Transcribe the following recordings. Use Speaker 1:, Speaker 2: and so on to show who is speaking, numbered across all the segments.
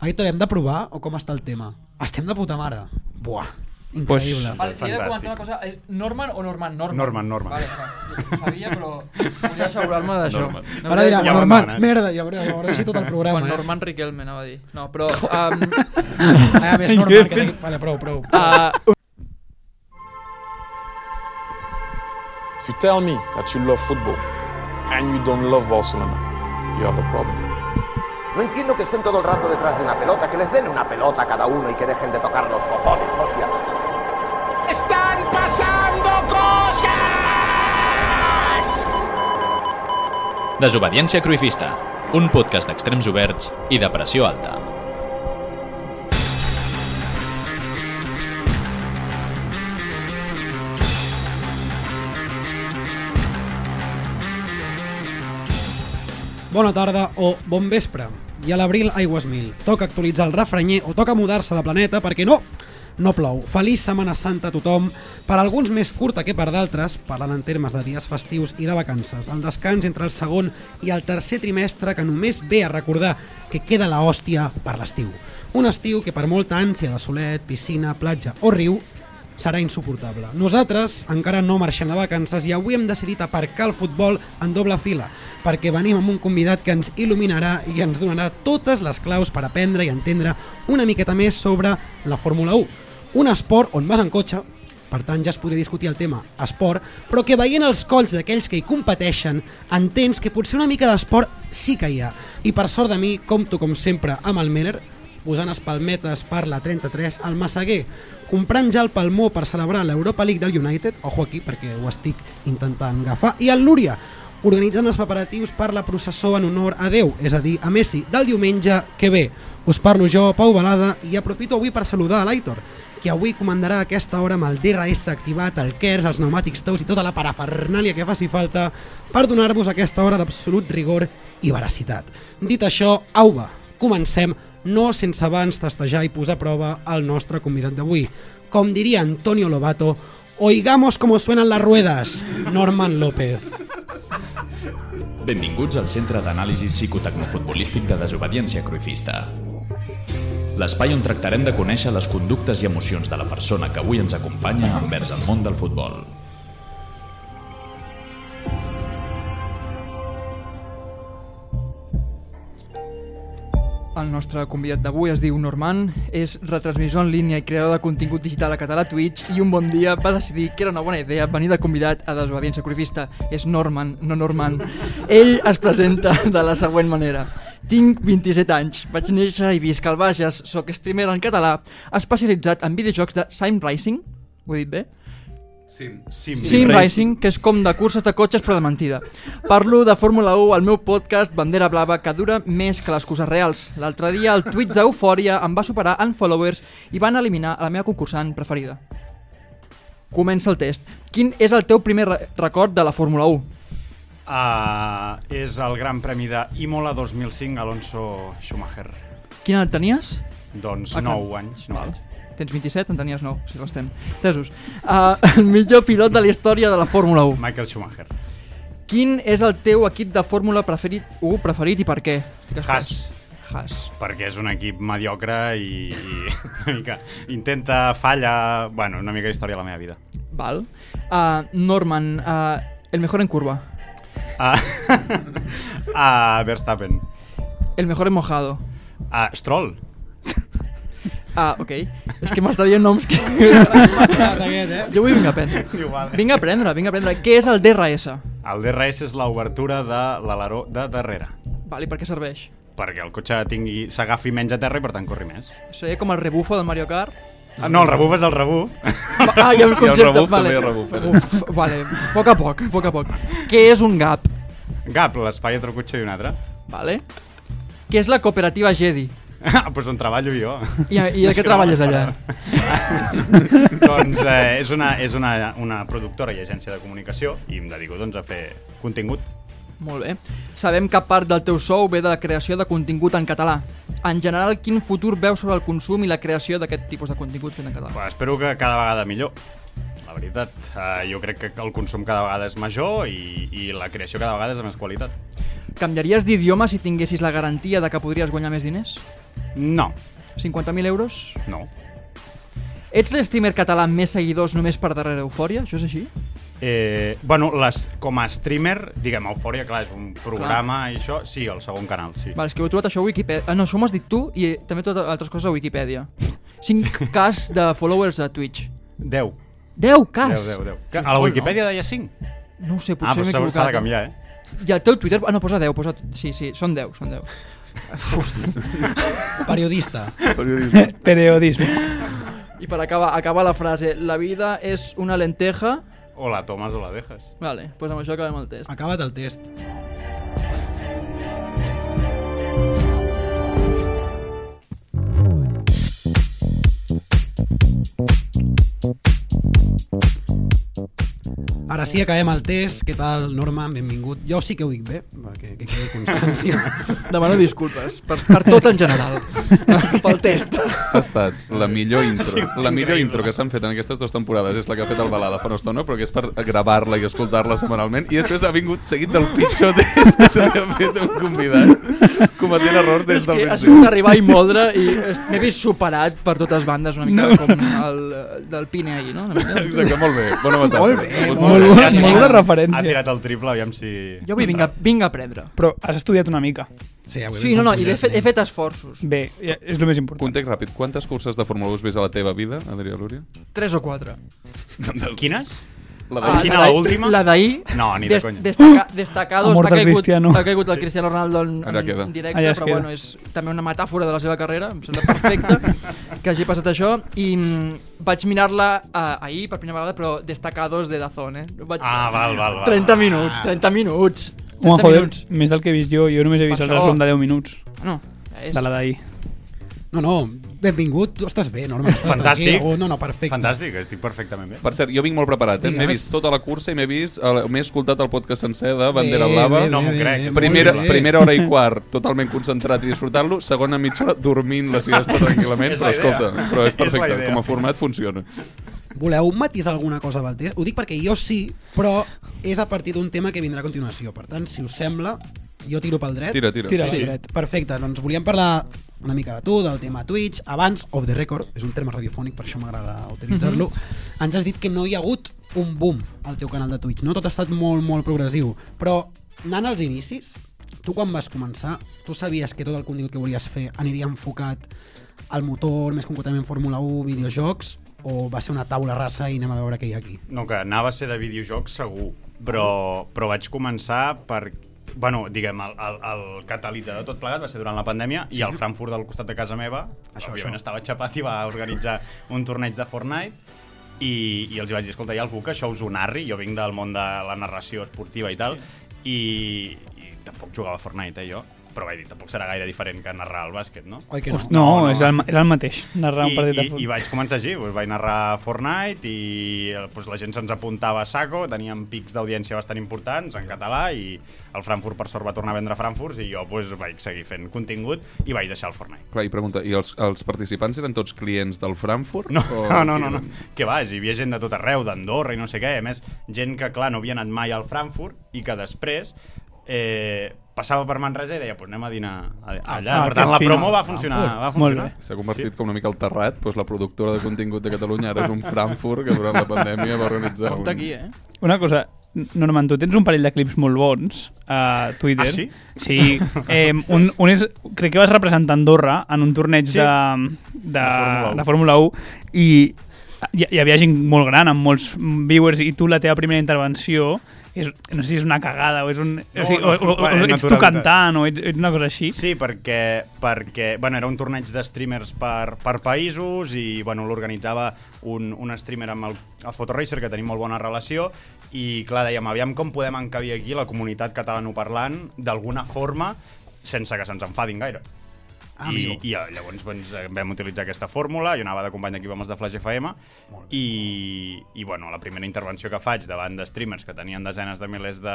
Speaker 1: Aitor, hem de provar o com està el tema? Estem de puta mare. Buah, increïble.
Speaker 2: Vale, si he de
Speaker 3: Fantàstic.
Speaker 2: comentar una cosa, és Norman o Norman? Norman,
Speaker 3: Norman, Norman.
Speaker 2: Vale, vale. Ho sabia, però volia assegurar-me d'això.
Speaker 3: Norman.
Speaker 2: No
Speaker 1: Ara
Speaker 2: em
Speaker 3: Ja
Speaker 1: dirà,
Speaker 2: deia-
Speaker 3: va
Speaker 1: Norman,
Speaker 3: malament, eh?
Speaker 1: merda, ja veureu, ja veureu si tot el programa.
Speaker 2: Quan
Speaker 1: eh?
Speaker 2: Norman Riquelme anava a dir. No, però... Um,
Speaker 1: Ah, més Norman, que tengui... Vale, prou, prou.
Speaker 2: uh,
Speaker 4: If you tell me that you love football and you don't love Barcelona, you have a problem.
Speaker 5: No entiendo que estén todo el rato detrás de una pelota, que les den una pelota a cada uno y que dejen de tocar los cojones, hostia.
Speaker 6: ¡Están pasando cosas!
Speaker 7: Desobediència Cruifista, un podcast d'extrems oberts i de pressió alta.
Speaker 1: Bona tarda o bon vespre. I a l'abril, aigües mil. Toca actualitzar el refranyer o toca mudar-se de planeta perquè no, no plou. Feliç Setmana Santa a tothom, per alguns més curta que per d'altres, parlant en termes de dies festius i de vacances. El descans entre el segon i el tercer trimestre que només ve a recordar que queda la hòstia per l'estiu. Un estiu que per molta ànsia de solet, piscina, platja o riu, serà insuportable. Nosaltres encara no marxem de vacances i avui hem decidit aparcar el futbol en doble fila, perquè venim amb un convidat que ens il·luminarà i ens donarà totes les claus per aprendre i entendre una miqueta més sobre la Fórmula 1. Un esport on vas en cotxe, per tant ja es podria discutir el tema esport, però que veient els colls d'aquells que hi competeixen entens que potser una mica d'esport sí que hi ha. I per sort de mi, compto com sempre amb el Meller, posant espalmetes per la 33 al Massaguer, comprant ja el palmó per celebrar l'Europa League del United, ojo aquí perquè ho estic intentant agafar, i el Núria, organitzant els preparatius per la processó en honor a Déu, és a dir, a Messi, del diumenge que ve. Us parlo jo, Pau Balada, i aprofito avui per saludar a l'Aitor, que avui comandarà aquesta hora amb el DRS activat, el KERS, els pneumàtics tous i tota la parafernàlia que faci falta per donar-vos aquesta hora d'absolut rigor i veracitat. Dit això, au va, comencem no sense abans testejar i posar a prova el nostre convidat d'avui. Com diria Antonio Lobato, oigamos como suenan las ruedas, Norman López.
Speaker 7: Benvinguts al Centre d'Anàlisi Psicotecnofutbolístic de Desobediència Cruifista. L'espai on tractarem de conèixer les conductes i emocions de la persona que avui ens acompanya envers el món del futbol.
Speaker 2: el nostre convidat d'avui es diu Norman, és retransmissor en línia i creador de contingut digital a català a Twitch i un bon dia va decidir que era una bona idea venir de convidat a Desobediència Corifista. És Norman, no Norman. Ell es presenta de la següent manera. Tinc 27 anys, vaig néixer i visc al Bages, sóc streamer en català, especialitzat en videojocs de Sim Racing, ho he dit bé?
Speaker 3: Sim,
Speaker 2: Sim Racing, que és com de curses de cotxes però de mentida. Parlo de Fórmula 1 al meu podcast Bandera Blava, que dura més que les coses reals. L'altre dia el tuit d'Eufòria em va superar en followers i van eliminar la meva concursant preferida. Comença el test. Quin és el teu primer re record de la Fórmula 1?
Speaker 3: Uh, és el gran premi de Imola 2005, Alonso Schumacher.
Speaker 2: Quina edat tenies?
Speaker 3: Doncs
Speaker 2: Ah, clar.
Speaker 3: 9 anys. 9 anys.
Speaker 2: Tens 27, en tenies 9, si l'estem. Tesos. Uh, el millor pilot de la història de la Fórmula 1.
Speaker 3: Michael Schumacher.
Speaker 2: Quin és el teu equip de Fórmula preferit, 1 preferit i per què? Estic espantat.
Speaker 3: Haas,
Speaker 2: Haas.
Speaker 3: perquè és un equip mediocre i, i una mica intenta, falla... Bueno, una mica història de la meva vida.
Speaker 2: Val. Ah, Norman, ah, el mejor en curva.
Speaker 3: Uh, uh, Verstappen.
Speaker 2: El mejor en mojado.
Speaker 3: Uh, Stroll.
Speaker 2: Ah, ok. És que m'està dient noms que...
Speaker 1: Aquest, eh?
Speaker 2: Jo avui vinc a aprendre.
Speaker 3: Igual.
Speaker 2: Vinc a aprendre, vinc a aprendre. Què és el DRS?
Speaker 3: El DRS és l'obertura de l'aleró de darrere
Speaker 2: Val, i per què serveix?
Speaker 3: perquè el cotxe tingui s'agafi menys a terra i per tant corri més.
Speaker 2: Seria com el rebufo del Mario Kart?
Speaker 3: Ah, No, el rebuf és el rebuf.
Speaker 2: Ah, hi ha el concepte,
Speaker 8: rebuf
Speaker 2: vale.
Speaker 8: també, rebuf, eh?
Speaker 2: Uf, vale, a poc a poc, a poc a poc. Què és un gap?
Speaker 3: Gap, l'espai entre un cotxe i un altre.
Speaker 2: Vale. Què és la cooperativa Jedi?
Speaker 3: Ah, doncs on treballo jo.
Speaker 2: I, i de
Speaker 3: És que
Speaker 2: què
Speaker 3: no
Speaker 2: treballes allà?
Speaker 3: doncs eh, és, una, és una, una productora i agència de comunicació i em dedico doncs, a fer contingut.
Speaker 2: Molt bé. Sabem que part del teu sou ve de la creació de contingut en català. En general, quin futur veus sobre el consum i la creació d'aquest tipus de contingut fet en català?
Speaker 3: Però espero que cada vegada millor. La veritat, eh, jo crec que el consum cada vegada és major i, i la creació cada vegada és de més qualitat.
Speaker 2: Canviaries d'idioma si tinguessis la garantia de que podries guanyar més diners?
Speaker 3: No,
Speaker 2: 50.000 euros?
Speaker 3: no.
Speaker 2: Ets l'estimer català amb més seguidors només per darrere Eufòria? Això és així?
Speaker 3: Eh, bueno, les, com a streamer, diguem, Eufòria, clar, és un programa i això, sí, el segon canal, sí.
Speaker 2: Val, és que ho he trobat això a Wikipedia. Ah, no, això m'ho has dit tu i eh, també tot altres coses a Wikipedia. 5 cas de followers a Twitch.
Speaker 3: 10.
Speaker 2: 10
Speaker 3: 10,
Speaker 2: cas!
Speaker 3: 10, 10. Que A la Wikipedia deia 5?
Speaker 2: No, no ho
Speaker 3: Ah,
Speaker 2: sé,
Speaker 3: però
Speaker 2: potser m'he
Speaker 3: s'ha- s'ha de
Speaker 2: equivocat.
Speaker 3: canviar, eh?
Speaker 2: I el teu Twitter... Ah, no, posa 10, posa... Sí, sí, són 10, són 10.
Speaker 1: Periodista.
Speaker 8: Periodisme.
Speaker 9: Periodisme.
Speaker 2: I per acabar, acabar la frase. La vida és una lenteja...
Speaker 3: O la tomes o la dejes.
Speaker 2: Vale, doncs amb això acabem el test.
Speaker 1: Acaba't el test. Ara sí, acabem el test. Què tal, Norma? Benvingut. Jo sí que ho dic bé, perquè que quedi constància.
Speaker 2: Demano disculpes per, per tot en general. Pel test.
Speaker 8: Ha estat la millor intro. La
Speaker 3: increïble.
Speaker 8: millor intro que s'han fet en aquestes dues temporades és la que ha fet el Balada fa una estona, però que és per gravar-la i escoltar-la setmanalment. I després ha vingut seguit del pitjor test que se li ha fet a un convidat. Cometent errors
Speaker 2: És
Speaker 8: des del
Speaker 2: que ha
Speaker 8: principi.
Speaker 2: sigut arribar i moldre i est- m'he vist superat per totes bandes una mica com el eh, del Pine ahir, no? Una mica.
Speaker 8: Exacte, molt bé. Bona metàfora.
Speaker 9: Molt bé, molt
Speaker 8: Doncs bé.
Speaker 9: bona-
Speaker 3: Ja ha tirat-
Speaker 9: molt bona
Speaker 3: Ha
Speaker 9: referència.
Speaker 3: tirat el triple, aviam si...
Speaker 2: Jo avui vinc a, vinc a aprendre.
Speaker 9: Però has estudiat una mica.
Speaker 1: Sí, avui
Speaker 2: Sí,
Speaker 1: ens
Speaker 2: no,
Speaker 1: hem
Speaker 2: no, i he
Speaker 1: pujat,
Speaker 2: fet,
Speaker 1: eh?
Speaker 2: he fet esforços.
Speaker 9: Bé, ja- és el més important.
Speaker 8: Context ràpid. Quantes curses de Fórmula 1 has vist a la teva vida, Adrià Lúria?
Speaker 2: Tres o quatre.
Speaker 3: Quines?
Speaker 8: La
Speaker 3: Ah,
Speaker 8: de...
Speaker 3: quina, la última?
Speaker 2: La d'ahir.
Speaker 3: No, ni de conya.
Speaker 2: Destaca, destacado.
Speaker 9: Ha mort
Speaker 2: Ha
Speaker 9: el
Speaker 2: caigut,
Speaker 9: Cristiano.
Speaker 2: ha caigut el Cristiano Ronaldo en,
Speaker 8: Allà queda.
Speaker 2: en directe,
Speaker 9: Allà es
Speaker 2: però
Speaker 9: queda.
Speaker 2: bueno, és també una metàfora de la seva carrera. Em sembla perfecte que hagi passat això. I mm, vaig mirar-la eh, ahir per primera vegada, però destacados de Dazón, eh? Vaig...
Speaker 3: Ah, val, val, val.
Speaker 2: 30 minuts, 30 minuts. 30
Speaker 9: Home, joder,
Speaker 2: minuts.
Speaker 9: més del que he vist jo, jo només he vist
Speaker 2: Per
Speaker 9: el
Speaker 2: això.
Speaker 9: resum de 10 minuts
Speaker 2: No, és...
Speaker 9: de la d'ahir.
Speaker 1: No, no, benvingut. Tu estàs bé, Norma. Estàs
Speaker 3: Fantàstic.
Speaker 1: tranquil. Oh, no, no, perfecte.
Speaker 3: Fantàstic, estic perfectament bé.
Speaker 8: Per cert, jo vinc molt preparat, eh? M'he
Speaker 1: Digues.
Speaker 8: vist tota la cursa i m'he vist... el- M'he escoltat el podcast sencer de Bandera
Speaker 1: Bé,
Speaker 8: Blava.
Speaker 1: bé,
Speaker 3: No
Speaker 1: bé,
Speaker 3: m'ho
Speaker 1: bé,
Speaker 3: crec.
Speaker 1: bé, molt
Speaker 8: Primera,
Speaker 1: bé.
Speaker 8: primera hora i quart, totalment concentrat i disfrutant-lo. Segona mitja hora, dormint la siesta tranquil·lament.
Speaker 3: És
Speaker 8: però
Speaker 3: la idea.
Speaker 8: escolta, però és
Speaker 3: És la
Speaker 8: perfecte.
Speaker 3: idea.
Speaker 8: com a format funciona.
Speaker 1: Voleu matisar alguna cosa amb el test? Ho dic perquè jo sí, però és a partir d'un tema que vindrà a continuació. Per tant, si us sembla, jo tiro pel dret.
Speaker 8: Tira, tira.
Speaker 9: Tira,
Speaker 8: Sí.
Speaker 9: sí. dret.
Speaker 1: Perfecte, doncs volíem parlar una mica de tu, del tema Twitch, abans of the record, és un terme radiofònic, per això m'agrada utilitzar-lo,
Speaker 3: Mhm.
Speaker 1: ens has dit que no hi ha hagut un boom al teu canal de Twitch, no? Tot ha estat molt, molt progressiu, però anant als inicis, tu quan vas començar, tu sabies que tot el contingut que volies fer aniria enfocat al motor, més concretament Fórmula 1, videojocs, o va ser una taula rasa i anem a veure què hi ha aquí?
Speaker 3: No, que anava a ser de videojocs segur, però, però vaig començar per... Bueno, diguem, el, el, el catalitzador de tot plegat va ser durant la pandèmia sí. i el Frankfurt del costat de casa meva,
Speaker 1: Això,
Speaker 3: això, òbviament
Speaker 1: això.
Speaker 3: estava xapat i va organitzar un torneig de Fortnite i, i els hi vaig dir, escolta, hi ha algú que això us ho narri, jo vinc del món de la narració esportiva i tal, i, i tampoc jugava a Fortnite, eh, jo, però vaig dir, tampoc serà gaire diferent que narrar el bàsquet, no?
Speaker 1: Oi que no?
Speaker 9: No, no,
Speaker 3: No, no.
Speaker 9: és, el, ma- és el mateix, narrar un
Speaker 3: I,
Speaker 9: partit
Speaker 3: i,
Speaker 9: de
Speaker 3: I
Speaker 9: futbol.
Speaker 3: vaig començar així, doncs vaig narrar Fortnite i eh, doncs la gent se'ns apuntava a saco, teníem pics d'audiència bastant importants en català i el Frankfurt per sort va tornar a vendre Frankfurt i jo doncs, vaig seguir fent contingut i vaig deixar el Fortnite.
Speaker 8: Clar, i pregunta, i els, els participants eren tots clients del Frankfurt?
Speaker 3: No, no, no, no, no. Que vas, hi havia gent de tot arreu, d'Andorra i no sé què. A més, gent que, clar, no havia anat mai al Frankfurt i que després eh, passava per Manresa i deia, pues anem a dinar a- allà.
Speaker 9: ah,
Speaker 3: per tant,
Speaker 9: que
Speaker 3: la
Speaker 9: fina. Ah,
Speaker 3: promo va funcionar, va
Speaker 9: Molt
Speaker 3: funcionar.
Speaker 9: bé.
Speaker 8: S'ha convertit sí. com una mica al terrat, doncs la productora de contingut de Catalunya ara és un Frankfurt que durant la pandèmia va organitzar
Speaker 2: Compte
Speaker 8: un...
Speaker 2: aquí, eh?
Speaker 9: Una cosa, Norman, tu tens un parell de clips molt bons a Twitter.
Speaker 3: Ah, sí?
Speaker 9: Sí. Eh, un, un és, crec que vas representar Andorra en un torneig
Speaker 3: Sí.
Speaker 9: de, de,
Speaker 3: Fórmula 1.
Speaker 9: de Fórmula 1 i hi, hi havia gent molt gran, amb molts viewers, i tu la teva primera intervenció és, no sé si és una cagada o és un...
Speaker 3: No,
Speaker 9: o, sigui,
Speaker 3: no,
Speaker 9: o, o, o,
Speaker 3: bueno,
Speaker 9: ets tu
Speaker 3: naturalitat.
Speaker 9: cantant o ets, ets una cosa així.
Speaker 3: Sí, perquè, perquè bueno, era un torneig de streamers per, per països i bueno, l'organitzava un, un streamer amb el, el Photoracer, que tenim molt bona relació, i clar, dèiem, aviam com podem encabir aquí la comunitat catalanoparlant d'alguna forma sense que se'ns enfadin gaire. I,
Speaker 1: Amigo.
Speaker 3: I eh, llavors doncs, eh, vam utilitzar aquesta fórmula, jo anava de company d'aquí, vamos de Flash FM, i, i bueno, la primera intervenció que faig davant de streamers que tenien desenes de milers de,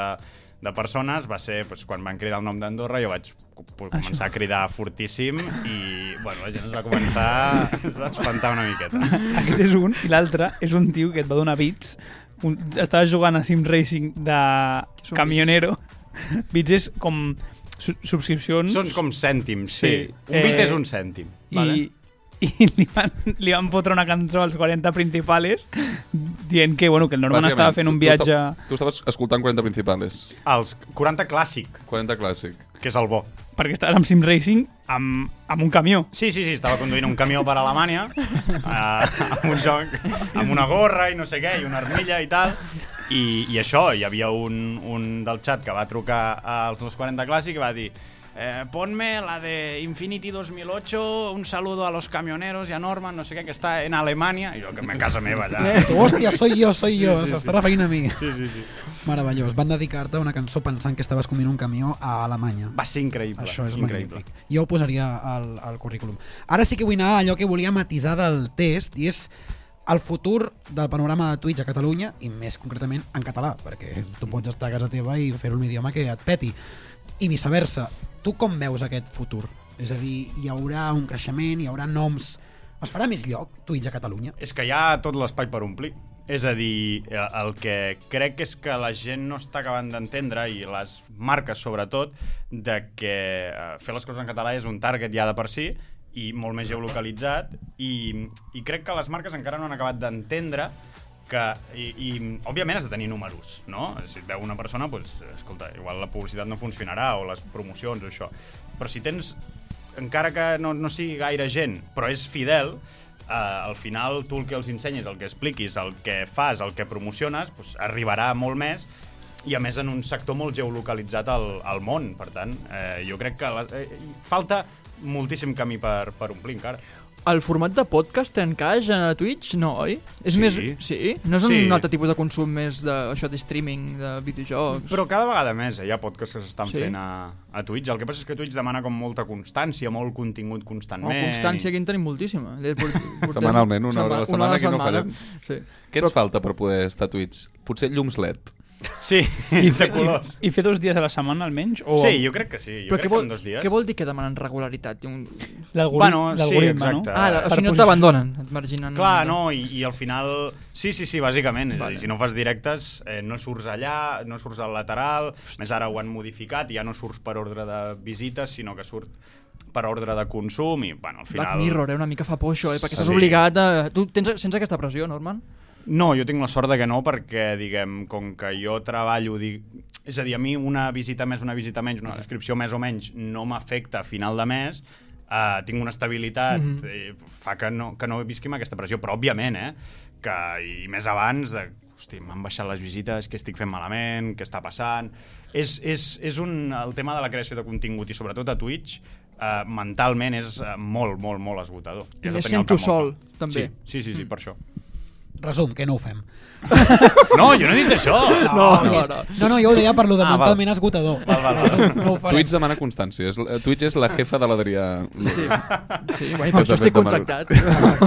Speaker 3: de persones va ser doncs, quan van cridar el nom d'Andorra, jo vaig co- po- començar a cridar fortíssim i bueno, la gent es va començar es va espantar una miqueta.
Speaker 9: Aquest és un, i l'altre és un tio que et va donar bits. Un, estava jugant a Sim Racing de
Speaker 2: Són
Speaker 9: Camionero. Bits és com su- subscripcions
Speaker 3: Són com cèntims, sí.
Speaker 9: Sí.
Speaker 3: sí. Un bit
Speaker 9: Eh,
Speaker 3: és un cèntim.
Speaker 9: i, i li, van, li van fotre una cançó als 40 principales dient que, bueno, que el Norman estava fent un viatge...
Speaker 8: Tu, tu estaves escoltant 40 principales.
Speaker 3: Els 40 clàssic,
Speaker 8: 40 clàssic.
Speaker 3: que és el bo.
Speaker 9: perquè estaves amb Sim Racing amb, amb un camió.
Speaker 3: Sí, sí, sí, estava conduint un camió per Alemanya, eh, amb un joc, amb una gorra i no sé què, i una armilla i tal. I, i això, hi havia un, un del xat que va trucar als 240 Clàssic i va dir eh, ponme la de Infinity 2008, un saludo a los camioneros y a Norman, no sé què, que està en Alemanya. I jo, que a casa meva, allà.
Speaker 1: Hòstia, soy jo, soy jo,
Speaker 3: Sí, sí, sí.
Speaker 1: s'està referint a mi.
Speaker 3: Sí, sí, sí.
Speaker 1: Meravellós, van dedicar-te una cançó pensant que estaves conduint un camió a Alemanya.
Speaker 3: Va ser increïble.
Speaker 1: Això és
Speaker 3: increïble.
Speaker 1: magnífic. Jo ho posaria al, al currículum. Ara sí que vull anar a allò que volia matisar del test i és el futur del panorama de Twitch a Catalunya i més concretament en català, perquè tu pots estar a casa teva i fer un idioma que et peti. I viceversa, tu com veus aquest futur? És a dir, hi haurà un creixement, hi haurà noms... Es farà més lloc Twitch a Catalunya?
Speaker 3: És que hi ha tot l'espai per omplir. És a dir, eh, el que crec és que la gent no està acabant d'entendre, i les marques sobretot, de que eh, fer les coses en català és un target ja de per si, i molt més geolocalitzat, i, i crec que les marques encara no han acabat d'entendre que, i, i, òbviament has de tenir números, no? Si et veu una persona, doncs, escolta, igual la publicitat no funcionarà, o les promocions, o això. Però si tens, encara que no, no sigui gaire gent, però és fidel, eh, al final tu el que els ensenyes, el que expliquis, el que fas, el que promociones, doncs, arribarà molt més i a més en un sector molt geolocalitzat al, al món, per tant, eh, jo crec que la, eh, hi falta moltíssim camí per, per omplir encara.
Speaker 2: El format de podcast encaix a Twitch? No, oi? És
Speaker 8: Sí.
Speaker 2: més... Sí? No és
Speaker 3: Sí.
Speaker 2: un altre tipus de consum més de, això de streaming, de videojocs?
Speaker 3: Però cada vegada més eh, hi ha podcasts que s'estan
Speaker 2: Sí?
Speaker 3: sí? fent a, a Twitch. El que passa és que Twitch demana com molta constància, molt contingut
Speaker 2: No,
Speaker 3: constantment.
Speaker 2: Oh, constància aquí en tenim moltíssima. De- port- portem-
Speaker 8: Setmanalment, una hora a la
Speaker 2: setma- una
Speaker 8: setmana, que no
Speaker 2: setmana.
Speaker 8: fallem.
Speaker 2: Sí.
Speaker 8: Què ens falta per poder estar a Twitch? Potser llums LED.
Speaker 3: Sí, I de colors.
Speaker 9: I, I fer dos dies a la setmana almenys? O
Speaker 3: Sí, jo crec que sí. Jo
Speaker 2: Oh.
Speaker 3: crec
Speaker 2: Però què
Speaker 3: que
Speaker 2: vol,
Speaker 3: en dos dies.
Speaker 2: què vol dir que demanen regularitat? Un...
Speaker 9: l'algoritme,
Speaker 3: Bueno, sí,
Speaker 9: l'algoritme,
Speaker 3: exacte.
Speaker 9: no?
Speaker 2: Ah, la, o
Speaker 9: per
Speaker 2: sigui, no
Speaker 9: posició-
Speaker 2: t'abandonen, et marginen.
Speaker 3: Clar, no, i, i al final... Sí, sí, sí, bàsicament. És a
Speaker 2: Vale.
Speaker 3: dir, si no fas directes, eh, no surts allà, no surts al lateral, més ara ho han modificat, ja no surts per ordre de visites, sinó que surt per ordre de consum i, bueno, al
Speaker 2: Black
Speaker 3: final...
Speaker 2: Mirror, eh? una mica fa por això, eh? perquè estàs
Speaker 3: Sí.
Speaker 2: obligat a... Tu tens, sents aquesta pressió, Norman?
Speaker 3: No, jo tinc la sort de que no, perquè, diguem, com que jo treballo... Dig... És a dir, a mi una visita més, una visita menys, una subscripció més o menys no m'afecta a final de mes, Uh, tinc una estabilitat
Speaker 2: Mhm.
Speaker 3: mm -hmm. fa que no, que no visqui amb aquesta pressió però òbviament, eh, que, i més abans de, hosti, m'han baixat les visites què estic fent malament, què està passant és, és, és un, el tema de la creació de contingut i sobretot a Twitch uh, mentalment és uh, molt, molt, molt esgotador I has de
Speaker 2: més
Speaker 3: tenir el
Speaker 2: sent tu
Speaker 3: cap molt
Speaker 2: sol,
Speaker 3: clar.
Speaker 2: també. Mm.
Speaker 3: sí, sí, sí, sí per això
Speaker 1: Resum, que no ho fem.
Speaker 3: no, jo no he dit això.
Speaker 1: No, no, no. no, no jo ho deia per lo de
Speaker 3: Ah, val.
Speaker 1: mentalment esgotador.
Speaker 3: Val, val, val.
Speaker 1: No ho farem.
Speaker 8: Twitch demana constància. És, eh, Twitch és la jefa de l'Adrià.
Speaker 2: Sí. Sí, bueno,
Speaker 8: Però
Speaker 2: per
Speaker 8: també
Speaker 2: això estic
Speaker 8: demanen-
Speaker 2: contractat.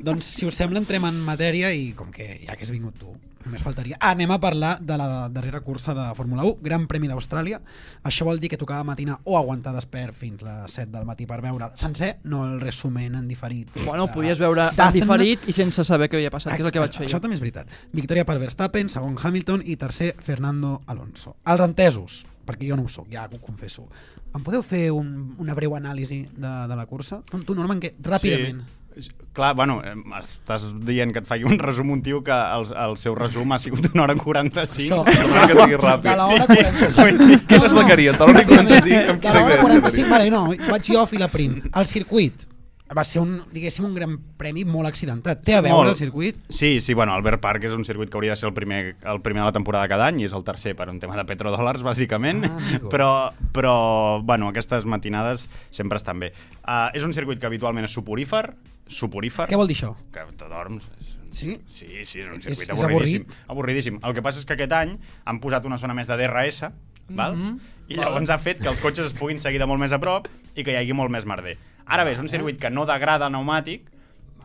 Speaker 1: doncs, si us sembla, entrem en matèria i com que ja que has vingut tu, només faltaria. Ah, Anem a parlar de la darrera cursa de Fórmula 1, Gran Premi d'Austràlia. Això vol dir que tocava matinar o aguantar despert fins les 7 del matí per veure sencer, no el resumen en diferit. Eh,
Speaker 2: Bueno,
Speaker 1: de-
Speaker 2: podies veure
Speaker 1: Dazn.
Speaker 2: en diferit i sense saber què havia passat, que és el que vaig fer
Speaker 1: Això
Speaker 2: jo.
Speaker 1: també és veritat. Victòria per Verstappen, segon Hamilton i tercer Fernando Alonso. Els entesos, perquè jo no ho sóc, ja ho confesso. Em podeu fer un, una breu anàlisi de, de la cursa? Tu, tu Norman, que ràpidament. Sí.
Speaker 3: Sí. Clar, bueno, eh, estàs dient que et faci un resum un tio que el, el seu resum ha sigut una hora 45.
Speaker 1: Això.
Speaker 8: No cal que sigui
Speaker 1: De
Speaker 8: ràpid.
Speaker 1: la hora 45.
Speaker 3: Vull dir,
Speaker 8: Què t'esvacaria? Entre l'hora i 45? em
Speaker 1: De la hora
Speaker 8: queda
Speaker 1: 45,
Speaker 8: bé.
Speaker 1: vale, no, vaig jo a Filaprim. El circuit va ser un, diguéssim, un gran premi molt accidentat. Té a veure
Speaker 3: Molt.
Speaker 1: el circuit?
Speaker 3: Sí, sí, bueno, Albert Park és un circuit que hauria de ser el primer, el primer de la temporada cada any i és el tercer per un tema de petrodòlars, bàsicament,
Speaker 1: Ah, amigo.
Speaker 3: però, però, bueno, aquestes matinades sempre estan bé. Uh, és un circuit que habitualment és suporífer, suporífer,
Speaker 1: Què vol dir això?
Speaker 3: que te dorms, és,
Speaker 1: Sí?
Speaker 3: Sí, sí, és un
Speaker 1: És-
Speaker 3: circuit és,
Speaker 1: és
Speaker 3: avorridíssim. avorridíssim. El que passa és que aquest any han posat una zona més de DRS, val?
Speaker 1: Mhm.
Speaker 3: i llavors ha fet que els cotxes es puguin seguir de molt més a prop i que hi hagi molt més merder. Ara bé, és un circuit que no degrada pneumàtic,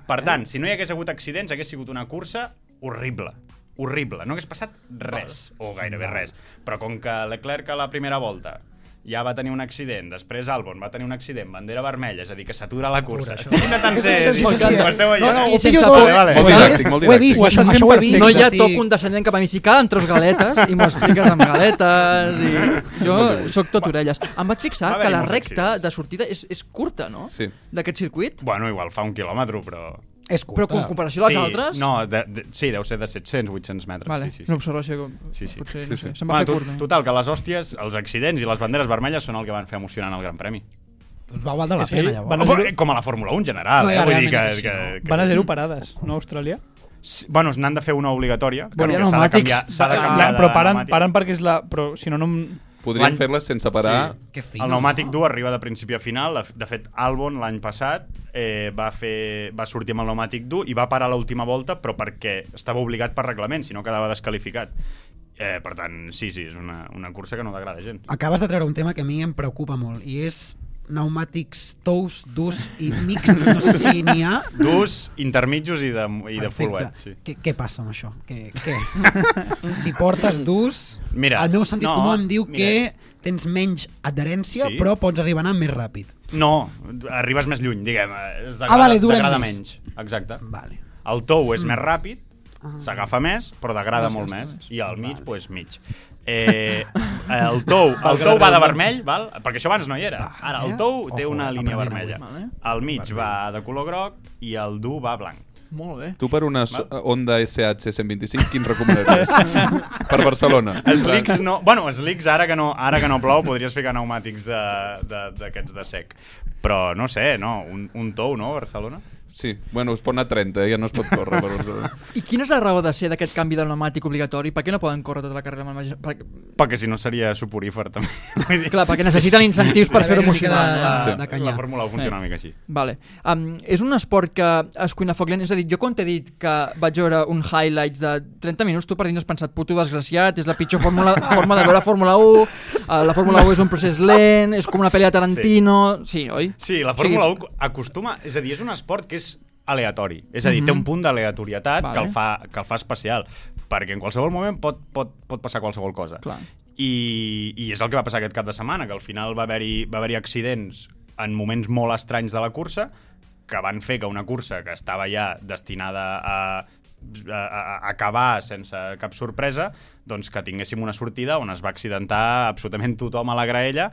Speaker 3: per tant, si no hi hagués hagut accidents, hagués sigut una cursa horrible horrible, no hagués passat res, o gairebé res. Però com que Leclerc a la primera volta ja va tenir un accident, després Albon va tenir un accident, bandera vermella, és a dir, que s'atura la cursa. Estic intentant ser...
Speaker 2: Sí, sí, sí.
Speaker 3: Ho esteu veient?
Speaker 2: No, no,
Speaker 3: I
Speaker 2: ho
Speaker 3: sense
Speaker 2: pillo
Speaker 3: por,
Speaker 2: tot.
Speaker 3: vale.
Speaker 8: Molt didàctic, molt
Speaker 1: Ho he vist,
Speaker 2: Ho estàs
Speaker 1: això,
Speaker 2: fent
Speaker 1: això ho he
Speaker 2: perfecte.
Speaker 1: vist.
Speaker 2: No hi ha
Speaker 1: Estic-
Speaker 2: toc condescendent cap a mi. Si calen tres galetes i m'ho expliques amb galetes i... Jo sóc tot orelles. Em vaig
Speaker 3: Va
Speaker 2: fixar que
Speaker 3: haver-hi
Speaker 2: la
Speaker 3: molts
Speaker 2: recta
Speaker 3: accidents.
Speaker 2: de sortida és, és curta, no?
Speaker 8: Sí.
Speaker 2: D'aquest circuit.
Speaker 3: Bueno, igual fa un quilòmetre, però...
Speaker 1: És
Speaker 2: Però
Speaker 1: curta.
Speaker 2: en comparació a les altres...
Speaker 3: No, de, de, sí, deu ser de 700, 800 metres.
Speaker 2: Vale,
Speaker 3: sí, sí, sí.
Speaker 2: una observació com...
Speaker 3: Sí, sí.
Speaker 2: Potser,
Speaker 8: Sí,
Speaker 2: no
Speaker 8: sí.
Speaker 2: sé, se'm va
Speaker 3: Home,
Speaker 2: fer
Speaker 3: to-
Speaker 2: curta.
Speaker 3: Total, que les hòsties, els accidents i les banderes vermelles són el que van fer emocionant el Gran Premi.
Speaker 1: Doncs va valdre la
Speaker 9: És que
Speaker 1: pena,
Speaker 9: ell-
Speaker 1: llavors.
Speaker 9: van-
Speaker 3: Bueno,
Speaker 9: a zero-
Speaker 3: eh, com a la Fórmula 1 en general,
Speaker 1: No,
Speaker 3: eh?
Speaker 1: ja,
Speaker 3: Vull dir que,
Speaker 1: realment és així,
Speaker 3: que,
Speaker 1: no?
Speaker 3: que...
Speaker 9: Van a zero parades, no, a Austràlia?
Speaker 3: Sí, Bueno, n'han de fer una obligatòria.
Speaker 2: Canviar
Speaker 3: Bueno, que s'ha de
Speaker 2: pneumàtics.
Speaker 3: canviar, s'ha de
Speaker 2: Ah,
Speaker 3: canviar
Speaker 9: La-
Speaker 3: de
Speaker 9: però paren,
Speaker 3: pneumàtic.
Speaker 9: paren perquè és la... Però si no, no... em-
Speaker 8: Podríem
Speaker 3: L'any-
Speaker 8: fer-les sense parar.
Speaker 1: Que fins.
Speaker 3: El pneumàtic dur arriba de principi a final. De- De fet, Albon l'any passat eh, va, fer, va sortir amb el pneumàtic dur i va parar l'última volta, però perquè estava obligat per reglament, si no quedava descalificat. Eh, per tant, sí, sí, és una, una cursa que no t'agrada gens.
Speaker 1: Acabes de treure un tema que a mi em preocupa molt i és pneumàtics tous, durs i mixtos, no sé si n'hi ha.
Speaker 3: Durs, intermitjos i de, i de full wet. Sí.
Speaker 1: Què, què passa amb això? Què, què? si portes durs,
Speaker 3: Mira,
Speaker 1: el meu sentit
Speaker 3: no,
Speaker 1: comú em diu
Speaker 3: mira.
Speaker 1: que tens menys adherència,
Speaker 3: Sí.
Speaker 1: però pots arribar a anar més ràpid.
Speaker 3: No, arribes més lluny, diguem. eh, Es degrada,
Speaker 1: Ah, vale, duren
Speaker 3: degrada
Speaker 1: més.
Speaker 3: menys. Exacte.
Speaker 1: Vale.
Speaker 3: El tou és més ràpid, s'agafa més, però degrada molt més. I al mig,
Speaker 1: Vale.
Speaker 3: doncs pues, mig. Eh, el tou, el tou va de vermell, val? perquè això abans no hi era.
Speaker 1: Vale.
Speaker 3: Ara, el tou té
Speaker 1: Ojo,
Speaker 3: una línia
Speaker 1: aprenent
Speaker 3: vermella.
Speaker 2: avui. Vale.
Speaker 3: El mig va de color groc i el dur va blanc.
Speaker 2: Molt bé.
Speaker 8: Tu per una so- Honda SH 125, quin recomanaries? per Barcelona.
Speaker 3: Slicks no... Bueno, slicks, ara que no, ara que no plou, podries ficar pneumàtics d'aquests de, d'aquests de sec. Però no sé, no, un, un tou, no, a Barcelona?
Speaker 8: Sí, bueno, es pot anar a 30, eh? ja no es pot córrer. Per Barcelona.
Speaker 2: I quina és la raó de ser d'aquest canvi de pneumàtic obligatori? Per què no poden córrer tota la carrera amb el magi- per...
Speaker 3: Perquè si no seria suporífer, també. Vull dir-
Speaker 2: Clar, perquè necessiten incentius per
Speaker 1: Sí,
Speaker 2: fer-ho
Speaker 1: una mica de-
Speaker 2: emocionant. Eh?
Speaker 1: de-
Speaker 3: La,
Speaker 1: de canyar.
Speaker 3: la Fórmula 1 funciona una mica així.
Speaker 2: Vale. Um, és un esport que es cuina a foc lent. És a dir, jo quan t'he dit que vaig veure un highlights de 30 minuts, tu per dins has pensat, puto desgraciat, és la pitjor fórmula, forma de veure Fórmula 1, uh, la Fórmula 1 és un procés lent, és com una pel·li de Tarantino... Sí, oi?
Speaker 3: Sí, la Fórmula 1 acostuma... És a dir, és un esport que és aleatori. És a dir, té un punt d'aleatorietat
Speaker 2: Vale.
Speaker 3: que, el fa, que el fa especial. Perquè en qualsevol moment pot, pot, pot passar qualsevol cosa.
Speaker 2: Clar.
Speaker 3: I, I és el que va passar aquest cap de setmana, que al final va haver-hi va haver accidents en moments molt estranys de la cursa que van fer que una cursa que estava ja destinada a a, a- a acabar sense cap sorpresa, doncs que tinguéssim una sortida on es va accidentar absolutament tothom a la graella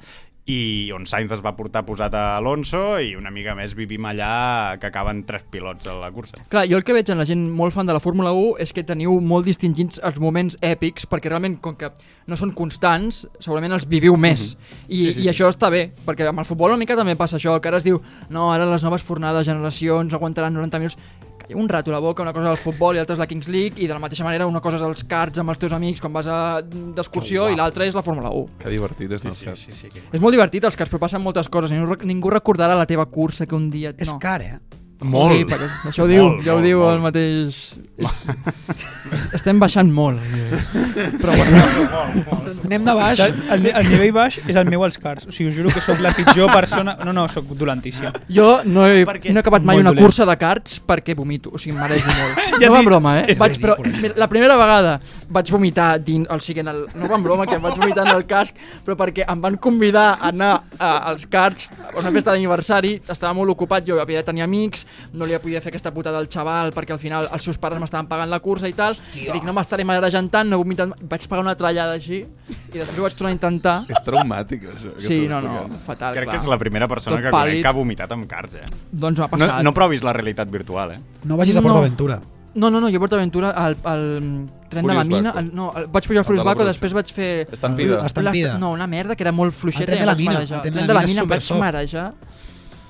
Speaker 3: i on Sainz es va portar posat a Alonso i una mica més vivim allà que acaben tres pilots a la cursa.
Speaker 2: Clar, jo el que veig en la gent molt fan de la Fórmula 1 és que teniu molt distingits els moments èpics, perquè realment, com que no són constants, segurament els viviu més. I, Mhm. sí, sí, I això està bé, perquè amb el futbol una mica també passa això, que ara es diu, no, ara les noves fornades, generacions, aguantaran 90 minuts... Calla un rato a la boca, una cosa és el futbol i l'altra és la Kings League, i de la mateixa manera una cosa és els cards amb els teus amics quan vas a- d'excursió i l'altra és la Fórmula 1.
Speaker 8: Que divertit és, no? Sí, sí, sí.
Speaker 2: És molt divertit els cards, però passen moltes coses, i no, rec- ningú recordarà la teva cursa que un dia...
Speaker 1: És
Speaker 2: no.
Speaker 1: car, eh?
Speaker 2: Molt. Sí, perquè això ho diu,
Speaker 3: Molt,
Speaker 2: molt, ja ho
Speaker 3: molt,
Speaker 2: diu
Speaker 3: molt.
Speaker 2: el mateix... És- Estem baixant molt. Però bueno,
Speaker 3: Molt, molt.
Speaker 1: Anem de baix.
Speaker 9: Saps? El, ni- el nivell baix és el meu als cars. O sigui, us juro que sóc la pitjor persona... No, no, sóc dolentíssim.
Speaker 2: jo no he,
Speaker 3: Perquè-
Speaker 2: no he acabat mai
Speaker 9: Molt
Speaker 2: una
Speaker 9: dolent.
Speaker 2: cursa de karts perquè vomito, o sigui, em mereixo molt.
Speaker 9: Ja
Speaker 2: no va
Speaker 9: dic,
Speaker 2: en broma, eh?
Speaker 9: és
Speaker 2: Vaig, però,
Speaker 1: ridícul, això.
Speaker 2: mira, la primera vegada vaig vomitar dins, o sigui, en el, no va en broma que em vaig vomitar en el casc, però perquè em van convidar a anar a, als karts a una festa d'aniversari, estava molt ocupat, jo havia de tenir amics, no li podia fer aquesta putada al xaval perquè al final els seus pares m'estaven pagant la cursa i tal, i dic, no m'estaré ara jantant, no vomitant, vaig pagar una trallada així i després ho vaig tornar a intentar.
Speaker 8: És traumàtic, això. que
Speaker 2: Sí,
Speaker 8: estàs
Speaker 2: no, no,
Speaker 8: explicant.
Speaker 2: fatal,
Speaker 3: Crec
Speaker 2: clar.
Speaker 3: que és la primera persona
Speaker 2: Tot
Speaker 3: que conec
Speaker 2: pàl·lid.
Speaker 3: que ha vomitat amb cars, eh?
Speaker 2: Doncs m'ha
Speaker 3: No,
Speaker 2: passat.
Speaker 3: no provis la realitat virtual, eh?
Speaker 1: No vagis a
Speaker 2: No.
Speaker 1: PortAventura.
Speaker 2: No, no, no, jo a PortAventura al, al mm, tren de la
Speaker 8: Furious
Speaker 2: mina,
Speaker 8: Baco.
Speaker 2: al, no, al, vaig pujar al Furious
Speaker 8: de la
Speaker 2: Baco,
Speaker 8: Bruce.
Speaker 2: després vaig fer...
Speaker 8: Estampida.
Speaker 1: Estampida.
Speaker 2: L'est- No, una merda que era molt
Speaker 1: El
Speaker 2: fluixeta
Speaker 1: tren
Speaker 2: i
Speaker 1: de
Speaker 2: em
Speaker 1: la
Speaker 2: vaig
Speaker 1: mina,
Speaker 2: marejar.
Speaker 1: el tren de
Speaker 2: El
Speaker 1: la
Speaker 2: de la mina
Speaker 1: mina és
Speaker 2: em vaig
Speaker 1: supersoft.
Speaker 2: marejar.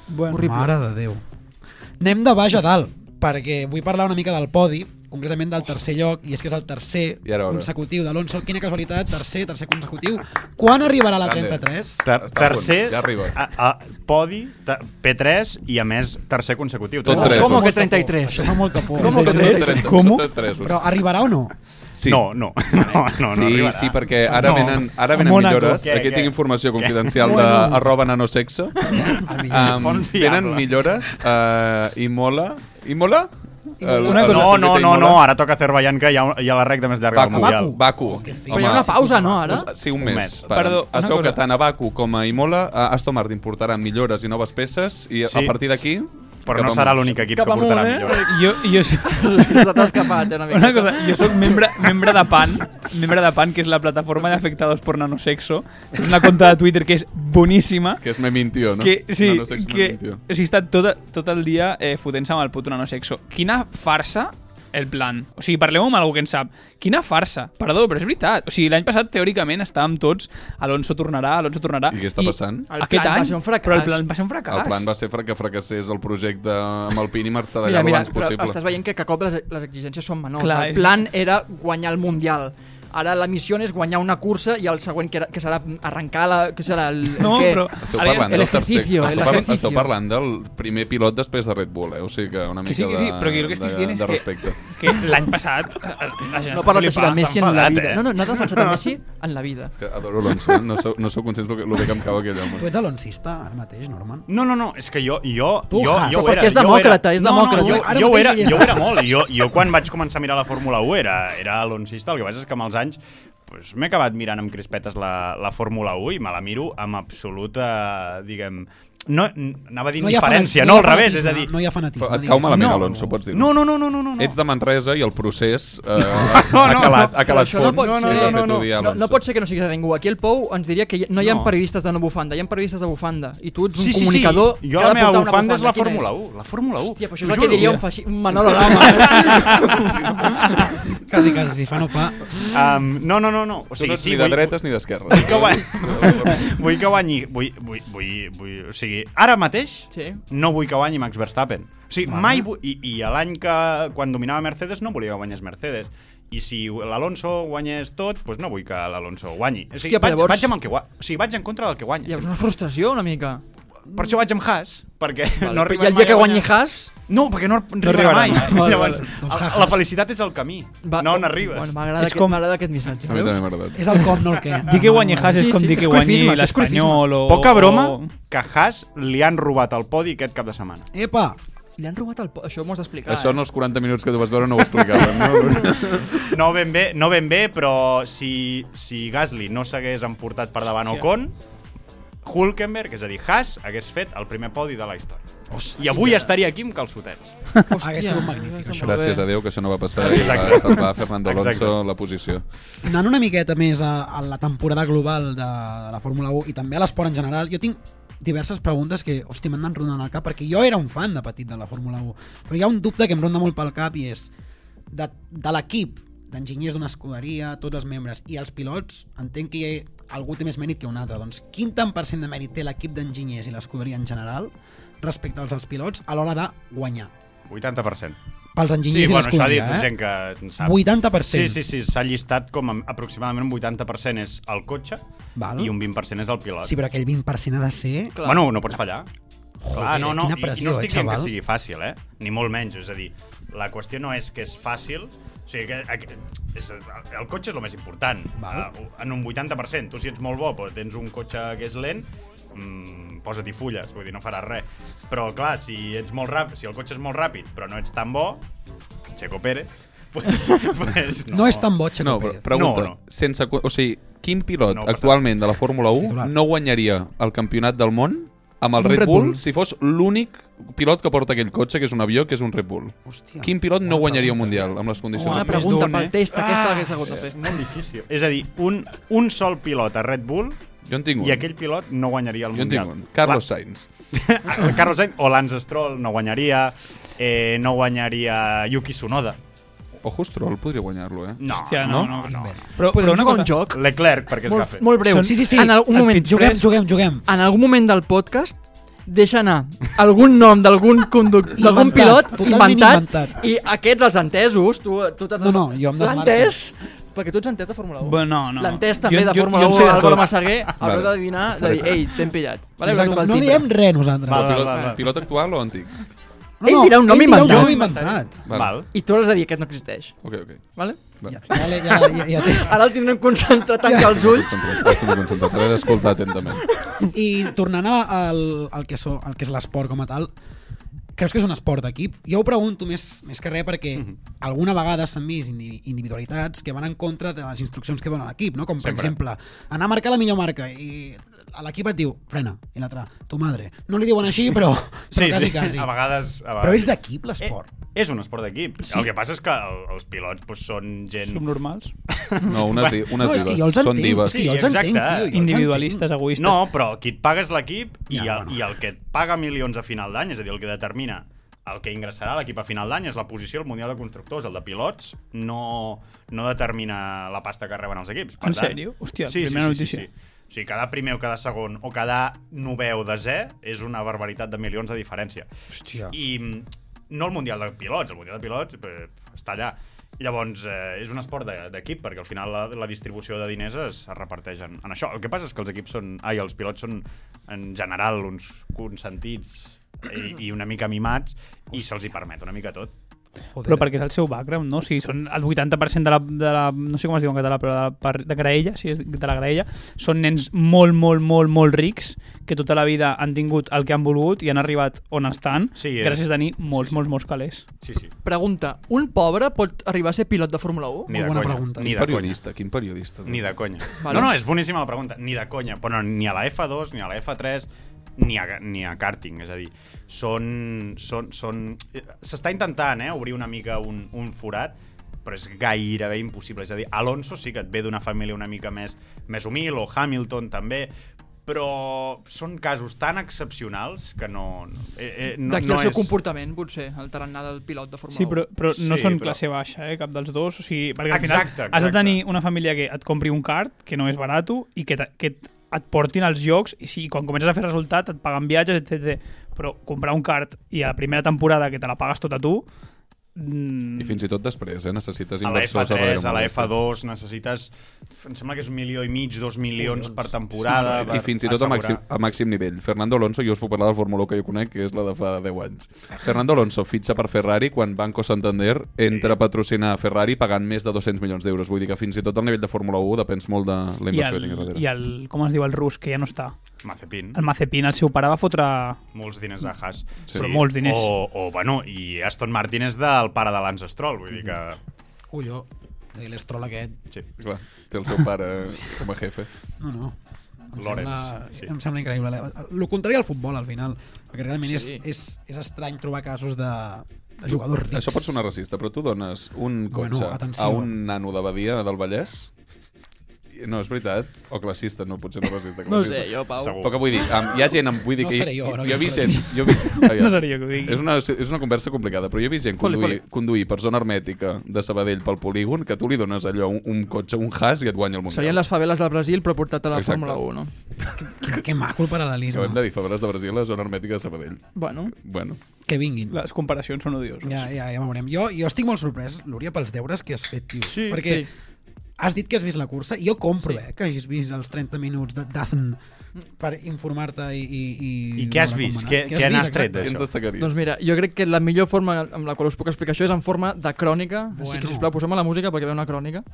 Speaker 9: Bueno,
Speaker 2: Horrible.
Speaker 1: Mare de Déu. Anem de baix a dalt, perquè vull parlar una mica del podi, concretament del tercer lloc, i és que és el tercer
Speaker 8: I ara, ara.
Speaker 1: consecutiu d'Alonso. Quina casualitat, tercer, tercer consecutiu. Quan arribarà la
Speaker 8: Grande.
Speaker 1: 33?
Speaker 3: Ter
Speaker 8: Està a
Speaker 3: tercer,
Speaker 8: punt, ja arriba.
Speaker 3: A, a, podi, te- P3 i a més tercer consecutiu.
Speaker 8: Tot
Speaker 3: Tres.
Speaker 8: tres.
Speaker 2: Com
Speaker 8: Molta
Speaker 2: que 33?
Speaker 1: Això fa molta por.
Speaker 2: Com que
Speaker 8: Són tot
Speaker 2: 33?
Speaker 8: tres,
Speaker 9: ¿Cómo?
Speaker 8: són tot tresos.
Speaker 1: Però arribarà o no?
Speaker 8: Sí.
Speaker 3: No, no, no, no, no
Speaker 8: sí,
Speaker 3: arribarà.
Speaker 8: sí, perquè ara
Speaker 3: No.
Speaker 8: venen, ara venen
Speaker 9: Mònaco.
Speaker 8: millores.
Speaker 3: Què,
Speaker 8: Aquí
Speaker 3: què?
Speaker 8: tinc informació confidencial de arroba nanosexe.
Speaker 1: El millor.
Speaker 8: Um,
Speaker 3: Font fiable.
Speaker 8: venen millores uh, eh, i mola... I mola?
Speaker 9: Una cosa-
Speaker 3: No, no, no, no, ara toca Azerbaiyán, que hi ha, hi ha la recta més llarga del
Speaker 8: Baku.
Speaker 3: Mundial.
Speaker 8: Baku.
Speaker 2: Però hi ha una pausa, no, ara?
Speaker 8: Us- Sí, un,
Speaker 3: Un
Speaker 8: mes.
Speaker 3: mes.
Speaker 8: paren.
Speaker 9: Perdó,
Speaker 8: es
Speaker 9: una
Speaker 8: veu
Speaker 9: cosa.
Speaker 8: que tant a Baku com a Imola, eh, a Aston Martin portarà millores i noves peces i a-
Speaker 3: Sí.
Speaker 8: a partir d'aquí...
Speaker 3: Però
Speaker 8: cap
Speaker 3: no
Speaker 8: amunt.
Speaker 3: serà l'únic equip que
Speaker 2: Cap amunt,
Speaker 3: portarà
Speaker 2: eh?
Speaker 3: millor.
Speaker 9: Jo, jo, so-
Speaker 2: Se t'ha escapat, eh, una mica.
Speaker 9: una cosa, jo soc membre, membre de PAN, membre de PAN, que és la plataforma d'afectados por nanosexo. És una conta de Twitter que és boníssima.
Speaker 8: Que es me mintió, no?
Speaker 9: Que, sí,
Speaker 8: No, no sé si me
Speaker 9: que,
Speaker 8: mintió.
Speaker 9: o sigui, està tot, tot el dia eh, fotent-se amb el puto nanosexo. Quina farsa el plan. O sigui, parleu amb algú que en sap. Quina farsa. Perdó, però és veritat. O sigui, l'any passat, teòricament, estàvem tots Alonso tornarà, Alonso tornarà...
Speaker 8: I què està passant?
Speaker 2: El
Speaker 9: aquest
Speaker 2: plan va
Speaker 9: any,
Speaker 2: ser un fracàs.
Speaker 9: Però el plan va ser un fracàs.
Speaker 8: El plan va ser fra- que fracassés el projecte amb el Pini i marxar d'allà
Speaker 2: Mira,
Speaker 8: el
Speaker 2: mira,
Speaker 8: abans
Speaker 2: però
Speaker 8: possible.
Speaker 2: estàs veient que, que cop les, les exigències són menors.
Speaker 9: Clar, és-
Speaker 2: el plan era guanyar el Mundial. Ara la missió és guanyar una cursa i el següent que, era, que serà arrencar la... Que serà el,
Speaker 9: No,
Speaker 2: el que,
Speaker 9: però...
Speaker 8: Esteu
Speaker 9: ara ja-
Speaker 8: parlant, del tercer-
Speaker 2: ejercicio, el
Speaker 8: esteu, parlant,
Speaker 2: ejercicio.
Speaker 8: esteu parlant del primer pilot després de Red Bull, eh? O sigui que una mica
Speaker 9: Que sí, que sí,
Speaker 8: de,
Speaker 9: però que el que estic
Speaker 8: de,
Speaker 9: dient és
Speaker 8: de
Speaker 9: que-
Speaker 8: respecte.
Speaker 9: que l'any passat eh, la gent està
Speaker 2: No parla així de
Speaker 9: flipant,
Speaker 3: s'ha
Speaker 2: Messi en la
Speaker 3: enfadat,
Speaker 2: vida.
Speaker 3: eh?
Speaker 2: No, no, no ha defensat el Messi en la vida.
Speaker 8: És que adoro Alonso, eh? no sou, no sou conscients del que, lo bé que em cau aquell
Speaker 1: Tu
Speaker 8: home.
Speaker 1: ets aloncista, ara mateix, Norman?
Speaker 3: No, no, no, és que jo, jo,
Speaker 1: Tu,
Speaker 3: jo,
Speaker 1: Haas.
Speaker 3: jo
Speaker 1: Però
Speaker 3: era,
Speaker 2: perquè és
Speaker 3: jo era-
Speaker 2: demòcrata, és demòcrata.
Speaker 3: No, no,
Speaker 1: Ara
Speaker 3: jo, jo,
Speaker 1: mateix
Speaker 3: era,
Speaker 1: ell és
Speaker 3: jo era
Speaker 1: Haas.
Speaker 3: molt, jo, jo quan vaig començar a mirar la Fórmula 1 era, era aloncista, el que passa és que amb els anys pues, m'he acabat mirant amb crispetes la, la Fórmula 1 i me la miro amb absoluta, diguem... No, n- anava a dir
Speaker 1: No hi ha
Speaker 3: indiferència,
Speaker 1: fanatisme,
Speaker 3: no, al
Speaker 1: hi ha
Speaker 3: revés, és a
Speaker 1: fanatisme,
Speaker 3: dir...
Speaker 1: No hi ha fanatisme.
Speaker 8: Però et
Speaker 1: digues.
Speaker 8: cau malament,
Speaker 1: No.
Speaker 8: Alonso, pots dir-ho.
Speaker 3: No, no, no, no, no, no.
Speaker 8: Ets de Manresa i el procés eh, ha
Speaker 3: no,
Speaker 8: calat, ha calat
Speaker 2: Això no
Speaker 8: fons.
Speaker 2: pot
Speaker 8: i
Speaker 2: ser.
Speaker 8: t'ha fet
Speaker 3: No, no,
Speaker 8: odiar
Speaker 2: No, no
Speaker 8: Alonso.
Speaker 2: pot ser que no siguis de ningú. Aquí el Pou ens diria que hi- no hi ha
Speaker 3: No.
Speaker 2: periodistes de no bufanda, hi ha periodistes de bufanda. I tu ets un comunicador
Speaker 3: Jo
Speaker 2: que ha
Speaker 3: la
Speaker 2: de
Speaker 3: meva
Speaker 2: portar una
Speaker 3: bufanda és la
Speaker 2: Quina
Speaker 3: Fórmula 1, la Fórmula 1.
Speaker 2: Hòstia, però això
Speaker 3: t'ho
Speaker 2: és el que
Speaker 3: juro.
Speaker 2: diria un, faci... un Manolo eh? Lama.
Speaker 1: Quasi, quasi, si fa no fa.
Speaker 3: Um, no, no, no, no. O sigui,
Speaker 8: Tu no ets
Speaker 3: sí,
Speaker 8: ni de
Speaker 3: vull-
Speaker 8: dretes ni d'esquerres.
Speaker 3: Vull que guanyi... vull que guanyi... Vull, vull, vull, vull, o sigui, ara mateix
Speaker 2: Sí.
Speaker 3: no vull que guanyi Max Verstappen. O sigui, mai vull... I, i a l'any que... Quan dominava Mercedes no volia que guanyés Mercedes. I si l'Alonso guanyés tot, doncs no vull que l'Alonso guanyi. O sigui,
Speaker 2: Hòstia,
Speaker 3: vaig,
Speaker 2: però llavors-
Speaker 3: vaig, amb el que guanya. O sigui, vaig en contra del que guanya.
Speaker 2: Hi ha
Speaker 3: sempre.
Speaker 2: una frustració, una mica.
Speaker 3: Per això vaig amb Haas, perquè
Speaker 2: Vale.
Speaker 3: no
Speaker 2: I
Speaker 3: arriba
Speaker 2: el dia que guanyi Haas,
Speaker 3: No, perquè no, arribarà
Speaker 9: arribarà
Speaker 3: mai.
Speaker 9: mai. Vale,
Speaker 3: Llavors,
Speaker 9: vale.
Speaker 1: Doncs
Speaker 3: la-
Speaker 1: Haas.
Speaker 3: la felicitat és el camí,
Speaker 2: Va, oh,
Speaker 3: no on arribes.
Speaker 2: Bueno, m'agrada
Speaker 9: És
Speaker 2: aquest,
Speaker 9: com-
Speaker 2: com... aquest missatge.
Speaker 8: A mi també
Speaker 2: Veus?
Speaker 8: m'ha agradat.
Speaker 1: És el com, no el què.
Speaker 9: Dir que guanyi Haas és
Speaker 2: Sí,
Speaker 9: com
Speaker 2: sí,
Speaker 9: dir
Speaker 2: és
Speaker 9: que guanyi
Speaker 2: corfisme, això és corfisme.
Speaker 9: l'Espanyol o...
Speaker 2: Oh,
Speaker 3: Poca broma
Speaker 9: o-
Speaker 3: que a Haas li han robat el podi aquest cap de setmana.
Speaker 1: Epa!
Speaker 2: Li han robat el... po- Això m'ho has d'explicar.
Speaker 8: Això
Speaker 2: eh?
Speaker 8: en els 40 minuts que tu vas veure no ho explicaven, no?
Speaker 3: No ben bé, no ben bé però si, si Gasly no s'hagués emportat per davant
Speaker 2: Hòstia.
Speaker 3: Ocon, Hulkenberg, és a dir, Haas, hagués fet el primer podi de la història. I avui estaria aquí amb calçotets.
Speaker 2: Hòstia.
Speaker 1: Hagués sigut magnífic, això.
Speaker 8: Gràcies a Déu que això no va passar i va
Speaker 3: Exacte.
Speaker 8: salvar Fernando Alonso
Speaker 3: Exacte.
Speaker 8: la posició.
Speaker 1: Anant una miqueta més a, a la temporada global de, de la Fórmula 1 i també a l'esport en general, jo tinc diverses preguntes que, hosti, m'han anat rondant al cap perquè jo era un fan de petit de la Fórmula 1 però hi ha un dubte que em ronda molt pel cap i és de, de l'equip d'enginyers d'una escuderia, tots els membres i els pilots, entenc que hi ha algú té més mèrit que un altre, doncs quin tant per cent de mèrit té l'equip d'enginyers i l'escuderia en general respecte als dels pilots a l'hora de guanyar
Speaker 3: 80%.
Speaker 1: pels
Speaker 3: Sí,
Speaker 1: enginyers i
Speaker 3: bueno, això ha dit
Speaker 1: l'escuderia, eh?
Speaker 3: gent que en sap.
Speaker 1: 80%.
Speaker 3: Sí, sí, sí, s'ha llistat com a, aproximadament un 80% és el cotxe
Speaker 1: Val.
Speaker 3: i un 20% és el pilot.
Speaker 1: Sí, però aquell 20% ha de ser...
Speaker 2: Clar.
Speaker 3: Bueno, no pots fallar.
Speaker 1: Joder,
Speaker 3: Clar, Ah, no, no,
Speaker 1: quina
Speaker 3: i, i
Speaker 1: pressió,
Speaker 3: no estic
Speaker 1: eh,
Speaker 3: dient que
Speaker 1: xaval?
Speaker 3: sigui fàcil, eh? Ni molt menys, és a dir, la qüestió no és que és fàcil, o sigui, que, aqu- és, el, el cotxe és el més important,
Speaker 1: Val.
Speaker 3: Eh, en un 80%. Tu si ets molt bo, però tens un cotxe que és lent, mm, posa-t'hi fulles, vull dir, no faràs res. Però, clar, si ets molt ràpid, si el cotxe és molt ràpid, però no ets tan bo, Checo Pérez, pues, pues,
Speaker 1: No, és tan bo, Checo
Speaker 8: No, però
Speaker 1: Pérez.
Speaker 8: pregunta,
Speaker 3: No,
Speaker 8: no,
Speaker 3: no.
Speaker 8: no. sense... cu- O sigui, quin pilot
Speaker 3: No
Speaker 8: no
Speaker 3: passa.
Speaker 8: actualment de la Fórmula 1
Speaker 1: Titular.
Speaker 8: no guanyaria el campionat del món amb el
Speaker 2: Un
Speaker 8: Red,
Speaker 2: Red
Speaker 8: Bull,
Speaker 2: Bull.
Speaker 8: si fos l'únic pilot que porta aquell cotxe, que és un avió, que és un Red Bull?
Speaker 1: Hòstia,
Speaker 8: Quin pilot no
Speaker 1: bona
Speaker 8: guanyaria un
Speaker 1: pregunta.
Speaker 8: Mundial amb les condicions?
Speaker 9: Home,
Speaker 2: Una
Speaker 8: actuals?
Speaker 2: pregunta
Speaker 9: d'un,
Speaker 2: pel
Speaker 9: eh?
Speaker 2: test,
Speaker 3: Ah.
Speaker 2: aquesta l'hagués hagut de fer.
Speaker 3: és molt difícil. És a dir, un, un sol pilot a Red Bull
Speaker 8: Jo en tinc un.
Speaker 3: i aquell pilot no guanyaria el
Speaker 8: Jo en
Speaker 3: Mundial.
Speaker 8: tinc un. Carlos Sainz.
Speaker 3: El Carlos Sainz o Lance Stroll no guanyaria, eh, no guanyaria Yuki Tsunoda.
Speaker 8: Ojo, Stroll podria guanyar-lo, eh?
Speaker 3: No,
Speaker 9: Hòstia,
Speaker 3: no,
Speaker 9: no,
Speaker 3: no. no,
Speaker 9: Però, però
Speaker 2: Podem
Speaker 9: una
Speaker 2: jugar a un
Speaker 9: cosa...
Speaker 2: joc
Speaker 3: Leclerc, perquè és
Speaker 2: molt,
Speaker 3: gafe.
Speaker 2: molt breu.
Speaker 9: Són-
Speaker 1: Sí, sí, sí.
Speaker 2: En algun moment, Ah,
Speaker 9: Et pitjor.
Speaker 1: Juguem,
Speaker 9: Tres.
Speaker 1: juguem, juguem.
Speaker 2: en algun moment del podcast deixa anar algun nom d'algun conductor, d'algun
Speaker 1: Inventat,
Speaker 2: pilot
Speaker 1: totalment
Speaker 2: inventat,
Speaker 1: inventat.
Speaker 2: i aquests els entesos, tu, tu t'has
Speaker 1: No, no, jo em desmarco.
Speaker 2: l'entès, perquè tu ets entès de Fórmula 1.
Speaker 9: Bueno, no, no.
Speaker 2: L'entès
Speaker 9: Jo-
Speaker 2: també de
Speaker 9: jo-
Speaker 2: Fórmula
Speaker 9: jo en
Speaker 2: 1,
Speaker 9: sé de
Speaker 2: Álvaro
Speaker 9: tot.
Speaker 2: Massaguer, haureu
Speaker 8: Vale.
Speaker 2: d'adivinar, de dir, ei, t'hem pillat. Vale, haureu de
Speaker 1: Exacte,
Speaker 2: tocar el
Speaker 1: no
Speaker 2: timbre.
Speaker 1: diem res nosaltres.
Speaker 3: Val,
Speaker 8: Pilot,
Speaker 3: val, val.
Speaker 8: pilot actual o antic?
Speaker 2: Ell dirà un nom
Speaker 1: ell dirà
Speaker 2: inventat.
Speaker 1: inventat.
Speaker 3: Val.
Speaker 2: I tu hauràs de dir, aquest no existeix.
Speaker 8: Ok, ok.
Speaker 2: Vale?
Speaker 8: Va.
Speaker 1: Ja, ja, ja, ja, ja té.
Speaker 2: Ara el tindrem concentrat, tancar els ulls.
Speaker 8: Concentrat, estic concentrat. Ara he d'escoltar atentament.
Speaker 1: I tornant a- al, al, que, so, al que és l'esport com a tal, Creus que és un esport d'equip? Jo ho pregunto més, més que res perquè
Speaker 3: Mhm.
Speaker 1: alguna vegada s'han vist indi- individualitats que van en contra de les instruccions que dona l'equip, no? com per
Speaker 3: Sempre.
Speaker 1: exemple anar a marcar la millor marca i a l'equip et diu frena, i l'altre, tu madre. No li diuen així, però, però
Speaker 3: Sí,
Speaker 1: quasi,
Speaker 3: sí,
Speaker 1: quasi.
Speaker 3: a vegades... A vegades.
Speaker 1: Però és d'equip l'esport.
Speaker 3: Eh, és un esport d'equip. Sí. El que passa és que el, els pilots pues, són gent...
Speaker 9: Subnormals?
Speaker 8: No, unes, di unes
Speaker 1: no, és que
Speaker 8: divas.
Speaker 1: jo els entenc,
Speaker 8: Són divas.
Speaker 1: és que jo els
Speaker 3: exacte.
Speaker 1: entenc, tio, jo els
Speaker 9: Individualistes, egoistes.
Speaker 3: No, però qui et paga és l'equip i,
Speaker 1: Ja,
Speaker 3: ja,
Speaker 1: bueno.
Speaker 3: bueno. i el que et paga milions a final d'any, és a dir, el que determina el que ingressarà a l'equip a final d'any és la posició al Mundial de Constructors. El de pilots no, no determina la pasta que reben els equips.
Speaker 9: En sèrio? Hòstia, primera notícia.
Speaker 3: Sí, sí. O sigui, quedar primer o quedar segon o quedar novè o desè és una barbaritat de milions de diferència.
Speaker 1: Hòstia.
Speaker 3: I mm, no el Mundial de Pilots, el Mundial de Pilots eh, està allà. Llavors, eh, és un esport de- d'equip, perquè al final la, la distribució de diners es, es reparteix en, en això. El que passa és que els equips són... Ai, els pilots són, en general, uns consentits i, i una mica mimats, i se'ls hi permet una mica tot.
Speaker 1: Joder.
Speaker 9: Però perquè és el seu background, no? O sigui, són el 80% de la, de la... No sé com es diu en català, però de, la, par- de graella, sí, és de la graella, són nens molt, molt, molt, molt rics que tota la vida han tingut el que han volgut i han arribat on estan
Speaker 3: Sí, eh.
Speaker 9: gràcies a tenir molts, molts, molts calés.
Speaker 3: Sí, sí.
Speaker 2: Pregunta, un pobre pot arribar a ser pilot de Fórmula 1?
Speaker 1: Molt bona pregunta.
Speaker 3: Ni de
Speaker 8: Quin
Speaker 3: conya.
Speaker 8: periodista, quin periodista.
Speaker 3: Ni de conya.
Speaker 2: Vale.
Speaker 3: No, no, és boníssima la pregunta. Ni de conya. Però ni a la F2, ni a la F3, ni a, ni a karting. És a dir, són... són, són... eh, S'està intentant eh, obrir una mica un, un forat, però és gairebé impossible. És a dir, Alonso sí que et ve d'una família una mica més, més humil, o Hamilton també, però són casos tan excepcionals que no... no- Eh, eh, no
Speaker 2: D'aquí
Speaker 3: no
Speaker 2: el seu
Speaker 3: és...
Speaker 2: comportament, potser, el tarannà del pilot de Fórmula
Speaker 9: Sí, però,
Speaker 2: 1.
Speaker 9: però no
Speaker 3: Sí,
Speaker 9: són
Speaker 3: però-
Speaker 9: classe baixa, eh, cap dels dos. O sigui, perquè al final
Speaker 3: Exacte,
Speaker 9: has de
Speaker 3: exacte.
Speaker 9: tenir una família que et compri un kart, que no és barat, i que, te- que et- et portin als jocs, i si quan comences a fer resultat et paguen viatges, etc. Però comprar un kart i a la primera temporada que te la pagues tota tu... Mm,
Speaker 8: I fins i tot després, eh? Necessites
Speaker 3: a la
Speaker 8: inversors.
Speaker 3: F3, a la
Speaker 8: darrere.
Speaker 3: F2 necessites, em sembla que és un milió i mig, dos milions per temporada.
Speaker 8: I
Speaker 3: per
Speaker 8: fins i tot a màxim,
Speaker 3: assegurar.
Speaker 8: a màxim nivell. Fernando Alonso, jo us puc parlar del Fórmula 1 que jo conec, que és la de fa 10 anys. Fernando Alonso fitxa per Ferrari quan Banco Santander entra a patrocinar Ferrari pagant més de 200 milions d'euros. Vull dir que fins i tot el nivell de Fórmula 1 depèns molt de
Speaker 9: i
Speaker 8: la inversió que
Speaker 9: el,
Speaker 8: tinguis
Speaker 9: i
Speaker 8: darrere.
Speaker 9: el, com es diu, el rus, que ja no està.
Speaker 3: Mazepin.
Speaker 9: El Mazepin, el seu pare, va fotre...
Speaker 3: Molts diners a Haas.
Speaker 9: Sí. Però molts diners.
Speaker 3: O, o, bueno, i Aston Martin és del pare de Lance Stroll, vull dir que...
Speaker 9: Mm-hmm.
Speaker 1: Colló, l'estrol aquest...
Speaker 3: Sí.
Speaker 8: Clar, té el seu pare eh, com a jefe.
Speaker 1: No, no. Em
Speaker 3: Lawrence,
Speaker 1: sembla,
Speaker 3: sí.
Speaker 1: em sembla increïble. El contrari al futbol, al final. Perquè realment sí.
Speaker 2: Sí.
Speaker 1: és, és, és estrany trobar casos de, de jugadors rics.
Speaker 8: Això pot sonar racista, però tu dones un
Speaker 1: Bueno,
Speaker 8: cotxe
Speaker 1: atenció.
Speaker 8: a un nano de Badia del Vallès? No, és veritat. O classista, no, potser no racista.
Speaker 2: No
Speaker 8: classista.
Speaker 2: sé, jo, Pau.
Speaker 3: Segur.
Speaker 8: Però que vull dir, um, hi ha gent, amb, vull dir
Speaker 1: No
Speaker 8: que... hi-
Speaker 1: seré jo, no,
Speaker 8: jo,
Speaker 1: que
Speaker 8: he vist
Speaker 1: seré
Speaker 8: gent, jo he vist... aviam.
Speaker 9: No seré jo que ho digui.
Speaker 8: És una, és una conversa complicada, però jo he vist gent
Speaker 2: Quali,
Speaker 8: conduir, conduir per zona hermètica de Sabadell pel polígon, que tu li dones allò, un, un cotxe, un has, i et guanya el Mundial.
Speaker 2: Serien les faveles del Brasil, però portat a la
Speaker 8: Exacte.
Speaker 2: Fórmula 1, no?
Speaker 1: Que, que maco el
Speaker 8: Que hem
Speaker 1: paral·lelisme.
Speaker 8: de dir, faveles de Brasil, la zona hermètica de Sabadell.
Speaker 2: Bueno,
Speaker 8: Bueno,
Speaker 1: Que vinguin.
Speaker 9: Les comparacions són odioses.
Speaker 1: Ja, ja, ja veurem. Jo, jo estic molt sorprès, Lúria, pels deures que has fet, tio. Sí, perquè
Speaker 2: sí.
Speaker 1: has dit que has vist la cursa. Jo compro, sí. eh, que hagis vist els 30 minuts de Dazn per informar-te i, i, i...
Speaker 3: I què has vist? Què- què n'has tret,
Speaker 8: què
Speaker 1: exacte?
Speaker 8: ens
Speaker 3: Això.
Speaker 8: destacaries?
Speaker 2: doncs mira, jo crec que la millor forma amb la qual us puc explicar això és en forma de crònica, bueno. així
Speaker 1: Bueno.
Speaker 2: que sisplau, posem la música perquè ve una crònica.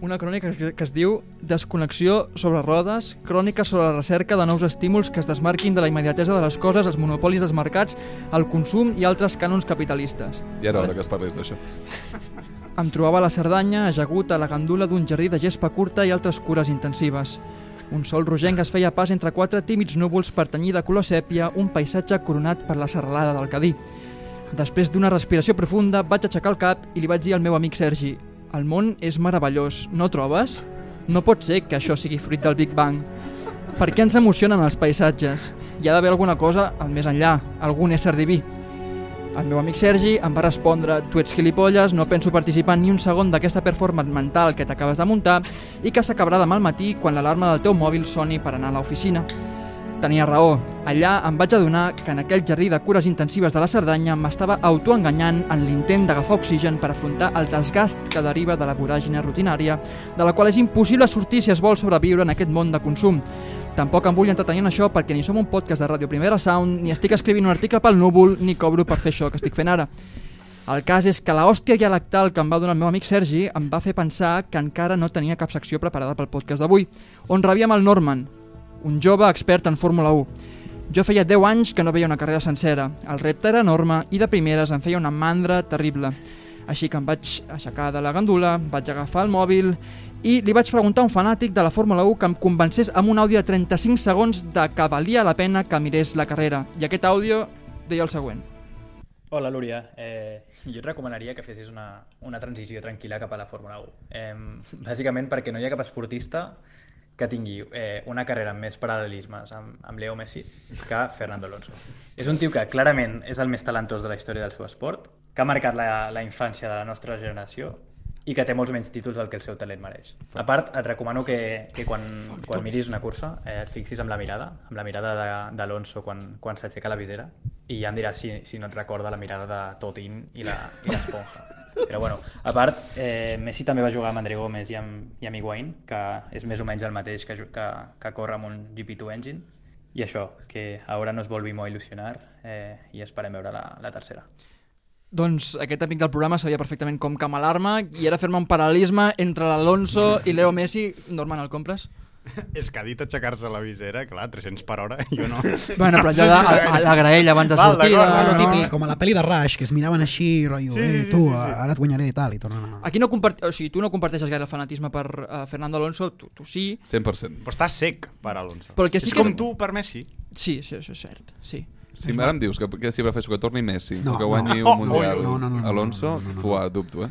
Speaker 2: Una crònica que, que es diu Desconnexió sobre rodes, crònica sobre la recerca de nous estímuls que es desmarquin de la immediatesa de les coses, els monopolis dels mercats, el consum i altres cànons capitalistes.
Speaker 8: ja era hora que es parlés d'això.
Speaker 2: Em trobava a la Cerdanya, ajagut a la gandula d'un jardí de gespa curta i altres cures intensives. Un sol rogenc es feia pas entre quatre tímids núvols per tenyir de color sèpia un paisatge coronat per la serralada del Cadí. Després d'una respiració profunda, vaig aixecar el cap i li vaig dir al meu amic Sergi «El món és meravellós, no trobes? No pot ser que això sigui fruit del Big Bang. Per què ens emocionen els paisatges? Hi ha d'haver alguna cosa al més enllà, algun ésser diví. El meu amic Sergi em va respondre «Tu ets gilipolles, no penso participar ni un segon d'aquesta performance mental que t'acabes de muntar i que s'acabarà demà al matí quan l'alarma del teu mòbil soni per anar a l'oficina». Tenia raó. Allà em vaig adonar que en aquell jardí de cures intensives de la Cerdanya m'estava autoenganyant en l'intent d'agafar oxigen per afrontar el desgast que deriva de la voràgina rutinària, de la qual és impossible sortir si es vol sobreviure en aquest món de consum. Tampoc em vull entretenir en això perquè ni som un podcast de Ràdio Primera Sound, ni estic escrivint un article pel núvol, ni cobro per fer això que estic fent ara. El cas és que la hòstia dialectal que em va donar el meu amic Sergi em va fer pensar que encara no tenia cap secció preparada pel podcast d'avui, on rebíem el Norman, un jove expert en Fórmula 1. Jo feia 10 anys que no veia una carrera sencera. El repte era enorme i de primeres em feia una mandra terrible. Així que em vaig aixecar de la gandula, vaig agafar el mòbil i li vaig preguntar a un fanàtic de la Fórmula 1 que em convencés amb un àudio de 35 segons de que valia la pena que mirés la carrera. I aquest àudio deia el següent.
Speaker 10: Hola, Lúria. Eh, jo et recomanaria que fessis una, una transició tranquil·la cap a la Fórmula 1. Eh, bàsicament perquè no hi ha cap esportista que tingui eh, una carrera amb més paral·lelismes amb, amb Leo Messi que Fernando Alonso. És un tio que clarament és el més talentós de la història del seu esport, que ha marcat la, la infància de la nostra generació i que té molts menys títols del que el seu talent mereix. A part, et recomano que, que quan, quan miris una cursa eh, et fixis amb la mirada, amb la mirada de- d'Alonso quan, quan s'aixeca la visera i ja em diràs si, si no et recorda la mirada de Totin i la- i l'esponja. Però bueno, a part, eh, Messi també va jugar amb André Gómez i amb, i amb Higuaín, que és més o menys el mateix que, ju- que, que corre amb un GP2 Engine. I això, que ara no es volvim a il·lusionar eh, i esperem veure la, la tercera.
Speaker 2: Doncs aquest amic del programa sabia perfectament com camalar-me i era fer-me un paral·lelisme entre l'Alonso i Leo Messi. Norman, el compres?
Speaker 3: És que ha dit aixecar-se la visera, clar, 300 per hora, jo no.
Speaker 2: Bueno, però allò de- a- a la graella abans de
Speaker 3: Val,
Speaker 2: sortir,
Speaker 3: d'acord,
Speaker 2: no?
Speaker 3: d'acord.
Speaker 1: Típic, com a la pel·li de Rush, que es miraven així, rotllo, sí, eh, tu, sí, sí. ara et guanyaré i tal, i tornen a...
Speaker 2: Aquí no compart... o sigui, tu no comparteixes gaire el fanatisme per uh, Fernando Alonso, tu, tu sí.
Speaker 8: 100%.
Speaker 3: Però està sec per Alonso.
Speaker 2: Però el que sí
Speaker 3: és
Speaker 2: que-
Speaker 3: com tu per Messi.
Speaker 2: Sí, sí, això és cert, sí.
Speaker 8: Si ara em dius que, que si prefereixo que torni Messi no,
Speaker 1: No,
Speaker 8: que
Speaker 1: no.
Speaker 8: guanyi
Speaker 1: Oh,
Speaker 8: un Mundial
Speaker 1: no, no, no, no,
Speaker 8: Alonso,
Speaker 1: no, no, no, no.
Speaker 8: fuà, dubto, eh?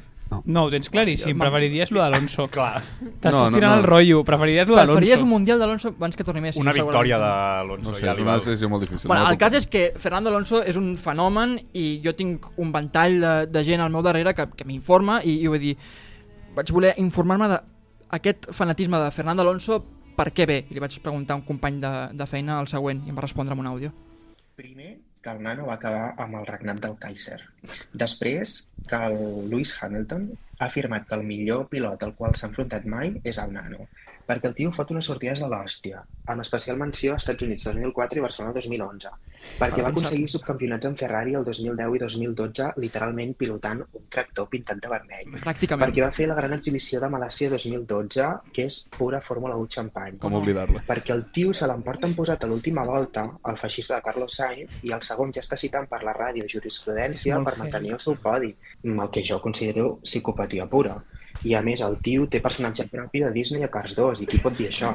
Speaker 9: No, ho tens claríssim. Preferiries lo d'Alonso.
Speaker 3: Clar.
Speaker 9: T'estàs
Speaker 8: No, no,
Speaker 9: tirant
Speaker 8: no.
Speaker 9: el rotllo. Preferiries lo
Speaker 2: Preferies
Speaker 9: d'Alonso.
Speaker 2: un Mundial d'Alonso abans que torni Messi.
Speaker 3: Una victòria
Speaker 2: segurament.
Speaker 3: d'Alonso
Speaker 8: No sé,
Speaker 3: ja
Speaker 8: és
Speaker 3: li
Speaker 8: una
Speaker 3: val.
Speaker 8: decisió molt difícil.
Speaker 2: Bueno,
Speaker 8: no la
Speaker 2: el cas
Speaker 8: puc-
Speaker 2: és que Fernando Alonso és un fenomen i jo tinc un ventall de, de gent al meu darrere que, que m'informa i, i vull dir, vaig voler informar-me d'aquest fanatisme de Fernando Alonso per què ve? I li vaig preguntar a un company de, de feina el següent i em va respondre amb un àudio.
Speaker 10: Primer, que el nano va acabar amb el regnat del Kaiser. Després, que el Lewis Hamilton ha afirmat que el millor pilot al qual s'ha enfrontat mai és el nano, perquè el tio fot unes sortides de l'hòstia, amb especial menció a Estats Units 2004 i Barcelona 2011, perquè va aconseguir subcampionats amb Ferrari el 2010 i 2012 literalment pilotant un tractor pintat de
Speaker 2: Mm.
Speaker 10: vermell,
Speaker 2: Pràcticament.
Speaker 10: perquè va fer la gran exhibició de Malàcia 2012, que és pura Fórmula 1 xampany
Speaker 8: Com oblidar-la?
Speaker 10: perquè el tio se l'emporten posat a l'última volta el feixista de Carlos Sainz i el segon ja està citant per la ràdio jurisprudència
Speaker 9: És molt
Speaker 10: per
Speaker 9: heavy.
Speaker 10: mantenir el seu podi, el que jo considero psicopatia pura. I a més, el tio té personatge propi de Disney a Cars 2, i qui pot dir això?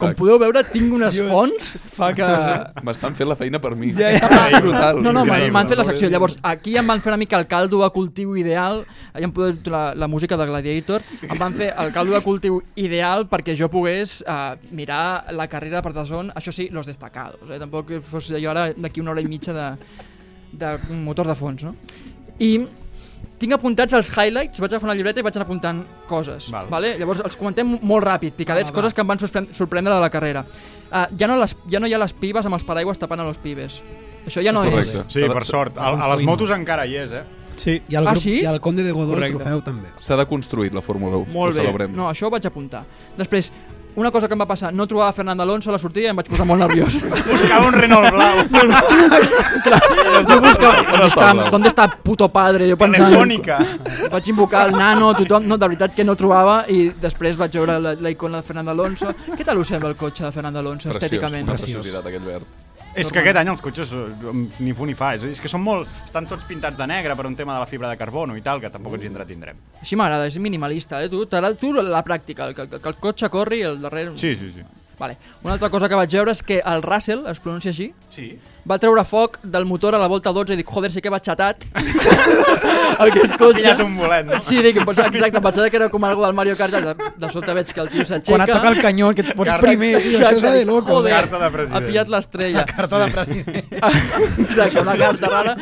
Speaker 2: Com podeu veure, tinc unes fonts fa que...
Speaker 8: M'estan fent la feina per mi. Ja, ja. Brutal.
Speaker 2: No, no, m'han
Speaker 8: Increïble.
Speaker 2: m'han fet la secció. Llavors, aquí em van fer una mica el caldo de cultiu ideal, allà em podeu la, la música de Gladiator, em van fer el caldo de cultiu ideal perquè jo pogués uh, mirar la carrera per Dazón, això sí, los destacados. Eh? Tampoc que fos jo ara d'aquí una hora i mitja de, de motor de fons, no? I tinc apuntats els highlights, vaig agafar una llibreta i vaig anar apuntant coses.
Speaker 3: Val.
Speaker 2: Vale? Llavors els comentem molt ràpid, picadets,
Speaker 1: Va, va.
Speaker 2: coses que em van sorpren sorprendre de la carrera. Uh, ja, no les, ja no hi ha les pibes amb els paraigües tapant a los pibes. Això ja no és.
Speaker 8: Correcte.
Speaker 3: Sí,
Speaker 8: S'ha de-
Speaker 3: per sort. A, a les motos encara hi és, eh?
Speaker 9: Sí.
Speaker 1: I el,
Speaker 2: Ah,
Speaker 1: grup,
Speaker 2: sí?
Speaker 1: I el Conde de Godó el
Speaker 9: Correcte.
Speaker 1: trofeu també.
Speaker 8: S'ha de construir la Fórmula 1.
Speaker 2: Molt
Speaker 8: Ho
Speaker 2: bé.
Speaker 8: celebrem.
Speaker 2: No, això ho vaig apuntar. Després, una cosa que em va passar, no trobava Fernando Alonso a la sortida i em vaig posar molt nerviós.
Speaker 3: Buscava un Renault blau. No, no.
Speaker 2: Jo buscava, on està,
Speaker 8: Blau?
Speaker 2: on està puto padre? Jo pensant,
Speaker 3: Telefònica.
Speaker 2: Vaig invocar el nano, tothom, no, de veritat que no trobava i després vaig veure la, la icona de Fernando Alonso. Què tal us sembla el cotxe de Fernando Alonso
Speaker 8: Preciós,
Speaker 2: estèticament?
Speaker 8: Una preciositat, aquell verd.
Speaker 3: És que aquest any els cotxes eh, ni fu ni fa. És, a dir, és que són molt... Estan tots pintats de negre per un tema de la fibra de carbono i tal, que tampoc ens hi entretindrem.
Speaker 2: Així m'agrada, és minimalista, eh? Tu, t'agrada- tu la pràctica, el, que, que el cotxe corri i el darrere...
Speaker 3: Sí, sí, sí.
Speaker 2: Vale. Una altra cosa que vaig veure és que el Russell, es pronuncia així,
Speaker 3: Sí.
Speaker 2: va treure foc del motor a la volta 12 i dic, joder, sí que va xatat aquest
Speaker 3: Ha
Speaker 2: cotxe.
Speaker 3: pillat un bolet, no?
Speaker 2: Sí, dic, pues, exacte, em pensava que era com algo del Mario Kart, de, de sobte veig que el tio s'aixeca.
Speaker 1: Quan et toca el canyó, que et fots
Speaker 3: Carta-
Speaker 1: primer, tio, això és de loco.
Speaker 2: Joder,
Speaker 3: Carta de president.
Speaker 2: Ha pillat l'estrella.
Speaker 1: Carta de president.
Speaker 2: Exacte, una carta rara.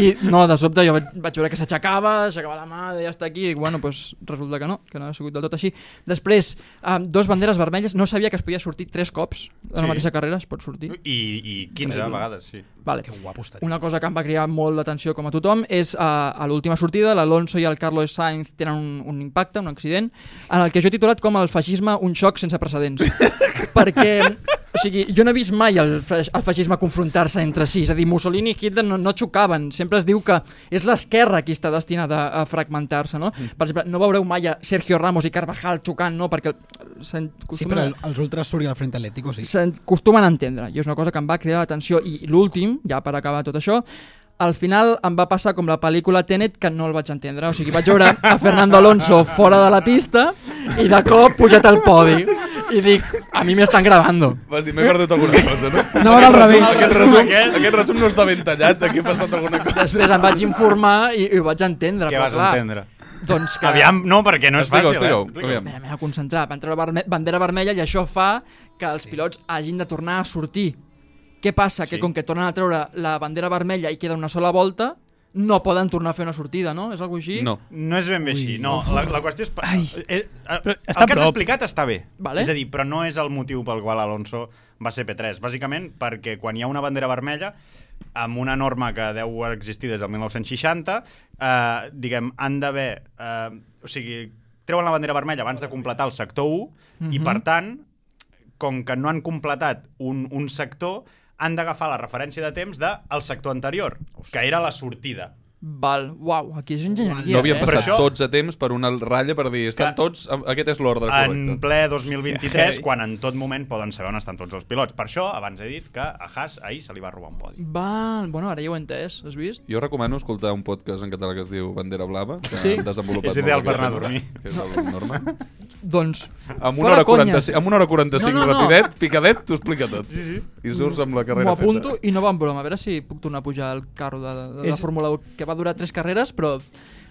Speaker 2: I no, de sobte jo vaig, vaig veure que s'aixecava, aixecava la mà, ja està aquí, i bueno, doncs resulta que no, que no ha sigut del tot així. Després, amb dos banderes vermelles, no sabia que es podia sortir tres cops en la
Speaker 3: Sí.
Speaker 2: mateixa carrera, es pot sortir.
Speaker 3: I, i 15 vegades, sí.
Speaker 2: Vale.
Speaker 1: Que guapo estaria.
Speaker 2: Una cosa que em va cridar molt l'atenció com a tothom és eh, a l'última sortida, l'Alonso i el Carlos Sainz tenen un, un impacte, un accident, en el que jo he titulat com el feixisme un xoc sense precedents. perquè O sigui, jo no he vist mai el, fa- el feixisme confrontar-se entre si, és a dir, Mussolini i Hitler no, no xocaven, sempre es diu que és l'esquerra qui està destinada a fragmentar-se, no?
Speaker 1: Mm.
Speaker 2: Per exemple, no veureu mai a Sergio Ramos i Carvajal xocant, no? Perquè s'en-
Speaker 1: Sí,
Speaker 2: acostumen
Speaker 1: però
Speaker 2: a-
Speaker 1: el- els ultras suri al Frente Atlético, sí.
Speaker 2: s'acostumen a entendre i és una cosa que em va cridar l'atenció i l'últim, ja per acabar tot això al final em va passar com la pel·lícula Tenet que no el vaig entendre, o sigui vaig veure a Fernando Alonso fora de la pista i de cop pujat al podi i dic, a mi m'estan gravando
Speaker 8: Vas dir, m'he perdut alguna cosa, no?
Speaker 2: No, ara al
Speaker 8: Aquest resum-
Speaker 2: revés.
Speaker 8: Aquest resum,
Speaker 2: Aquest.
Speaker 8: aquest resum no està ben tallat, aquí ha passat alguna cosa.
Speaker 2: després em vaig informar i, i ho vaig entendre
Speaker 3: Què
Speaker 2: però
Speaker 3: vas
Speaker 2: clar,
Speaker 3: entendre?
Speaker 2: doncs que...
Speaker 3: Aviam, no, perquè no és
Speaker 8: Explica-ho,
Speaker 3: fàcil.
Speaker 8: explica-ho,
Speaker 3: eh?
Speaker 8: aviam.
Speaker 2: Mira, m'he de concentrar. Van treure verme bandera vermella i això fa que els sí. pilots hagin de tornar a sortir. Què passa? Sí. Que com que tornen a treure la bandera vermella i queda una sola volta, no poden tornar a fer una sortida, no? És alguna així?
Speaker 3: No és ben bé així, no. La, la qüestió és... Ai, eh, eh, el
Speaker 9: està
Speaker 3: que has
Speaker 9: prop.
Speaker 3: explicat està bé.
Speaker 2: Vale.
Speaker 3: És a dir, però no és el motiu pel qual Alonso va ser P3. Bàsicament perquè quan hi ha una bandera vermella, amb una norma que deu existir des del 1960, eh, diguem, han d'haver... Eh, o sigui, treuen la bandera vermella abans de completar el sector 1 i,
Speaker 11: Mhm.
Speaker 3: per tant, com que no han completat un, un sector, han d'agafar la referència de temps del el sector anterior, que era la sortida.
Speaker 2: Val, uau, aquí és enginyeria,
Speaker 8: No havien
Speaker 2: eh?
Speaker 8: passat
Speaker 3: Però això-
Speaker 8: tots a temps per una ratlla per dir, estan tots, aquest és l'ordre correcte.
Speaker 3: en ple 2023,
Speaker 8: Sí.
Speaker 3: quan en tot moment poden saber on estan tots els pilots. Per això, abans he dit que a Haas ahir se li va robar un podi.
Speaker 2: Val, bueno, ara ja ho he entès, has vist?
Speaker 8: Jo recomano escoltar un podcast en català que es diu Bandera Blava, que
Speaker 2: Sí.
Speaker 8: han desenvolupat
Speaker 3: És ideal
Speaker 8: molt
Speaker 3: per
Speaker 8: bé
Speaker 3: anar a dormir.
Speaker 8: Que és el Norman.
Speaker 2: Doncs...
Speaker 8: Amb
Speaker 2: fora
Speaker 8: una hora,
Speaker 2: conyes.
Speaker 8: 45, amb una hora 45
Speaker 2: No, no, no.
Speaker 8: rapidet, picadet, t'ho explica tot. Sí, sí. I surts amb la
Speaker 2: M'ho
Speaker 8: carrera
Speaker 2: apunto i no va en broma, a veure si puc tornar a pujar al carro de, de, de la
Speaker 1: És-
Speaker 2: Fórmula 1, que va durar tres carreres, però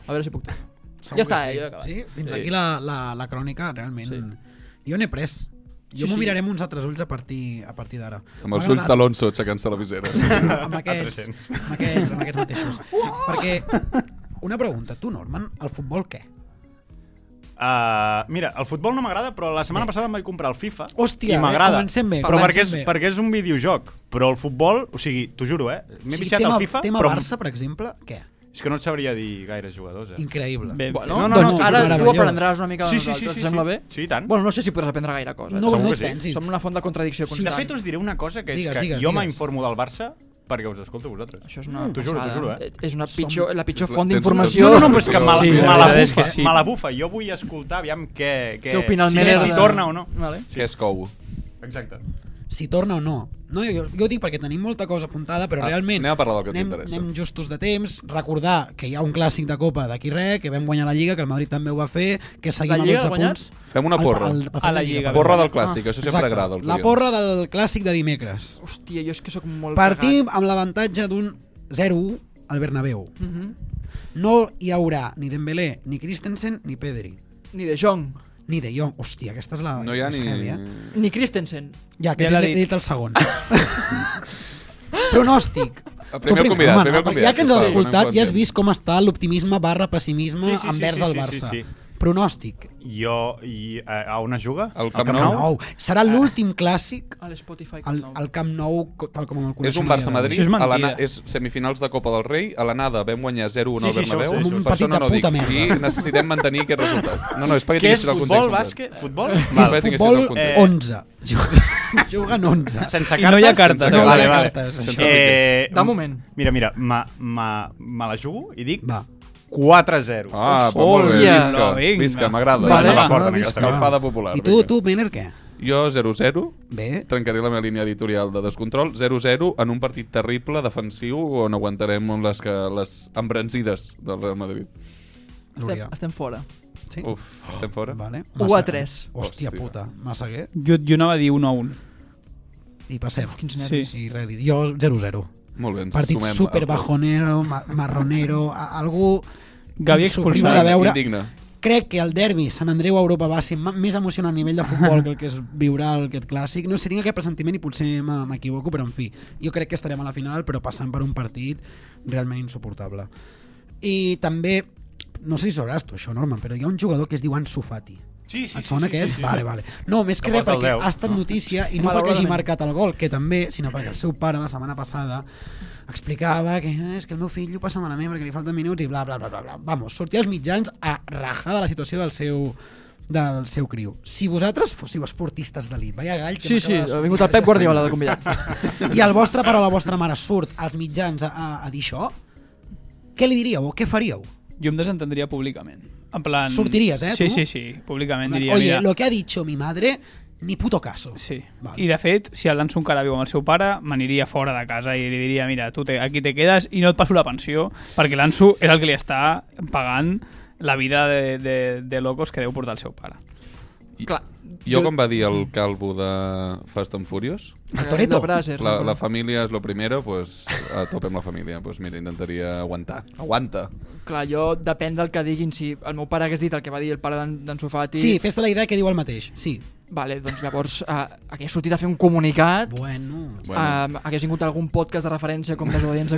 Speaker 2: a veure si puc tornar.
Speaker 1: Segur
Speaker 2: ja està, eh,
Speaker 1: que sí.
Speaker 2: jo he acabat.
Speaker 1: Sí, fins aquí la, la, la crònica, realment. Sí. Jo n'he pres. Jo
Speaker 2: Sí, sí.
Speaker 1: m'ho miraré amb uns altres ulls a partir, a partir d'ara.
Speaker 8: Amb els
Speaker 1: M'ha
Speaker 8: ulls
Speaker 1: agradat-
Speaker 8: d'Alonso aixecant-se la visera.
Speaker 1: amb, aquests, amb, aquests, amb aquests mateixos. Perquè, una pregunta, tu, Norman, el futbol què?
Speaker 3: Uh, mira, el futbol no m'agrada, però la setmana passada em vaig comprar el FIFA
Speaker 1: Hòstia,
Speaker 3: i
Speaker 1: bé,
Speaker 3: m'agrada.
Speaker 1: comencem bé,
Speaker 3: Però
Speaker 1: comencem
Speaker 3: perquè és,
Speaker 1: bé.
Speaker 3: perquè és un videojoc, però el futbol, o sigui, t'ho juro, eh? M'he
Speaker 1: O sigui,
Speaker 3: viciat
Speaker 1: tema,
Speaker 3: al FIFA,
Speaker 1: tema
Speaker 3: però...
Speaker 1: Barça, per exemple, què?
Speaker 3: És que no et sabria dir gaires jugadors, eh?
Speaker 1: Increïble. Bé,
Speaker 2: Bueno, no, no, doncs no, ara tu aprendràs una mica de
Speaker 3: sí, sí,
Speaker 2: nosaltres,
Speaker 3: sí, sí,
Speaker 2: et sembla
Speaker 3: sí.
Speaker 2: bé?
Speaker 3: Sí, i tant.
Speaker 2: Bueno, no sé si podràs aprendre gaire cosa.
Speaker 3: No, Segur no que sí.
Speaker 1: pensis.
Speaker 2: Som una font de contradicció
Speaker 3: Sí,
Speaker 2: constant.
Speaker 3: de fet, us diré una cosa, que és
Speaker 2: Digues,
Speaker 3: que
Speaker 2: digues,
Speaker 3: jo
Speaker 2: digues.
Speaker 3: m'informo del Barça perquè us escolto a vosaltres.
Speaker 2: Això és una
Speaker 3: T'ho juro, t'ho
Speaker 2: passada.
Speaker 3: juro, eh?
Speaker 2: Eh, és una pitjor- la pitjor
Speaker 3: Tens
Speaker 2: font
Speaker 3: un-
Speaker 2: d'informació.
Speaker 3: No, no, no, però és que me la,
Speaker 2: Sí,
Speaker 3: me
Speaker 2: la
Speaker 3: la
Speaker 2: veritat és
Speaker 3: bufa,
Speaker 2: que sí.
Speaker 3: me la bufa. Jo vull escoltar, aviam què... Què,
Speaker 2: Què opina el
Speaker 3: si,
Speaker 2: Meller
Speaker 3: Si
Speaker 2: de-
Speaker 3: torna o no.
Speaker 2: Vale.
Speaker 8: Què és cou?
Speaker 3: Exacte.
Speaker 1: Si torna o no. No, jo, jo ho dic perquè tenim molta cosa apuntada, però
Speaker 8: Ah,
Speaker 1: realment...
Speaker 8: anem a parlar del que
Speaker 1: anem,
Speaker 8: t'interessa.
Speaker 1: anem justos de temps. Recordar que hi ha un clàssic de Copa d'aquí res, que vam guanyar la Lliga, que el Madrid també ho va fer, que seguim
Speaker 2: La
Speaker 1: a
Speaker 2: Lliga
Speaker 1: 12
Speaker 2: ha guanyat?
Speaker 1: punts.
Speaker 8: Fem una
Speaker 1: Al-
Speaker 8: porra.
Speaker 1: al- al-
Speaker 8: A la Lliga. Porra del clàssic, això sempre
Speaker 1: Exacte.
Speaker 8: agrada als
Speaker 1: La
Speaker 8: oients.
Speaker 1: porra del clàssic de dimecres.
Speaker 2: Hòstia, jo és que sóc molt
Speaker 1: Partim
Speaker 2: cagat.
Speaker 1: amb l'avantatge d'un 0-1 al Bernabéu.
Speaker 2: Mhm.
Speaker 1: No hi haurà ni Dembélé, ni Christensen, ni Pedri.
Speaker 2: Ni De Jong.
Speaker 1: Ni De Jong. Hòstia, aquesta és la...
Speaker 8: No hi ha
Speaker 1: és
Speaker 8: ni-
Speaker 1: heavy, eh?
Speaker 2: Ni Christensen.
Speaker 1: Ja, que ja he dit el segon. Pronòstic.
Speaker 8: El primer
Speaker 1: Tu
Speaker 8: convidat,
Speaker 1: home,
Speaker 8: primer
Speaker 1: no,
Speaker 8: convidat,
Speaker 1: Ja que ens has
Speaker 8: sisplau,
Speaker 1: escoltat,
Speaker 8: anem
Speaker 1: ja has
Speaker 8: content.
Speaker 1: vist com està l'optimisme barra pessimisme
Speaker 3: Sí, sí, sí,
Speaker 1: envers
Speaker 3: sí,
Speaker 1: el
Speaker 3: sí, sí,
Speaker 1: Barça.
Speaker 3: sí.
Speaker 1: Pronòstic.
Speaker 3: Jo, i, eh, a on es juga? Al
Speaker 8: Camp
Speaker 1: Camp Nou.
Speaker 3: Ah.
Speaker 1: Serà l'últim clàssic
Speaker 2: A l'Spotify
Speaker 1: al, al Camp Nou, co- tal com el
Speaker 8: És
Speaker 1: coneixem.
Speaker 8: un
Speaker 1: a dia
Speaker 8: Barça-Madrid,
Speaker 1: d'avui.
Speaker 8: a l'ana- és semifinals de Copa del Rei, a l'anada vam guanyar 0-1 al
Speaker 1: Sí, sí, això ho
Speaker 8: Bernabéu.
Speaker 1: sé, Amb
Speaker 8: Per això
Speaker 1: un partit de
Speaker 8: no, no dic.
Speaker 1: puta merda.
Speaker 8: I necessitem mantenir aquest resultat. No, no, és perquè
Speaker 3: Què
Speaker 8: tinguis
Speaker 3: és
Speaker 8: el
Speaker 3: futbol,
Speaker 8: context complet.
Speaker 3: bàsquet? Futbol?
Speaker 1: És futbol 11. Juguen 11.
Speaker 3: Sense
Speaker 1: I
Speaker 3: cartes?
Speaker 1: no hi ha cartes,
Speaker 3: Sense
Speaker 1: no?
Speaker 3: Vale,
Speaker 1: No hi ha
Speaker 3: vale.
Speaker 1: cartes,
Speaker 3: Sense
Speaker 1: això.
Speaker 3: eh,
Speaker 1: De moment.
Speaker 3: Mira, mira, me, me, me la jugo i dic
Speaker 1: Va.
Speaker 3: 4-0.
Speaker 8: Ah, va, molt bé, visca, visca, m'agrada.
Speaker 3: Vale.
Speaker 8: Escalfada,
Speaker 3: Vale.
Speaker 8: vinga, Escalfada popular.
Speaker 1: I tu, tu, Mener, què?
Speaker 8: Jo 0-0.
Speaker 1: Bé.
Speaker 8: Trencaré la meva línia editorial de descontrol. 0-0 en un partit terrible, defensiu, on aguantarem les, que, les embranzides del Real Madrid.
Speaker 2: Estem, estem fora.
Speaker 1: Sí?
Speaker 8: Uf, estem fora.
Speaker 1: Vale.
Speaker 2: 1 a 3.
Speaker 1: Hòstia puta, Massaguer.
Speaker 9: Jo, jo anava a dir 1 a 1.
Speaker 1: I passem. Quins
Speaker 9: nervis.
Speaker 1: I res, dit. jo 0-0.
Speaker 8: Molt bé, ens
Speaker 1: Partit
Speaker 8: sumem
Speaker 1: super
Speaker 8: al-
Speaker 1: bajonero, ma marronero, a- algú...
Speaker 9: Gavi
Speaker 1: insufrible
Speaker 9: expulsat.
Speaker 1: de veure.
Speaker 8: Indigne.
Speaker 1: Crec que el derbi Sant Andreu a Europa va ser ma- més emocionant a nivell de futbol que el que es viurà el- aquest clàssic. No sé, tinc aquest pressentiment i potser me- m'equivoco, però en fi. Jo crec que estarem a la final, però passant per un partit realment insuportable. I també, no sé si sabràs tu això, Norman, però hi ha un jugador que es diu Ansu Fati.
Speaker 3: Sí, sí,
Speaker 1: Et sona
Speaker 3: sí, sí,
Speaker 1: aquest?
Speaker 3: sí, sí.
Speaker 1: Vale, vale. No, més que
Speaker 3: Que
Speaker 1: res
Speaker 3: porta el
Speaker 1: perquè
Speaker 3: 10.
Speaker 1: ha estat notícia i no perquè hagi
Speaker 3: Malauradament.
Speaker 1: marcat el gol, que també, sinó perquè el seu pare la setmana passada explicava que "Ah, és que el meu fill ho passa malament perquè li falten minuts i bla bla bla bla. bla. Vamos, sortir als mitjans a rajar de la situació del seu del seu criu. Si vosaltres fóssiu esportistes d'elit, vaya gall... que
Speaker 2: Sí,
Speaker 1: m'acaba
Speaker 2: sí,
Speaker 1: de sortir
Speaker 2: ha vingut el Pep Guardiola de convidat.
Speaker 1: I el vostre pare o la vostra mare surt als mitjans a, a- a dir això, què li diríeu o què faríeu?
Speaker 9: Jo em desentendria públicament. En plan...
Speaker 1: Sortiries, eh,
Speaker 9: Sí,
Speaker 1: tu?
Speaker 9: sí, sí, públicament diria,
Speaker 1: Oye,
Speaker 9: mira...
Speaker 1: lo que ha dicho mi madre, ni puto caso.
Speaker 9: Sí. I de fet, si el Danso encara viu amb el seu pare, m'aniria fora de casa i li diria, mira, tu te, aquí te quedes i no et passo la pensió, perquè l'Anso és el que li està pagant la vida de, de, de locos que deu portar el seu pare.
Speaker 2: Clar,
Speaker 8: Jo quan va dir el calvo de Fast and Furious...
Speaker 2: El Toretto. De Brazzers,
Speaker 8: La,
Speaker 2: no?
Speaker 8: la família és lo primero, pues, a tope amb la família. Pues mira, intentaria aguantar. Aguanta.
Speaker 2: Clar, jo depèn del que diguin. Si el meu pare hagués dit el que va dir el pare d'en- d'en Sofati...
Speaker 1: Sí, fes-te la idea que diu el mateix, sí.
Speaker 2: Vale, doncs llavors uh, hagués sortit a fer un comunicat.
Speaker 1: Bueno.
Speaker 2: Uh, hagués vingut algun podcast de referència com Desobedients de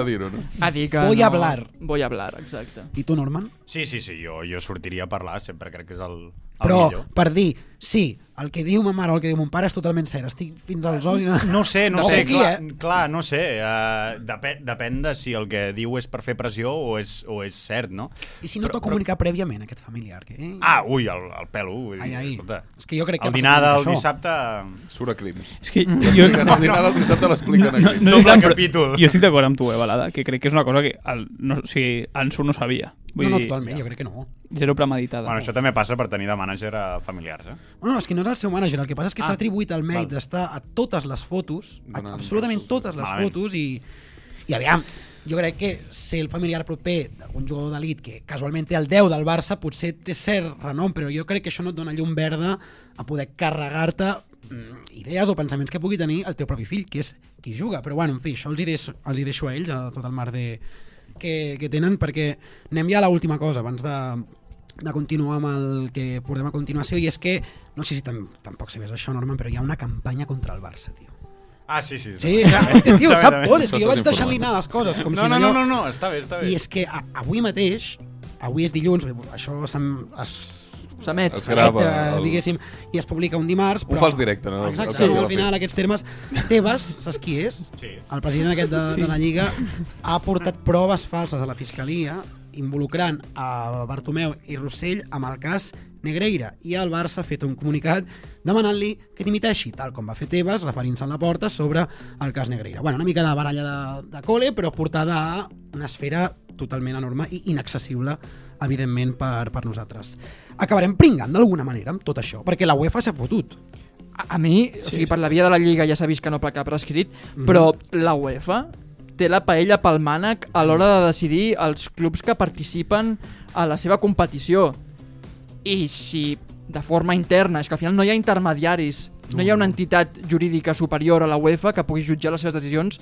Speaker 3: A dir-ho, no?
Speaker 2: A dir que
Speaker 1: Voy
Speaker 2: no.
Speaker 1: a hablar.
Speaker 2: Voy a hablar, exacte.
Speaker 1: I tu, Norman?
Speaker 3: Sí, sí, sí, jo, jo sortiria a parlar, sempre crec que és el, el
Speaker 1: Però
Speaker 3: millor.
Speaker 1: per dir, sí, el que diu ma mare o el que diu mon pare és totalment cert. Estic fins als ous i... No,
Speaker 3: no sé, no
Speaker 1: Ojo
Speaker 3: sé,
Speaker 1: aquí,
Speaker 3: clar,
Speaker 1: eh?
Speaker 3: clar, no sé. Uh, depèn, depèn de si el que diu és per fer pressió o és, o és cert, no?
Speaker 1: I si no t'ho ha comunicat prèviament, aquest familiar? Que, eh?
Speaker 3: Ah, ui, el, el pelo, vull dir,
Speaker 1: Ai, ai.
Speaker 3: escolta.
Speaker 1: És que jo crec que
Speaker 3: el dinar
Speaker 1: passa
Speaker 3: del
Speaker 1: això.
Speaker 3: dissabte...
Speaker 8: Surt a crims.
Speaker 9: És que
Speaker 1: Mm.
Speaker 8: jo... El dinar del dissabte l'expliquen a crims.
Speaker 9: és tant, però Jo estic d'acord amb tu, eh, Balada, que crec que és una cosa que el, no, o sigui, en Sur no sabia. Vull
Speaker 1: No, no,
Speaker 9: dir,
Speaker 1: totalment, jo crec que no.
Speaker 9: Zero premeditada.
Speaker 3: Bueno, això també passa per tenir de mànager a familiars, eh?
Speaker 1: No, no, és que no és el seu mànager, el que passa és que
Speaker 3: Ah,
Speaker 1: s'ha atribuït el mèrit
Speaker 3: val.
Speaker 1: d'estar a totes les fotos, a,
Speaker 3: Donant
Speaker 1: absolutament
Speaker 3: versos.
Speaker 1: totes les
Speaker 3: Malament.
Speaker 1: fotos, i, i aviam, jo crec que ser el familiar proper d'algun jugador d'elit que casualment té el 10 del Barça potser té cert renom, però jo crec que això no et dona llum verda a poder carregar-te mm, idees o pensaments que pugui tenir el teu propi fill, que és qui juga. Però bueno, en fi, això els hi deixo, els hi deixo a ells, a tot el mar de, que, que tenen, perquè anem ja a l'última cosa, abans de, de continuar amb el que portem a continuació, i és que, no sé si tam, tampoc sabés això, Norman, però hi ha una campanya contra el Barça, tio.
Speaker 3: Ah, sí, sí.
Speaker 1: Sí,
Speaker 3: també.
Speaker 1: clar, este tio ho
Speaker 3: També,
Speaker 1: sap
Speaker 3: també.
Speaker 1: tot, és que jo
Speaker 3: Estàs
Speaker 1: vaig deixant-li
Speaker 3: informat.
Speaker 1: anar les coses, com
Speaker 3: no,
Speaker 1: si
Speaker 3: no, no,
Speaker 1: allò-
Speaker 3: no, no, està bé, està bé.
Speaker 1: I és que a, avui mateix, avui és dilluns, bé, això s'em- es-
Speaker 2: S'emet.
Speaker 8: Es grava
Speaker 1: s'emet, eh,
Speaker 8: el-
Speaker 1: diguéssim, i es publica un dimarts,
Speaker 8: Ho
Speaker 1: però...
Speaker 8: fas directe, no? Al
Speaker 1: Exacte,
Speaker 8: cap i a
Speaker 1: no,
Speaker 8: la
Speaker 1: al final
Speaker 8: fi.
Speaker 1: aquests termes... Tebas, saps qui és?
Speaker 3: Sí.
Speaker 1: El president aquest de, de la Lliga ha portat proves falses a la Fiscalia involucrant a Bartomeu i Rossell amb el cas Negreira i el Barça ha fet un comunicat demanant-li que dimiteixi, tal com va fer Tebas, referint-se a la porta sobre el cas Negreira. Bueno, una mica de baralla de, de cole, però portada a una esfera totalment enorme i inaccessible, evidentment, per, per nosaltres. Acabarem pringant d'alguna manera amb tot això, perquè la UEFA s'ha fotut.
Speaker 2: A, a mi, sí, o sigui, per la via de la Lliga ja s'ha vist que no placa prescrit,
Speaker 3: Mhm.
Speaker 2: mm. però la UEFA té la paella pel mànec a l'hora de decidir els clubs que participen a la seva competició. I si de forma interna, és que al final no hi ha intermediaris, no hi ha una entitat jurídica superior a la UEFA que pugui jutjar les seves decisions,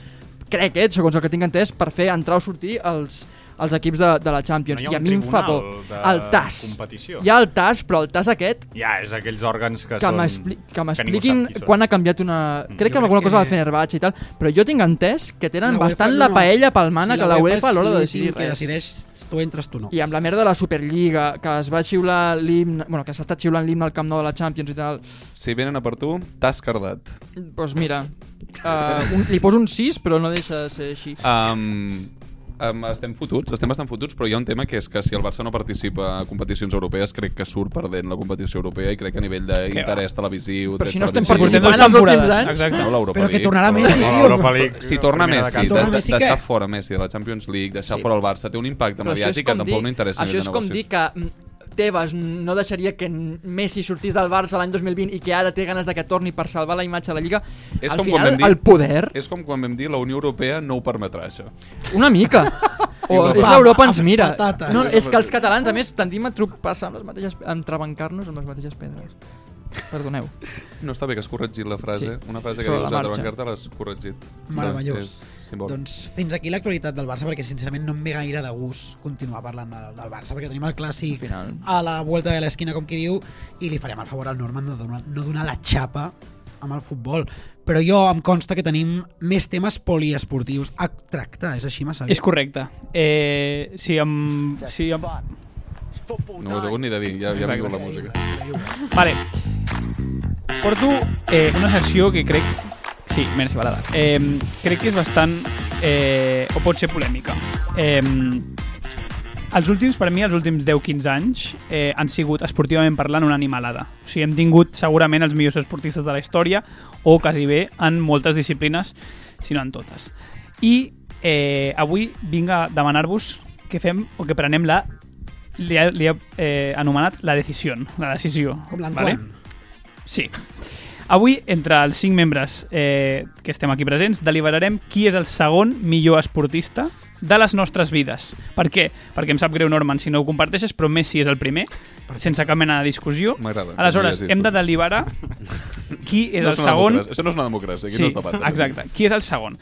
Speaker 2: crec, eh, segons el que tinc entès, per fer entrar o sortir els, els equips de, de la Champions.
Speaker 3: No hi ha
Speaker 2: I a
Speaker 3: un
Speaker 2: mi em fa
Speaker 3: tribunal
Speaker 2: por.
Speaker 3: de
Speaker 2: El TAS.
Speaker 3: competició.
Speaker 2: Hi ha el TAS, però el TAS aquest
Speaker 3: Ja, és aquells òrgans que,
Speaker 2: que,
Speaker 3: són...
Speaker 2: m'expli- que
Speaker 3: ningú sap
Speaker 2: m'expliquin
Speaker 3: qui són. Mm.
Speaker 2: quan ha canviat una... Crec que amb alguna cosa de Fenerbahçe i tal, però jo tinc entès que tenen
Speaker 1: E La
Speaker 2: la bastant
Speaker 1: UEFA,
Speaker 2: la
Speaker 1: no, no.
Speaker 2: paella pel mànec
Speaker 1: Sí,
Speaker 2: a la UEFA a
Speaker 1: és
Speaker 2: l'hora de
Speaker 1: l'últim
Speaker 2: decidir
Speaker 1: que
Speaker 2: res.
Speaker 1: decideix tu entres, tu no.
Speaker 2: I amb la merda de la Superliga, que es va xiular l'himne... Bueno, que s'ha estat xiulant l'himne al Camp Nou de la Champions i tal.
Speaker 8: Si venen a per tu, t'has cardat.
Speaker 2: Doncs pues mira, uh, un, li poso un 6, però no deixa de ser així.
Speaker 3: Ah,
Speaker 8: Um, um, estem fotuts, estem bastant fotuts, però hi ha un tema que és que si el Barça no participa a competicions europees, crec que surt perdent la competició europea i crec que a nivell d'interès televisiu...
Speaker 9: Però
Speaker 8: drets
Speaker 9: si no estem
Speaker 8: televisius-
Speaker 9: participant Portem dues els últims temporades. anys. Exacte.
Speaker 8: No, l'Europa
Speaker 9: Però que
Speaker 8: League,
Speaker 9: tornarà
Speaker 8: l'Europa
Speaker 9: Messi,
Speaker 8: League.
Speaker 9: tio. L'Europa League,
Speaker 8: Si torna
Speaker 9: primera de
Speaker 8: Messi,
Speaker 9: canvi.
Speaker 8: de,
Speaker 9: Torna Messi,
Speaker 8: deixar
Speaker 9: què?
Speaker 8: fora Messi de la Champions League, deixar
Speaker 2: Sí.
Speaker 8: fora el Barça, té un impacte
Speaker 2: Però això és
Speaker 8: mediàtic que
Speaker 2: com
Speaker 8: tampoc
Speaker 2: dir-
Speaker 8: no interessa a
Speaker 2: Això
Speaker 8: nivell
Speaker 2: és
Speaker 8: de
Speaker 2: com
Speaker 8: negocis.
Speaker 2: dir que mm, Tebas no deixaria que Messi sortís del Barça l'any 2020 i que ara té ganes de que torni per salvar la imatge de la Lliga.
Speaker 8: És
Speaker 2: Al
Speaker 8: com quan
Speaker 2: final,
Speaker 8: vam dir, Eh.
Speaker 2: el poder
Speaker 8: És com quan vam dir la Unió Europea no ho permetrà, això.
Speaker 2: Una mica. O
Speaker 8: Europa.
Speaker 2: és l'Europa ens mira.
Speaker 8: Patata.
Speaker 2: No, és que els catalans, a més, tendim a tropassar amb les mateixes... a entrebancar-nos amb les mateixes pedres. Perdoneu.
Speaker 8: No està bé que has corregit la frase.
Speaker 2: Sí,
Speaker 8: Una
Speaker 2: sí,
Speaker 8: frase
Speaker 2: sí,
Speaker 8: que
Speaker 2: sobre
Speaker 8: dius
Speaker 2: la
Speaker 8: a
Speaker 2: marxa.
Speaker 8: Trabancarta l'has corregit.
Speaker 1: Meravellós.
Speaker 8: És simbòlic.
Speaker 1: Doncs fins aquí l'actualitat del Barça, perquè sincerament no em ve gaire de gust continuar parlant del, del Barça, perquè tenim el clàssic
Speaker 2: final.
Speaker 1: a la volta de l'esquina, com qui diu, i li farem el favor al Norman de donar, no donar la xapa amb el futbol. Però jo em consta que tenim més temes poliesportius a tractar, és així, massa
Speaker 9: És correcte. Eh, si em... Si em...
Speaker 8: No ho he hagut ni de dir, ja, ja vingut la música.
Speaker 9: Vale. Porto eh, una secció que crec... Sí, merci, balada. Eh, crec que és bastant... Eh, o pot ser polèmica. Eh, Els últims, per mi, els últims 10-15 anys eh, han sigut, esportivament parlant, una animalada. O sigui, hem tingut segurament els millors esportistes de la història, o quasi bé en moltes disciplines, si no en totes. I eh, avui vinc a demanar-vos que fem o que prenem la... Li ha, li ha eh, anomenat la decisió. La decisió.
Speaker 1: Com l'Antoine.
Speaker 9: Sí. Avui, entre els cinc membres eh, que estem aquí presents, deliberarem qui és el segon millor esportista de les nostres vides. Per què? Perquè em sap greu, Norman, si no ho comparteixes, però Messi és el primer, sense cap mena de discussió.
Speaker 8: M'agrada, que
Speaker 9: Aleshores,
Speaker 8: no hi hagi
Speaker 9: hem de deliberar qui és
Speaker 8: No
Speaker 9: el
Speaker 8: és una
Speaker 9: segon...
Speaker 8: democràcia. Això no és una democràcia, aquí
Speaker 9: sí,
Speaker 8: no es debat, això.
Speaker 9: Exacte. Qui és el segon?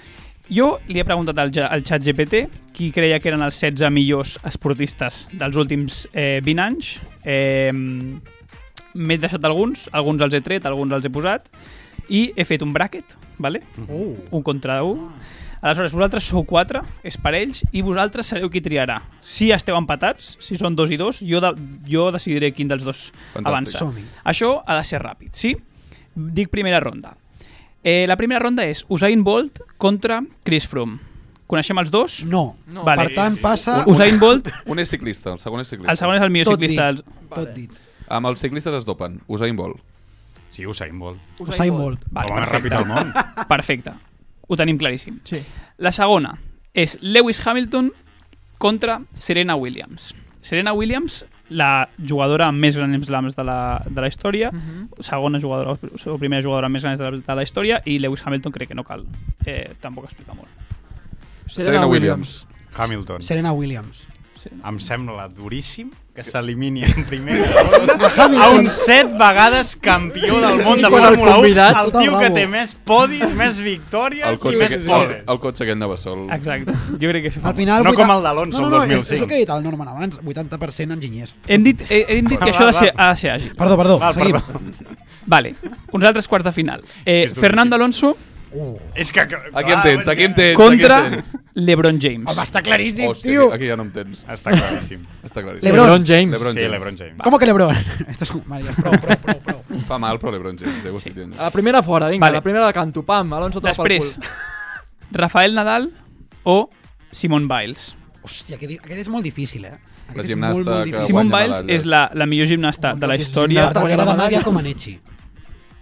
Speaker 9: Jo li he preguntat al, ja- al xat GPT qui creia que eren els 16 millors esportistes dels últims eh, 20 anys. Eh, M'he deixat alguns, alguns els he tret, alguns els he posat, i he fet un bracket, vale?
Speaker 1: Oh.
Speaker 9: un contra un. Aleshores, vosaltres sou quatre, és per ells, i vosaltres sereu qui triarà. Si esteu empatats, si són dos i dos, jo, de, jo decidiré quin dels dos
Speaker 8: Fantàstic.
Speaker 9: avança.
Speaker 8: Som-hi.
Speaker 9: Això ha de ser ràpid, sí? Dic primera ronda. Eh, la primera ronda és Usain Bolt contra Chris Froome. Coneixem els dos?
Speaker 1: No. No. Per tant, passa-
Speaker 9: Usain Bolt,
Speaker 8: Un és ciclista, el segon és ciclista.
Speaker 9: el segon és el millor
Speaker 1: Tot
Speaker 9: ciclista.
Speaker 1: dit.
Speaker 9: dels-
Speaker 1: Tot dit.
Speaker 8: Amb els ciclistes es dopen. Usain Bolt.
Speaker 3: Sí, Usain Bolt.
Speaker 1: Usain Usain Bolt. Bolt.
Speaker 9: Vale,
Speaker 3: El home més ràpid
Speaker 9: perfecte.
Speaker 3: del món.
Speaker 9: Perfecte. Ho tenim claríssim. Sí. La segona és Lewis Hamilton contra Serena Williams. Serena Williams, la jugadora amb més grans slams de la, de la història,
Speaker 3: Mhm.
Speaker 9: segona jugadora o primera jugadora amb més grans de la, de la història, i Lewis Hamilton crec que no cal eh, tampoc explicar molt.
Speaker 3: Serena Williams. Hamilton.
Speaker 1: Serena Williams.
Speaker 3: Em sembla duríssim que s'elimini en primera ronda a un set vegades campió del món de
Speaker 8: Sí, sí, sí.
Speaker 3: Fórmula 1,
Speaker 8: Convidat.
Speaker 3: el tio que
Speaker 8: Bravo.
Speaker 3: té més podis, més victòries
Speaker 8: El cotxe,
Speaker 3: i
Speaker 8: aquest,
Speaker 3: més
Speaker 8: el,
Speaker 3: poles.
Speaker 8: el cotxe aquest anava sol.
Speaker 9: Exacte. Jo crec que això fa
Speaker 1: Al final,
Speaker 3: No
Speaker 1: vuita-
Speaker 3: com el d'Alonso,
Speaker 1: no,
Speaker 3: el
Speaker 1: no, no,
Speaker 3: 2005.
Speaker 1: És, és el que ha dit el Norman abans, 80% enginyers.
Speaker 9: Hem dit, eh, hem dit
Speaker 1: Va,
Speaker 9: que això
Speaker 1: va,
Speaker 9: ha de ser,
Speaker 1: va.
Speaker 9: ha de ser àgil.
Speaker 1: Perdó, perdó, Val, seguim. perdó.
Speaker 9: Vale, uns altres quarts de final.
Speaker 3: que
Speaker 9: Eh,
Speaker 3: és duríssim.
Speaker 9: Fernando Alonso
Speaker 3: És que...
Speaker 8: Aquí em tens, aquí em tens.
Speaker 9: contra
Speaker 8: aquí em tens.
Speaker 9: LeBron James.
Speaker 1: Home, està claríssim,
Speaker 8: Hòstia,
Speaker 1: tio.
Speaker 8: Aquí, aquí ja no em tens.
Speaker 3: Està claríssim.
Speaker 8: Està claríssim.
Speaker 1: LeBron.
Speaker 8: LeBron James.
Speaker 1: Com que LeBron? Esto es un... Maria, prou, prou, prou, prou.
Speaker 8: Fa mal, però LeBron James. Eh, sí.
Speaker 2: A la primera fora, vinga,
Speaker 9: Vale.
Speaker 2: vale. la primera la canto, pam, Alonso te la pel
Speaker 9: Després,
Speaker 2: cul.
Speaker 9: Rafael Nadal o Simone Biles.
Speaker 1: Hòstia, aquest, aquest és molt difícil, eh? Aquest és
Speaker 8: gimnasta
Speaker 1: molt, molt
Speaker 8: que
Speaker 1: difícil.
Speaker 9: Simone Biles és la, la millor gimnasta de la
Speaker 2: si és
Speaker 9: història.
Speaker 2: gimnasta que guanya
Speaker 1: M'agrada Mavia com a Nechi.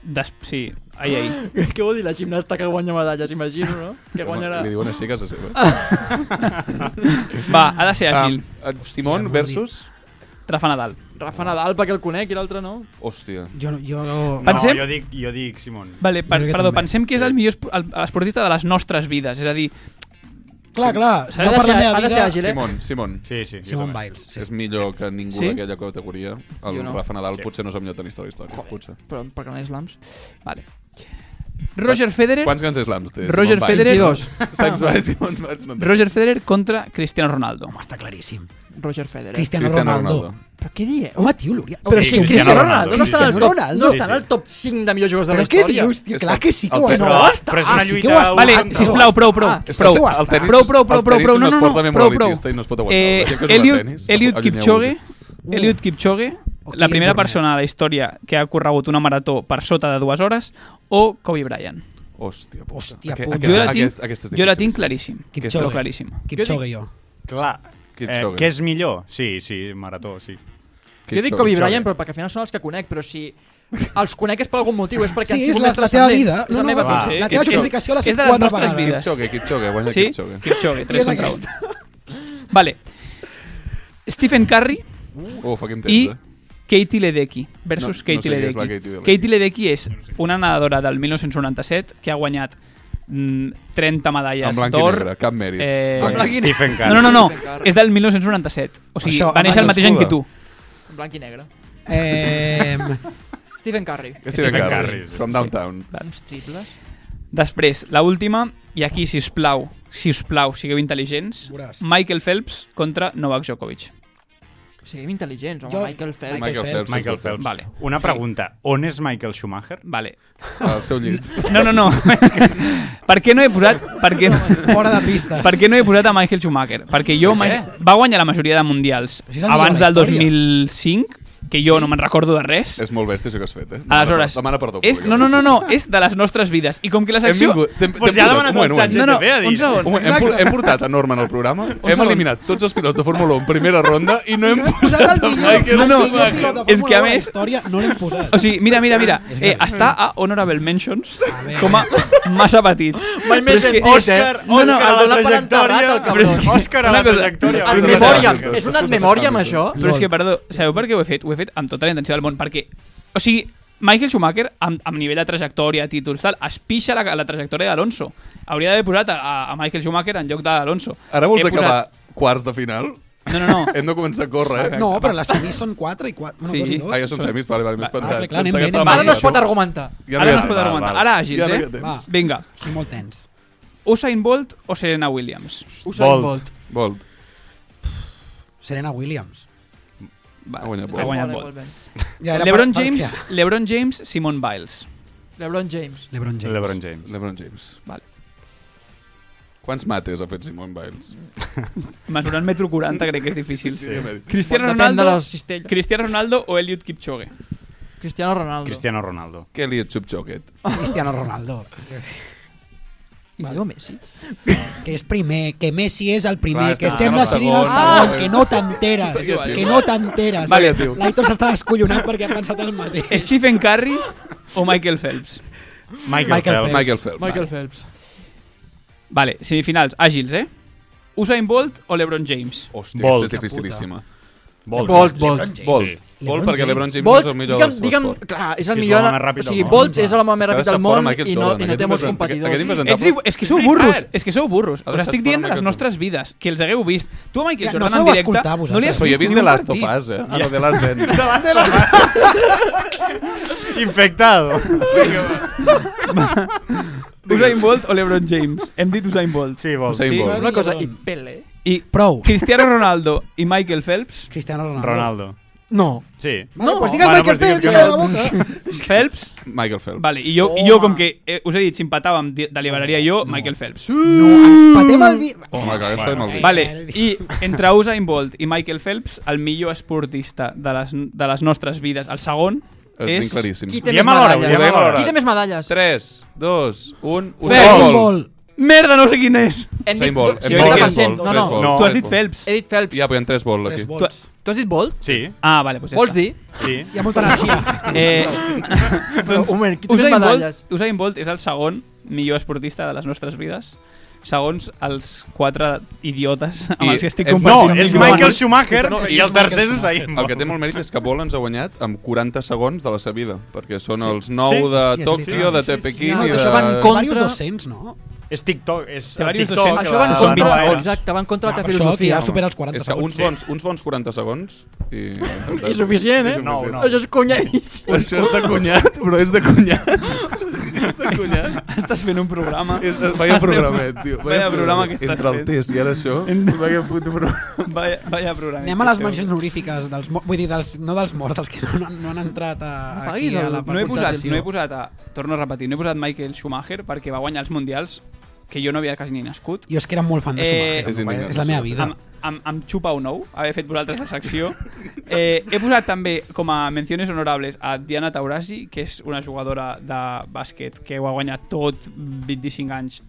Speaker 9: Des... Sí, ai, ai.
Speaker 2: Què vol dir la gimnasta que guanya medalles, imagino, no? Que guanyarà...
Speaker 8: Li diuen així a casa seva.
Speaker 9: Ah, Va, ha de ser àgil.
Speaker 8: Um, Simon versus...
Speaker 9: Rafa Nadal.
Speaker 2: Rafa Nadal, perquè el conec, i l'altre no.
Speaker 8: Hòstia.
Speaker 1: Jo, jo...
Speaker 9: Pensem-
Speaker 3: No, jo dic, jo dic Simon.
Speaker 9: Vale, per,
Speaker 1: Jo crec que
Speaker 9: perdó,
Speaker 1: també.
Speaker 9: pensem que és el millor espo- el- esportista de les nostres vides. És a dir,
Speaker 1: Clar, clar,
Speaker 9: S'ha
Speaker 1: jo
Speaker 9: de
Speaker 1: per la
Speaker 9: ser-
Speaker 1: meva
Speaker 9: ha de
Speaker 1: vida...
Speaker 9: ser àgil, eh?
Speaker 8: Simon, Simon.
Speaker 3: Sí, sí.
Speaker 1: Simon Biles. Sí.
Speaker 8: És millor que ningú
Speaker 9: Sí?
Speaker 8: sí? d'aquella categoria. El
Speaker 2: Jo no.
Speaker 8: Rafa Nadal
Speaker 3: Sí.
Speaker 8: potser no és el millor tenista de la història. Potser.
Speaker 2: Però per ganar slams.
Speaker 9: vale. Roger Federer,
Speaker 8: Quants grans slams té?
Speaker 9: Roger
Speaker 8: Simon
Speaker 9: Federer-
Speaker 8: Biles?
Speaker 9: 22.
Speaker 8: Saps, va, Simon Biles no en té.
Speaker 9: Roger Federer contra Cristiano Ronaldo.
Speaker 1: Home, està claríssim.
Speaker 2: Roger Federer.
Speaker 1: Cristiano,
Speaker 8: Cristiano
Speaker 1: Ronaldo.
Speaker 8: Ronaldo.
Speaker 2: Però què dieu?
Speaker 1: Home, tio, l'hauria...
Speaker 2: Però
Speaker 3: Sí,
Speaker 2: sí, si
Speaker 3: Cristiano
Speaker 2: Cristiano Ronaldo no
Speaker 3: Ronaldo,
Speaker 2: està en el
Speaker 1: Cristiano
Speaker 2: top,
Speaker 1: Ronaldo.
Speaker 2: no
Speaker 3: Sí,
Speaker 2: està en
Speaker 3: sí.
Speaker 2: el top 5 de millors jugadors de la
Speaker 1: Però què
Speaker 2: història.
Speaker 1: dius, tio? Clar que sí que
Speaker 8: El
Speaker 1: ho és.
Speaker 8: tenis-
Speaker 1: No,
Speaker 8: no,
Speaker 1: està,
Speaker 3: Però és una
Speaker 1: sí que
Speaker 3: lluita...
Speaker 1: ho està.
Speaker 9: Vale,
Speaker 3: aguanta.
Speaker 9: sisplau, prou, prou.
Speaker 2: Ah,
Speaker 8: És que
Speaker 9: prou.
Speaker 1: tu
Speaker 8: El
Speaker 1: estàs.
Speaker 8: tenis,
Speaker 9: Prou, prou, prou,
Speaker 8: el
Speaker 9: prou,
Speaker 8: tenis
Speaker 9: prou, no,
Speaker 8: és un
Speaker 9: no,
Speaker 8: esport
Speaker 9: no,
Speaker 8: de
Speaker 9: prou,
Speaker 8: memoritis,
Speaker 9: prou.
Speaker 8: i no es pot aguantar.
Speaker 9: Eh,
Speaker 8: La gent que juga a
Speaker 9: Eliud,
Speaker 8: tenis,
Speaker 9: Eliud
Speaker 8: allunyeu-vos.
Speaker 9: Kipchoge, Eliud Kipchoge,
Speaker 1: O
Speaker 9: la
Speaker 1: Kylian
Speaker 9: primera
Speaker 1: Jornet.
Speaker 9: persona a la història que ha corregut una marató per sota de dues hores, o Kobe Bryant.
Speaker 8: Hòstia, puta.
Speaker 1: Hòstia,
Speaker 8: Aquest-
Speaker 1: puta.
Speaker 8: Eh, aquest-
Speaker 9: Jo la tinc,
Speaker 8: aquest- aquest és
Speaker 9: jo la
Speaker 8: difícil.
Speaker 9: tinc claríssim.
Speaker 1: Kipchoge.
Speaker 9: Però claríssim.
Speaker 1: Kipchoge, jo.
Speaker 3: Clar. Eh,
Speaker 8: Kipchoge.
Speaker 3: què és millor? Sí, sí, marató, sí.
Speaker 2: Jo dic Kobe Bryant, però perquè al final són els que conec, però si els conec és per algun motiu, és perquè
Speaker 1: Sí,
Speaker 2: han
Speaker 1: és
Speaker 2: sigut
Speaker 1: la,
Speaker 2: més
Speaker 1: la teva
Speaker 2: transcendents.
Speaker 1: vida.
Speaker 2: És
Speaker 1: No,
Speaker 2: la
Speaker 1: no,
Speaker 2: meva
Speaker 3: va.
Speaker 2: vida.
Speaker 9: Kipchoge.
Speaker 1: la teva justificació l'has
Speaker 9: És
Speaker 1: fet
Speaker 9: de les
Speaker 1: quatre
Speaker 9: nostres
Speaker 1: vegades.
Speaker 9: vides.
Speaker 8: Kipchoge, Kipchoge, guanya
Speaker 9: Sí?
Speaker 8: Kipchoge.
Speaker 9: Kipchoge, 3
Speaker 1: és
Speaker 9: contra 1.
Speaker 1: aquesta?
Speaker 9: Vale. Stephen Curry
Speaker 8: Uf, aquí em tens,
Speaker 9: i
Speaker 8: eh?
Speaker 9: Katie Ledecky versus
Speaker 8: No- no
Speaker 9: Katie
Speaker 8: sé qui és la
Speaker 9: Ledecky.
Speaker 8: Katie Ledecky.
Speaker 9: Katie Ledecky és una nedadora del 1997 que ha guanyat mm, 30
Speaker 8: En
Speaker 9: medalles
Speaker 8: blanc i
Speaker 9: d'or.
Speaker 8: negre, cap mèrit.
Speaker 9: Eh,
Speaker 8: Guanya.
Speaker 9: Blanc
Speaker 3: Stephen Curry.
Speaker 9: No, no, no, no, és del 1997. O sigui,
Speaker 1: Això,
Speaker 9: va néixer el
Speaker 1: amb
Speaker 9: mateix any que tu.
Speaker 2: En blanc i negre.
Speaker 1: Eh,
Speaker 2: Stephen Curry.
Speaker 8: Stephen
Speaker 3: Stephen
Speaker 8: Curry,
Speaker 3: Curry, sí.
Speaker 8: from downtown.
Speaker 2: Uns triples.
Speaker 9: Després, la última i aquí, si us plau, si us plau, sigueu intel·ligents.
Speaker 1: Veuràs.
Speaker 9: Michael Phelps contra Novak Djokovic.
Speaker 2: Siguem intel·ligents, home,
Speaker 1: Jo-
Speaker 2: Michael Phelps.
Speaker 8: Michael Phelps.
Speaker 3: Michael Phelps.
Speaker 9: Vale.
Speaker 3: Una
Speaker 9: Sí.
Speaker 3: pregunta. On és Michael Schumacher?
Speaker 9: Vale.
Speaker 8: Al seu llit.
Speaker 9: No, no, no. És que, per què no he posat... Per què,
Speaker 1: fora de pista.
Speaker 9: per què no he posat a Michael Schumacher? Perquè jo... Michael, va guanyar la majoria de mundials
Speaker 1: si és el millor
Speaker 9: abans
Speaker 1: de la
Speaker 9: del
Speaker 1: història.
Speaker 9: 2005 que jo no me'n recordo de res.
Speaker 8: És molt bèstia això que has fet, eh?
Speaker 9: Aleshores,
Speaker 8: Demana perdó.
Speaker 9: és, no, no, no, no, és de les nostres vides. I com que la secció... No, no, un segon.
Speaker 8: Un, moment, hem, por- hem portat a Norman al programa, hem
Speaker 9: segon.
Speaker 8: eliminat tots els pilots de Fórmula 1 primera ronda i no hem posat
Speaker 1: posat el
Speaker 8: a
Speaker 1: millor
Speaker 8: Michael
Speaker 1: no,
Speaker 8: Schumacher.
Speaker 1: no,
Speaker 9: És que, a Oh, més-
Speaker 1: Història, no l'hem posat.
Speaker 9: O sigui, mira, mira, mira. Eh, està a Honorable Mentions com a massa petits.
Speaker 11: Mai
Speaker 9: Però
Speaker 11: més
Speaker 9: és que-
Speaker 11: sentit, eh? el dona per enterrat, el
Speaker 9: Però és que-
Speaker 11: cabrón. Òscar a
Speaker 9: una
Speaker 11: la
Speaker 9: cosa-
Speaker 11: trajectòria.
Speaker 9: Però
Speaker 11: En
Speaker 9: que-
Speaker 11: memòria, és una en memòria amb això.
Speaker 9: Però és que, perdó, sabeu per què ho he fet? Ho he fet amb tota la intenció del món, perquè... O sigui, Michael Schumacher, amb, amb nivell de trajectòria, títols, tal, es pixa la, la trajectòria d'Alonso. Hauria d'haver posat a, a Michael Schumacher en lloc d'Alonso.
Speaker 8: Ara vols
Speaker 9: He posat-
Speaker 8: acabar quarts de final?
Speaker 9: No, no, no.
Speaker 8: Hem de començar a córrer, eh?
Speaker 1: No, però les semis són 4 i 4. Bueno,
Speaker 8: Sí.
Speaker 1: dos i dos.
Speaker 8: Ah, ja són semis, vale, vale, m'he espantat.
Speaker 1: clar, clar, anem
Speaker 8: Pensava que
Speaker 1: bé,
Speaker 8: estava
Speaker 1: anem
Speaker 9: Ara
Speaker 1: bé.
Speaker 9: no es pot
Speaker 2: argumentar.
Speaker 8: Ja
Speaker 9: Ara
Speaker 8: hi ha
Speaker 9: no es pot
Speaker 8: temps.
Speaker 9: argumentar.
Speaker 8: Va,
Speaker 9: Ara
Speaker 8: va.
Speaker 9: àgils,
Speaker 8: Ja no hi
Speaker 9: eh?
Speaker 8: ha temps.
Speaker 1: Va.
Speaker 9: Vinga.
Speaker 1: Estic molt tens.
Speaker 9: Usain Bolt o Serena Williams?
Speaker 2: Usain Bolt. Bolt.
Speaker 8: Volt.
Speaker 1: Serena Williams.
Speaker 9: Va,
Speaker 8: Ha guanyat
Speaker 9: Ha
Speaker 8: Bolt.
Speaker 9: guanyat
Speaker 2: Vale,
Speaker 9: Bolt.
Speaker 2: molt bé.
Speaker 1: Ja era
Speaker 9: LeBron
Speaker 1: per- per
Speaker 9: James,
Speaker 1: què?
Speaker 9: LeBron James, Simone Biles.
Speaker 2: LeBron James.
Speaker 1: LeBron James.
Speaker 3: LeBron James.
Speaker 8: LeBron James.
Speaker 9: Vale.
Speaker 8: Quants mates ha fet Simon Biles?
Speaker 9: Mesurant metro 40 crec que és difícil.
Speaker 8: Sí, a Mèrica.
Speaker 9: Cristiano
Speaker 2: Depèn de
Speaker 9: Ronaldo,
Speaker 2: les cistelles.
Speaker 9: Cristiano Ronaldo o Eliud Kipchoge?
Speaker 2: Cristiano Ronaldo.
Speaker 3: Cristiano Ronaldo.
Speaker 8: Què li et xupxoquet?
Speaker 1: Cristiano Ronaldo.
Speaker 2: I Leo Messi.
Speaker 1: Que és primer, que Messi és el
Speaker 8: Clar,
Speaker 1: primer, que
Speaker 8: està
Speaker 1: estem
Speaker 8: segon,
Speaker 1: decidint el
Speaker 8: segon.
Speaker 1: segon,
Speaker 8: Ah!
Speaker 1: que no t'enteres,
Speaker 8: Sí, tio.
Speaker 1: que no t'enteres.
Speaker 8: Vale, tio.
Speaker 1: L'Aitor s'està descollonant perquè ha pensat el mateix.
Speaker 9: Stephen Curry o Michael Phelps?
Speaker 3: Michael,
Speaker 1: Michael
Speaker 3: Phelps.
Speaker 8: Michael Phelps.
Speaker 2: Michael Phelps.
Speaker 9: Vale, semifinals, àgils, eh? Usain Bolt o LeBron James?
Speaker 8: Hòstia,
Speaker 3: Bolt.
Speaker 8: aquesta és dificilíssima.
Speaker 3: Bolt.
Speaker 2: Bolt, Bolt.
Speaker 8: Volt.
Speaker 1: LeBron
Speaker 8: Volt perquè
Speaker 1: James.
Speaker 8: LeBron James
Speaker 2: Bolt,
Speaker 8: és el millor
Speaker 2: digue'm,
Speaker 8: del seu
Speaker 2: digue'm,
Speaker 8: esport.
Speaker 2: clar, és el
Speaker 3: És
Speaker 2: millor...
Speaker 3: l'home més ràpid
Speaker 2: O
Speaker 3: del
Speaker 2: sigui,
Speaker 3: món.
Speaker 2: Bolt és l'home més
Speaker 8: Està
Speaker 2: ràpid del
Speaker 8: fora
Speaker 2: món
Speaker 8: Michael
Speaker 2: i no,
Speaker 8: Jordan,
Speaker 2: i no té
Speaker 8: aquest
Speaker 2: molts
Speaker 8: inventa- aquest
Speaker 2: competidors.
Speaker 8: inventa-
Speaker 9: Ets, igu- és que sou burros, és que sou burros.
Speaker 8: Ha
Speaker 9: Us
Speaker 8: deixat
Speaker 9: estic
Speaker 8: fora
Speaker 9: dient de les
Speaker 8: Michael
Speaker 9: nostres vides, que els hagueu vist. Tu a Michael
Speaker 1: Ja, no
Speaker 9: Jordan
Speaker 1: sabeu
Speaker 9: en directe no
Speaker 1: escoltar,
Speaker 9: li
Speaker 1: vosaltres.
Speaker 9: has
Speaker 8: Però jo he
Speaker 9: vist
Speaker 8: vist
Speaker 9: ni
Speaker 8: The
Speaker 9: un
Speaker 8: Last of
Speaker 9: partit.
Speaker 8: Us, eh? Ah, no, The Last Den.
Speaker 3: Infectado.
Speaker 9: Usain Bolt o LeBron James? Hem dit Usain Bolt.
Speaker 3: Sí, Bolt.
Speaker 8: Usain Bolt.
Speaker 2: Una cosa, i Pele.
Speaker 9: I
Speaker 1: Prou.
Speaker 9: Cristiano Ronaldo i Michael Phelps?
Speaker 1: Cristiano Ronaldo.
Speaker 3: Ronaldo.
Speaker 2: No.
Speaker 3: Sí.
Speaker 1: Vale, no, pues digues
Speaker 3: Bueno,
Speaker 1: Michael
Speaker 3: pues digues
Speaker 1: Phelps, que
Speaker 3: que
Speaker 1: cae la boca.
Speaker 9: Phelps?
Speaker 8: Michael Phelps.
Speaker 9: Vale, i jo, i jo com que eh, us he dit, si empatàvem, di- deliberaria jo, Michael Phelps.
Speaker 1: No, ens patem el vi...
Speaker 8: Home, que ens
Speaker 3: Bueno,
Speaker 8: fem el dit.
Speaker 9: Vale, i entre Usain Bolt i Michael Phelps, el millor esportista de les, de les nostres vides, el segon,
Speaker 8: És ben
Speaker 9: és...
Speaker 8: claríssim.
Speaker 2: Qui té
Speaker 3: Diem
Speaker 2: més
Speaker 3: alhora,
Speaker 2: medalles?
Speaker 3: diem alhora.
Speaker 2: Qui té més medalles?
Speaker 8: 3, 2, 1...
Speaker 1: Usain Bolt.
Speaker 9: Merda, no sé quin és!
Speaker 2: Hem
Speaker 8: Usain
Speaker 2: dit
Speaker 8: Bolt.
Speaker 2: do-
Speaker 8: Hem
Speaker 2: sí,
Speaker 8: dit
Speaker 2: 30%.
Speaker 8: Usain Bolt.
Speaker 2: No, no.
Speaker 8: Usain
Speaker 3: No,
Speaker 9: tu
Speaker 3: és
Speaker 9: has dit Phelps.
Speaker 2: He dit Phelps.
Speaker 8: Ja, però hi ha 3 Bolt
Speaker 1: Tres
Speaker 8: aquí.
Speaker 1: vots.
Speaker 9: Tu-
Speaker 2: Tu has dit Bolt?
Speaker 3: Sí.
Speaker 9: Ah, vale, doncs ja
Speaker 2: Vols
Speaker 9: està.
Speaker 2: dir?
Speaker 3: Sí.
Speaker 1: Hi ha molta energia.
Speaker 9: Eh, doncs,
Speaker 2: un moment, qui té més
Speaker 9: Usain Bolt,
Speaker 2: medalles?
Speaker 9: Usain Bolt és el segon millor esportista de les nostres vides, segons els quatre idiotes amb
Speaker 8: I-
Speaker 9: els que estic
Speaker 8: eh,
Speaker 3: No,
Speaker 9: compartint.
Speaker 3: és
Speaker 9: micròfon.
Speaker 3: Michael Schumacher
Speaker 8: No,
Speaker 3: i el tercer és Usain
Speaker 8: El que
Speaker 3: Bolt.
Speaker 8: té molt mèrit és que Bolt ens ha guanyat amb 40 segons de la seva vida, perquè són els 9
Speaker 3: Sí.
Speaker 8: de
Speaker 1: Hòstia, és
Speaker 8: Tòquio,
Speaker 1: veritat.
Speaker 8: de
Speaker 1: Sí, sí,
Speaker 8: Tepequín
Speaker 2: No,
Speaker 8: i de...
Speaker 2: això va en
Speaker 1: Contra...
Speaker 2: Contra-
Speaker 1: Varios 200, no?
Speaker 3: És TikTok. És
Speaker 9: Té
Speaker 3: el
Speaker 9: varios
Speaker 3: TikTok.
Speaker 9: 200
Speaker 2: Això va en
Speaker 9: Ah,
Speaker 3: la-
Speaker 2: contra,
Speaker 9: Bolt.
Speaker 2: exacte, va en contra
Speaker 1: Ah,
Speaker 2: de la
Speaker 1: per això,
Speaker 2: filosofia.
Speaker 1: que ja supera els 40
Speaker 8: és que
Speaker 1: segons,
Speaker 8: uns bons, uns bons 40 segons i...
Speaker 2: I suficient, eh?
Speaker 3: No, no.
Speaker 2: Això és conyadíssim.
Speaker 8: Això és de cunyat, però és de cunyat. és de cunyat.
Speaker 9: Estàs fent un programa.
Speaker 8: És, vaya programet, tio.
Speaker 9: Vaya programa que estàs
Speaker 8: Entre el
Speaker 9: fent.
Speaker 8: test i ara això, vaya puto programa.
Speaker 9: Vaya, vaya programa.
Speaker 1: Anem a les mencions honorífiques, dels, mo- vull dir, dels, no dels morts, dels que no, no, no han entrat a, aquí
Speaker 2: Apaguis
Speaker 1: a
Speaker 2: el-
Speaker 1: la
Speaker 9: No he posat,
Speaker 2: portàtil,
Speaker 9: no he
Speaker 2: no.
Speaker 9: posat a, torno a repetir, no he posat Michael Schumacher perquè va guanyar els mundials que jo no havia quasi ni nascut.
Speaker 1: Jo és que era molt fan de
Speaker 9: Eh,
Speaker 1: Schumacher.
Speaker 8: És indignant.
Speaker 1: no? és la meva vida.
Speaker 9: Amb, amb, amb xupa o nou, haver fet vosaltres la secció. Eh, he posat també com a menciones honorables a Diana Taurasi, que és una jugadora de bàsquet que ho ha guanyat tot 25 anys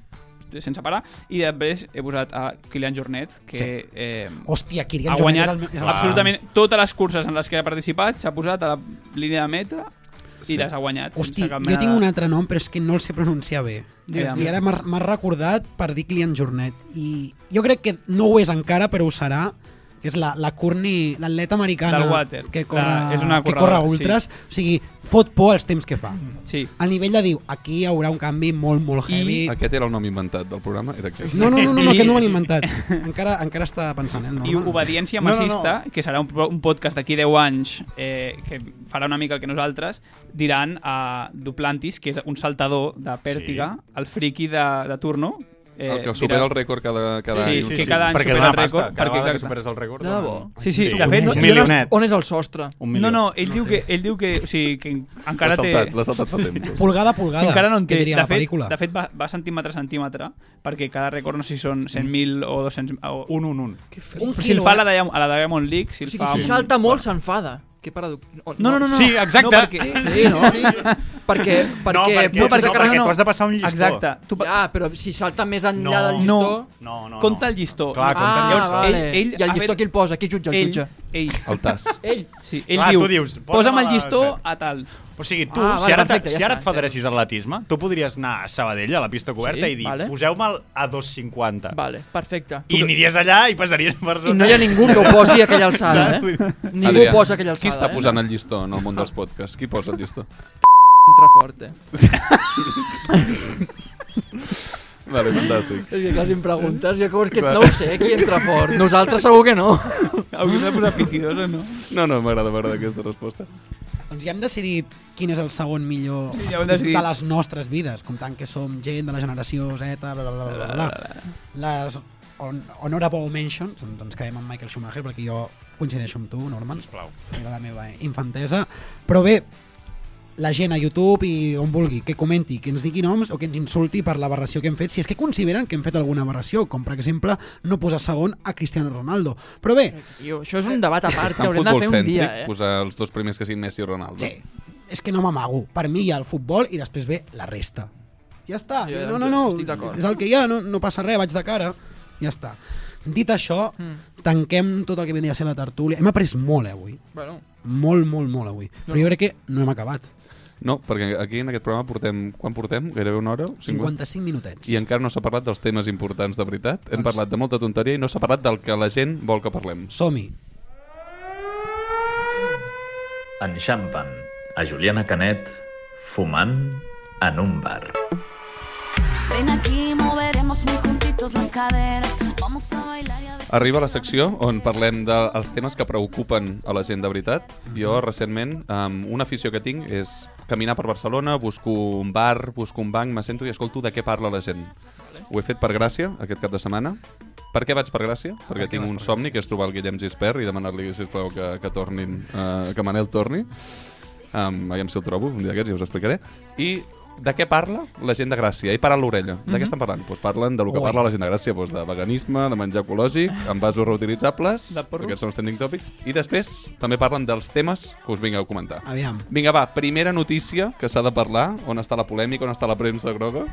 Speaker 9: sense parar, i després he posat a Kilian Jornet, que
Speaker 1: Sí.
Speaker 9: eh,
Speaker 1: Hòstia, Kirian
Speaker 9: ha
Speaker 1: Jornet
Speaker 9: guanyat
Speaker 1: és el, me- és el
Speaker 9: absolutament totes les curses en les que ha participat, s'ha posat a la línia de meta i les ha guanyat.
Speaker 1: Hosti,
Speaker 9: sense cap
Speaker 1: jo
Speaker 9: mena
Speaker 1: tinc
Speaker 9: de-
Speaker 1: un altre nom, però és que no el sé pronunciar bé.
Speaker 9: Digue'm.
Speaker 1: I ara m'ha- m'ha recordat per dir Kilian Jornet. I jo crec que no ho és encara, però ho serà. Que és la, la Courtney, l'atleta americana
Speaker 9: Del water.
Speaker 1: que corre,
Speaker 9: La- és una
Speaker 1: que corre
Speaker 9: corredora,
Speaker 1: ultras. Sí. O sigui, fot por els temps que fa.
Speaker 9: Sí.
Speaker 1: Al nivell de dir, aquí hi haurà un canvi molt, molt heavy.
Speaker 8: Aquest era el nom inventat del programa, era aquest.
Speaker 1: No, no, no, no, no
Speaker 9: I-
Speaker 1: que no m'han inventat. Encara, encara està pensant, eh? No,
Speaker 9: I Obediència
Speaker 3: No, no, no.
Speaker 9: Massista, no, no, no. que serà un, pro- un podcast d'aquí 10 anys eh, que farà una mica el que nosaltres, diran a Duplantis, que és un saltador de pèrtiga, sí. el friki de, de turno. Eh,
Speaker 8: El que supera
Speaker 9: dirà-
Speaker 8: el rècord cada, cada
Speaker 9: Sí,
Speaker 8: any.
Speaker 9: sí, que cada any
Speaker 3: perquè
Speaker 9: supera
Speaker 3: dona
Speaker 9: el rècord,
Speaker 3: pasta. Cada
Speaker 9: perquè,
Speaker 3: vegada que
Speaker 9: exacte.
Speaker 3: superes el rècord...
Speaker 2: De
Speaker 3: dona-
Speaker 2: debo?
Speaker 9: Sí, sí,
Speaker 3: Sí,
Speaker 9: de
Speaker 3: un
Speaker 9: fet...
Speaker 2: I on és-
Speaker 3: milionet.
Speaker 2: On és el sostre?
Speaker 3: Un
Speaker 9: No,
Speaker 3: milió.
Speaker 9: no, ell, diu que, ell diu que, o sigui, que encara
Speaker 8: L'ha
Speaker 9: té...
Speaker 8: saltat, l'ha saltat fa temps.
Speaker 1: Pulgada, pulgada,
Speaker 9: encara no en
Speaker 1: que
Speaker 9: té.
Speaker 1: diria
Speaker 9: De
Speaker 1: la
Speaker 9: fet,
Speaker 1: pel·lícula.
Speaker 9: de fet va, va centímetre a centímetre, perquè cada rècord no sé si són 100.000 o 200... O,
Speaker 3: Un, un, un.
Speaker 1: Un
Speaker 9: si el
Speaker 1: quilo,
Speaker 9: fa a
Speaker 1: eh?
Speaker 9: la, Diam- a la Diamond League, si
Speaker 2: O
Speaker 9: el
Speaker 2: sigui,
Speaker 9: fa...
Speaker 2: si
Speaker 9: un-
Speaker 2: salta molt, s'enfada. Que paradox... Oh,
Speaker 9: No, no, no, no.
Speaker 3: Sí, exacte.
Speaker 9: No, perquè...
Speaker 2: Sí, sí, no? sí. Perquè, perquè,
Speaker 3: No, perquè-
Speaker 2: potser
Speaker 3: no,
Speaker 2: s'acabarà-
Speaker 3: perquè tu has de passar un llistó.
Speaker 9: Exacte.
Speaker 2: Tu pa... Ja, però si salta més enllà
Speaker 9: No.
Speaker 2: del llistó...
Speaker 3: No, no, no.
Speaker 9: Compta el llistó.
Speaker 3: Clar, compta el
Speaker 2: ah,
Speaker 3: llistó.
Speaker 2: Vale.
Speaker 9: Ell- ell
Speaker 2: I el
Speaker 9: ha
Speaker 2: llistó
Speaker 9: fet-
Speaker 2: qui el posa? Qui jutja el
Speaker 9: Ell,
Speaker 2: jutge?
Speaker 9: ell.
Speaker 8: El tas.
Speaker 2: Ell.
Speaker 9: Sí, ell
Speaker 3: Ell Clar,
Speaker 9: diu,
Speaker 3: tu dius,
Speaker 9: posa'm el
Speaker 3: la-
Speaker 9: llistó a tal.
Speaker 3: O sigui, tu,
Speaker 2: Ah,
Speaker 3: ah, si,
Speaker 2: vale,
Speaker 3: ara, te-
Speaker 2: perfecte, ja
Speaker 3: si ara
Speaker 2: està,
Speaker 3: et federessis atletisme, tu podries anar a Sabadell, a la pista coberta,
Speaker 2: Sí,
Speaker 3: i dir,
Speaker 2: vale.
Speaker 3: poseu-me'l a 2,50.
Speaker 2: Vale, perfecte.
Speaker 3: I aniries allà i passaries per
Speaker 2: I
Speaker 3: zona.
Speaker 2: no hi ha ningú que ho posi a aquella alçada, eh? Ningú ho posa a aquella
Speaker 8: Qui està
Speaker 2: alçada, eh?
Speaker 8: posant el llistó en el món dels podcasts? Qui posa el llistó?
Speaker 2: Entra fort, eh?
Speaker 8: Vale, fantàstic.
Speaker 2: És que quasi em preguntes, jo com és que
Speaker 8: Clar.
Speaker 2: no ho sé, qui entra fort. Nosaltres segur que no.
Speaker 9: Hauríem de posar pitidos o no?
Speaker 8: No, no, m'agrada, m'agrada aquesta resposta.
Speaker 1: Doncs ja hem decidit quin és el segon millor
Speaker 9: Sí, ja ho hem decidit.
Speaker 1: de les nostres vides, comptant que som gent de la generació Z, bla, bla, bla, bla, bla. Les on, honorable mentions, doncs ens quedem amb Michael Schumacher, perquè jo coincideixo amb tu, Norman.
Speaker 3: Sisplau.
Speaker 1: Era la meva infantesa. Però bé, la gent a YouTube i on vulgui, que comenti, que ens digui noms o que ens insulti per l'aberració que hem fet, si és que consideren que hem fet alguna aberració, com per exemple no posar segon a Cristiano Ronaldo. Però bé,
Speaker 2: Tio, això és un debat a part
Speaker 8: Està
Speaker 2: que
Speaker 8: en
Speaker 2: haurem de
Speaker 8: futbol
Speaker 2: fer un dia,
Speaker 8: cèntric,
Speaker 2: eh?
Speaker 8: posar els dos primers que siguin Messi i Ronaldo.
Speaker 1: Sí, és que no m'amago. Per mi hi ha el futbol i després ve la resta. Ja està.
Speaker 2: Jo
Speaker 1: no, no, no.
Speaker 2: estic d'acord.
Speaker 1: És el que hi ha, no, no passa res, vaig de cara. Ja està. Dit això, tanquem tot el que vindria a ser la tertúlia. Hem après molt, eh, avui.
Speaker 2: Bueno,
Speaker 1: Molt, molt, molt, avui. Però jo crec que no hem acabat.
Speaker 8: No, perquè aquí en aquest programa portem... Quan portem? Gairebé una hora?
Speaker 1: 55 minutets.
Speaker 8: I encara no s'ha parlat dels temes importants de veritat. Hem parlat de molta tonteria i no s'ha parlat del que la gent vol que parlem.
Speaker 1: Som-hi.
Speaker 12: Enxampen a Juliana Canet fumant en un bar.
Speaker 13: Ven aquí, moveremos muy juntitos las caderas. Vamos a bailar y a ver.
Speaker 8: Arriba la secció on parlem dels temes que preocupen a la gent de veritat. Jo recentment, um, una afició que tinc és caminar per Barcelona, busco un bar, busco un banc, m'assento i escolto de què parla la gent. Ho he fet per Gràcia aquest cap de setmana. Per què vaig per Gràcia? Perquè tinc un somni que és trobar el Guillem Gispert i demanar-li, sisplau, que, que tornin, uh, que Manel torni. Um, aviam si el trobo, un dia d'aquests ja us ho explicaré. I de què parla la gent de Gràcia? He parat l'orella. De què estan parlant? Doncs parlen de lo que
Speaker 1: Ui.
Speaker 8: parla la gent de Gràcia, doncs de veganisme, de menjar ecològic, envasos reutilitzables,
Speaker 9: De porro.
Speaker 8: aquests són els trending topics, i després també parlen dels temes que us vinc a comentar.
Speaker 1: Aviam.
Speaker 8: Vinga, va, primera notícia que s'ha de parlar, on està la polèmica, on està la premsa groga,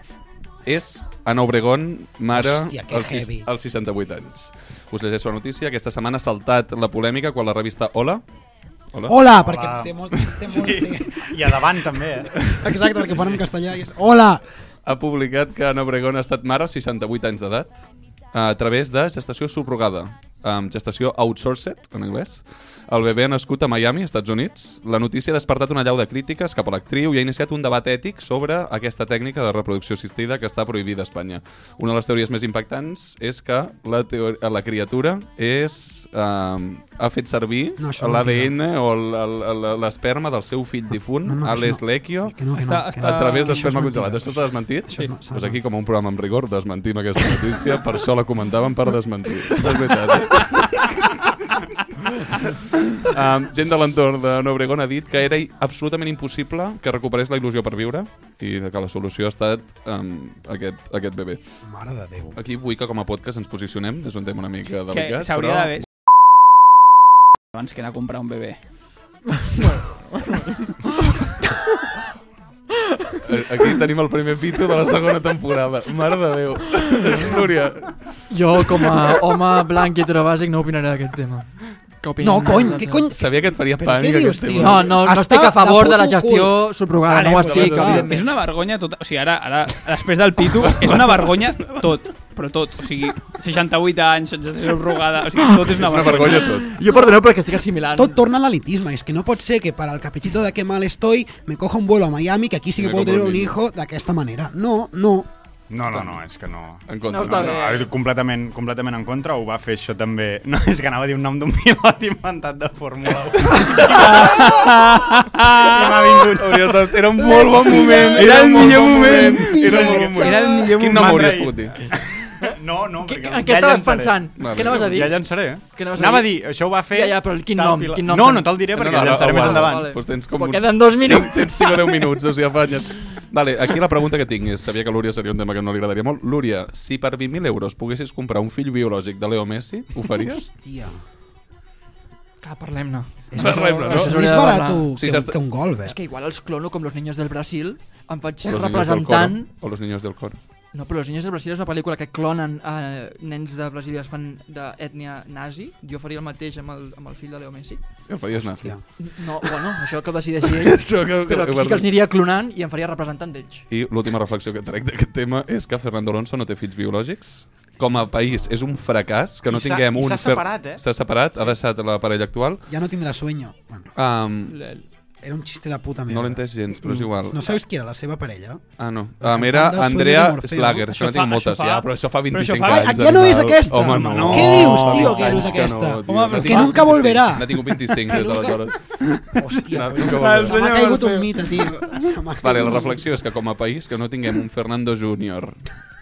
Speaker 8: és Ana Obregón, mare,
Speaker 1: Hòstia, que
Speaker 8: als, sis-
Speaker 1: heavy.
Speaker 8: als 68 anys. Us llegeixo la notícia. Aquesta setmana ha saltat la polèmica quan la revista Hola... Hola,
Speaker 1: Hola, perquè té molt... Té molt té...
Speaker 3: I a davant també, eh?
Speaker 1: Exacte, perquè fan en castellà i és... Hola!
Speaker 8: ha publicat que Ana Obregón ha estat mare als 68 anys d'edat a través de gestació subrogada, amb gestació outsourced, en anglès. El bebè ha nascut a Miami, Estats Units. La notícia ha despertat una llau de crítiques cap a l'actriu i ha iniciat un debat ètic sobre aquesta tècnica de reproducció assistida que està prohibida a Espanya. Una de les teories més impactants és que la, teo- la criatura és, eh, ha fet servir
Speaker 1: No,
Speaker 8: no,
Speaker 1: això no
Speaker 8: l'ADN o el- el- el- l'esperma del seu fill difunt,
Speaker 1: No,
Speaker 8: no,
Speaker 1: no,
Speaker 8: no,
Speaker 1: això
Speaker 8: Alex
Speaker 1: no.
Speaker 8: Lecchio,
Speaker 1: Que no, que no,
Speaker 9: Està-
Speaker 1: que no.
Speaker 8: a través
Speaker 1: Això és
Speaker 8: d'esperma
Speaker 1: mentida.
Speaker 8: congelat. Això s'ha desmentit?
Speaker 1: Això és ma-
Speaker 8: Doncs aquí, com un programa amb rigor, desmentim aquesta notícia. Per això la comentaven per desmentir. És veritat. Eh? um, gent de l'entorn de Nobregón ha dit que era absolutament impossible que recuperés la il·lusió per viure i que la solució ha estat um, aquest, aquest bebè.
Speaker 1: Mare de Déu.
Speaker 8: Aquí vull que com a podcast ens posicionem, és un tema una mica
Speaker 9: Que
Speaker 8: delicat,
Speaker 9: s'hauria
Speaker 8: però...
Speaker 9: d'haver... Abans que anar a comprar un bebè.
Speaker 8: eh, Aquí tenim el primer pito de la segona temporada. Mare de Déu. Núria,
Speaker 2: jo com a home blanc i heterobàsic no opinaré d'aquest tema. Que opinem
Speaker 1: No, cony,
Speaker 2: nosaltres?
Speaker 1: què cony?
Speaker 8: sabia que et faria
Speaker 1: Però què
Speaker 8: pànic
Speaker 1: dius,
Speaker 8: aquest
Speaker 1: tio?
Speaker 8: tema.
Speaker 2: No, no, no
Speaker 1: Està
Speaker 2: estic a favor
Speaker 1: de
Speaker 2: de la
Speaker 1: puto
Speaker 2: gestió
Speaker 1: cul.
Speaker 2: subrogada,
Speaker 1: Vale,
Speaker 2: no ho
Speaker 1: però
Speaker 2: estic,
Speaker 1: clar.
Speaker 2: evidentment.
Speaker 9: És una vergonya tot... O sigui, ara, ara després del Pitu, és una vergonya tot. Però tot. O sigui, 68 anys, sense rugada... O sigui, tot és una
Speaker 8: És una
Speaker 9: vergonya.
Speaker 8: vergonya tot.
Speaker 2: Jo perdoneu perquè estic assimilant.
Speaker 1: Todo torna al elitismo. Es que no puede ser que para el caprichito de que mal estoy me coja un vuelo a Miami, que aquí sí que
Speaker 8: Me
Speaker 1: puedo
Speaker 8: compro
Speaker 1: tener
Speaker 8: un
Speaker 1: un
Speaker 8: niño.
Speaker 1: hijo de esta manera. No, no.
Speaker 3: No, no, no, és que no.
Speaker 8: En contra,
Speaker 2: No està
Speaker 3: no,
Speaker 2: bé.
Speaker 3: no, completament, completament en contra, ho va fer això també. No, és que anava a dir un nom d'un pilot inventat de Fórmula 1. I m'ha vingut.
Speaker 8: Hauries de... Era un molt bon moment.
Speaker 9: Era el
Speaker 8: molt
Speaker 9: millor
Speaker 8: bon
Speaker 9: moment.
Speaker 8: Era un molt bon moment.
Speaker 9: Era el millor
Speaker 8: Quin nom
Speaker 3: moment.
Speaker 8: hauries pogut dir?
Speaker 3: No, no,
Speaker 2: Què,
Speaker 3: perquè
Speaker 2: en què
Speaker 3: ja
Speaker 2: estaves
Speaker 3: llançaré.
Speaker 2: pensant?
Speaker 8: Vale.
Speaker 2: Què anaves a dir?
Speaker 3: Ja llançaré, eh?
Speaker 2: Què anaves a
Speaker 3: Anava a
Speaker 2: dir?
Speaker 3: dir, això ho va fer...
Speaker 2: Ja, ja, però quin
Speaker 3: tal
Speaker 2: nom?
Speaker 3: pilot.
Speaker 2: Quin nom
Speaker 3: no,
Speaker 2: tens?
Speaker 3: no te'l diré perquè no, no,
Speaker 8: ara
Speaker 3: llançaré
Speaker 8: ho
Speaker 3: més
Speaker 8: guardo.
Speaker 3: endavant.
Speaker 2: Vale.
Speaker 8: Doncs tens com
Speaker 2: Però queden dos minuts.
Speaker 8: Tens 5 o 10 minuts, o sigui, afanya't. Vale, aquí la pregunta que tinc és, sabia que a Lúria seria un tema que no li agradaria molt. Lúria, si per 20.000 euros poguessis comprar un fill biològic de Leo Messi, ho faries?
Speaker 1: Tía.
Speaker 2: Clar, parlem-ne.
Speaker 8: És més Parlem-ne, no? És
Speaker 2: S'hauria
Speaker 8: més
Speaker 2: de
Speaker 8: barat
Speaker 2: parlar.
Speaker 8: que Sí, un- s'està- que un
Speaker 1: golf, eh?
Speaker 2: És que igual els clono com los niños del Brasil, em faig
Speaker 8: O los niños del
Speaker 2: representant...
Speaker 8: coro, O los niños del coro.
Speaker 2: No, però Los Niños del Brasil és una pel·lícula que clonen eh, nens de Brasil i es fan d'ètnia nazi. Jo faria el mateix amb el, amb el fill de Leo Messi.
Speaker 8: El faries nazi. Hòstia.
Speaker 2: No, bueno, això que ho decideixi ell.
Speaker 8: Això que-
Speaker 2: però
Speaker 8: que-
Speaker 2: sí que els aniria clonant i em faria representant d'ells.
Speaker 8: I l'última reflexió que trec d'aquest tema és que Fernando Alonso no té fills biològics. Com a país és un fracàs que no
Speaker 1: I s'ha-
Speaker 8: tinguem
Speaker 1: i
Speaker 8: un...
Speaker 1: s'ha
Speaker 8: Fer-
Speaker 1: separat, eh?
Speaker 8: S'ha separat, ha deixat la parella actual.
Speaker 1: Ja no tindrà sueño. Bueno,
Speaker 8: Um,
Speaker 1: era un xiste de puta merda.
Speaker 8: no l'he entès gens, però és igual.
Speaker 1: No sabeu qui era la seva parella?
Speaker 8: Ah, no.
Speaker 1: La
Speaker 8: Um, era
Speaker 1: cantant del
Speaker 8: Andrea
Speaker 1: Sueño de Morfeo.
Speaker 8: Slager. Això,
Speaker 1: Això
Speaker 8: no tinc
Speaker 1: fa-
Speaker 8: moltes,
Speaker 1: això fa-
Speaker 8: ja, però això fa
Speaker 1: però
Speaker 8: 25
Speaker 1: això fa-
Speaker 8: anys.
Speaker 1: Ah, ja no és
Speaker 8: animal.
Speaker 1: aquesta.
Speaker 8: Home, no.
Speaker 1: No. Què dius, tio,
Speaker 8: Fa
Speaker 1: que no és
Speaker 8: 20 anys
Speaker 1: aquesta?
Speaker 8: no, tio.
Speaker 1: Home, però
Speaker 8: No
Speaker 1: que
Speaker 8: tinc-
Speaker 1: nunca volverá.
Speaker 8: No tinc un 25
Speaker 1: Que
Speaker 8: des
Speaker 1: nunca-
Speaker 8: d'aleshores.
Speaker 1: Hòstia,
Speaker 8: No, nunca
Speaker 1: se
Speaker 8: volverá.
Speaker 1: m'ha caigut un mite, sí. Se m'ha
Speaker 8: Vale, la
Speaker 1: caigut.
Speaker 8: reflexió és que com a país que no tinguem un Fernando Júnior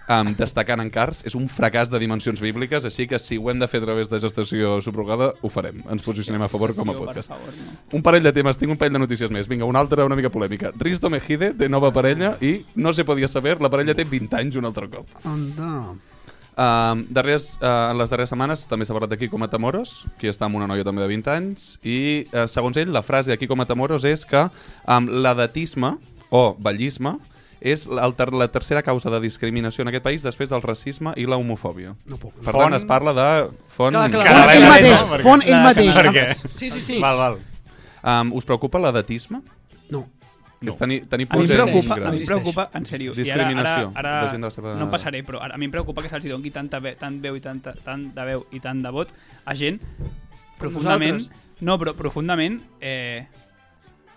Speaker 8: um, destacant en cars és un fracàs de dimensions bíbliques, així que si ho hem de fer a través de gestació subrogada, ho farem. Ens posicionem a favor com a
Speaker 9: Jo, per
Speaker 8: podcast.
Speaker 9: favor,
Speaker 8: Un parell de temes, tinc un parell de notícies més. Vinga, una altra una mica polèmica. Risto Mejide té nova parella i no se podia saber, la parella té 20 anys un altre cop.
Speaker 1: Anda.
Speaker 8: Um, darrers, uh, en les darreres setmanes també s'ha parlat de Kiko Matamoros, qui està amb una noia també de 20 anys, i uh, segons ell la frase de Kiko Matamoros és que um, l'edatisme o vellisme és la, ter la tercera causa de discriminació en aquest país després del racisme i la homofòbia.
Speaker 1: No puc.
Speaker 8: Per
Speaker 1: Font-
Speaker 8: tant, es parla de font...
Speaker 1: Clar, clar. Font ell mateix, font ell mateix. Sí, sí, sí. Val, val.
Speaker 8: Um, us preocupa l'edatisme?
Speaker 1: No.
Speaker 8: Que és tenir, tenir
Speaker 9: A mi em
Speaker 8: poses
Speaker 9: preocupa,
Speaker 8: grans.
Speaker 9: a mi em preocupa en sèrio. i ara-
Speaker 8: Discriminació.
Speaker 9: Ara, ara,
Speaker 8: de gent de la seva...
Speaker 9: No em passaré, però ara, a mi em preocupa que se'ls hi doni tanta ve, tant veu i tanta, tant de veu i tant de vot a gent profundament... No, però profundament eh,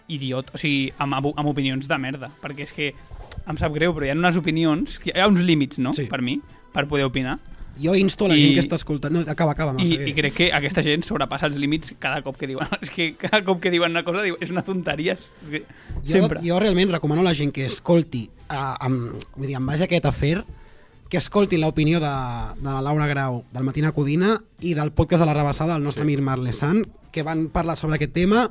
Speaker 9: idiot, o sigui, amb, abu- amb opinions de merda, perquè és que em sap greu, però hi ha unes opinions, que- hi ha uns límits, no?, sí. per mi, per poder opinar.
Speaker 1: Jo insto la
Speaker 9: I-
Speaker 1: gent que està escoltant... No, acaba, acaba.
Speaker 9: I, I crec que aquesta gent sobrepassa els límits cada cop que diuen. És que cada cop que diuen una cosa diu, és una tonteria. És que, sempre.
Speaker 1: Jo, jo realment recomano a la gent que escolti eh, amb, vull dir, en base a aquest afer que escoltin l'opinió de, de la Laura Grau del Matina Codina i del podcast de la Rebassada del nostre sí. Mir Marlesan que van parlar sobre aquest tema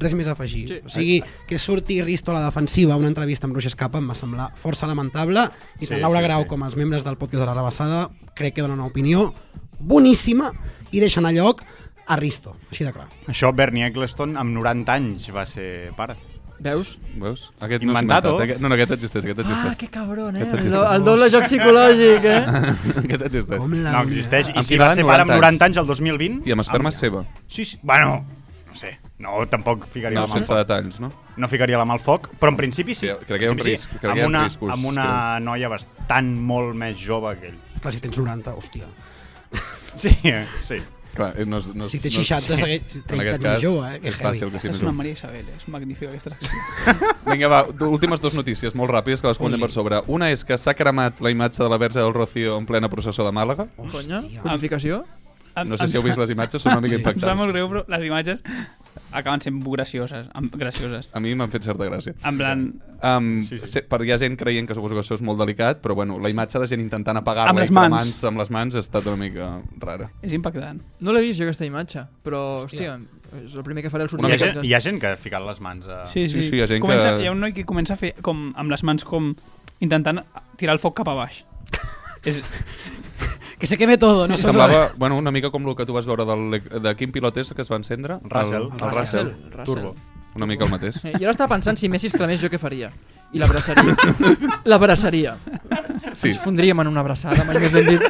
Speaker 1: res més a afegir. Sí. O sigui, que surti Risto a la defensiva una entrevista amb Bruixa Escapa em va semblar força lamentable i
Speaker 14: Sí,
Speaker 1: tant Laura
Speaker 14: sí,
Speaker 1: Grau
Speaker 14: sí.
Speaker 1: com els membres del podcast de la Rebassada crec que donen una opinió boníssima i deixen a lloc a Risto, així de clar.
Speaker 3: Això Bernie Eccleston amb 90 anys va ser pare.
Speaker 2: Veus?
Speaker 8: Veus? Aquest no s'ha
Speaker 3: inventat,
Speaker 8: inventat,
Speaker 3: o?
Speaker 8: aquest- no, no, aquest existeix,
Speaker 1: Ah,
Speaker 8: aquest existeix.
Speaker 2: que cabron, eh?
Speaker 8: Aquest
Speaker 2: El,
Speaker 8: existeix.
Speaker 2: do- el doble joc psicològic, eh?
Speaker 8: aquest existeix.
Speaker 3: No existeix. I
Speaker 8: Amb
Speaker 3: si
Speaker 8: qui
Speaker 3: va
Speaker 8: va?
Speaker 3: ser pare amb
Speaker 8: 90
Speaker 3: 90
Speaker 8: anys.
Speaker 3: anys el 2020...
Speaker 8: I amb esperma seva.
Speaker 3: Sí, sí. Bueno, no sé. No, tampoc ficaria
Speaker 8: No,
Speaker 3: la mà al
Speaker 8: sense
Speaker 3: foc.
Speaker 8: detalls, no?
Speaker 3: No ficaria la mà al foc, però en principi sí.
Speaker 8: Crec que hi ha un
Speaker 3: En principi
Speaker 8: risc, crec que hi
Speaker 3: amb
Speaker 8: ha
Speaker 3: una,
Speaker 8: riscos,
Speaker 3: amb una noia bastant molt més jove que ell.
Speaker 1: Clar, si tens 90, hòstia.
Speaker 3: Sí, sí.
Speaker 8: Clar, eh, no és, no és,
Speaker 1: Si té
Speaker 8: no és-
Speaker 1: 60,
Speaker 8: sí.
Speaker 1: segueix-
Speaker 8: En
Speaker 1: 30
Speaker 8: aquest
Speaker 1: és més
Speaker 8: cas,
Speaker 1: jove, eh, que
Speaker 8: És
Speaker 1: heavy.
Speaker 8: fàcil que sí.
Speaker 9: Aquesta és
Speaker 8: més
Speaker 9: una
Speaker 8: jove.
Speaker 9: Maria Isabel, eh, és magnífica aquesta
Speaker 8: Vinga, va, d- últimes dues notícies, molt ràpides, que les comentem per sobre. Una és que s'ha cremat la imatge de la Verge del Rocío en plena processó de Màlaga.
Speaker 2: Conya?
Speaker 9: Ah,
Speaker 2: Purificació?
Speaker 8: No sé si heu vist les imatges, són una mica impactants.
Speaker 9: Em sap molt greu, però les imatges acaben sent gracioses. Amb, gracioses.
Speaker 8: A mi m'han fet certa gràcia.
Speaker 9: En plan-
Speaker 8: Um, sí, sí. Se, per hi ha gent creient que suposo que això és molt delicat, però bueno, la imatge de gent intentant apagar-la
Speaker 9: Amb
Speaker 8: i
Speaker 9: les mans.
Speaker 8: cremant-se amb les mans ha estat una mica rara.
Speaker 9: És impactant.
Speaker 2: No l'he vist jo aquesta imatge, però, hòstia, és el primer que faré al sortir.
Speaker 3: Hi ha, gent, hi ha gent que ha ficat les mans a...
Speaker 9: Sí, sí.
Speaker 8: Ah. sí, hi ha gent
Speaker 9: comença,
Speaker 8: que-
Speaker 9: Hi ha un noi que comença a fer com, amb les mans com intentant tirar el foc cap a baix. és...
Speaker 1: Que se queme todo, no
Speaker 8: No semblava, bueno, una mica com el que tu vas veure del, de quin pilot és que es va encendre?
Speaker 3: Russell.
Speaker 8: El, el,
Speaker 3: El
Speaker 8: Russell.
Speaker 3: Russell. Russell. Turbo.
Speaker 8: Una mica el mateix.
Speaker 2: Eh, jo ara estava pensant si Messi es clamés jo què faria. I l'abraçaria. L'abraçaria.
Speaker 8: Sí.
Speaker 2: Ens fondríem en una abraçada, mai més ben dit.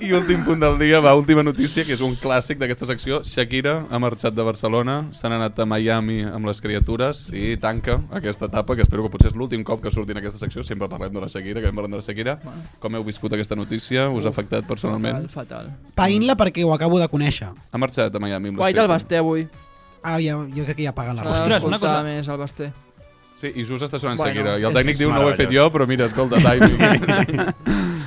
Speaker 8: I últim punt del dia, va, última notícia, que és un clàssic d'aquesta secció. Shakira ha marxat de Barcelona, s'ha anat a Miami amb les criatures i tanca aquesta etapa, que espero que potser és l'últim cop que surti en aquesta secció. Sempre parlem de la Shakira, que parlem de la Shakira. Com heu viscut aquesta notícia? Us ha afectat personalment?
Speaker 2: Fatal,
Speaker 1: Païn-la perquè ho acabo de conèixer.
Speaker 8: Ha marxat a Miami amb les
Speaker 2: Guaita el
Speaker 8: criatures.
Speaker 2: Basté avui.
Speaker 1: Ah, ja, jo crec que ja paga la
Speaker 2: S'ha
Speaker 1: ràdio.
Speaker 2: d'escoltar més el Basté.
Speaker 8: Sí, i just està sonant
Speaker 2: Bueno,
Speaker 8: bueno, Shakira. I
Speaker 2: és-
Speaker 8: el tècnic
Speaker 2: és
Speaker 8: diu, no ho he fet
Speaker 3: meravellós.
Speaker 8: jo, però mira, escolta, timing.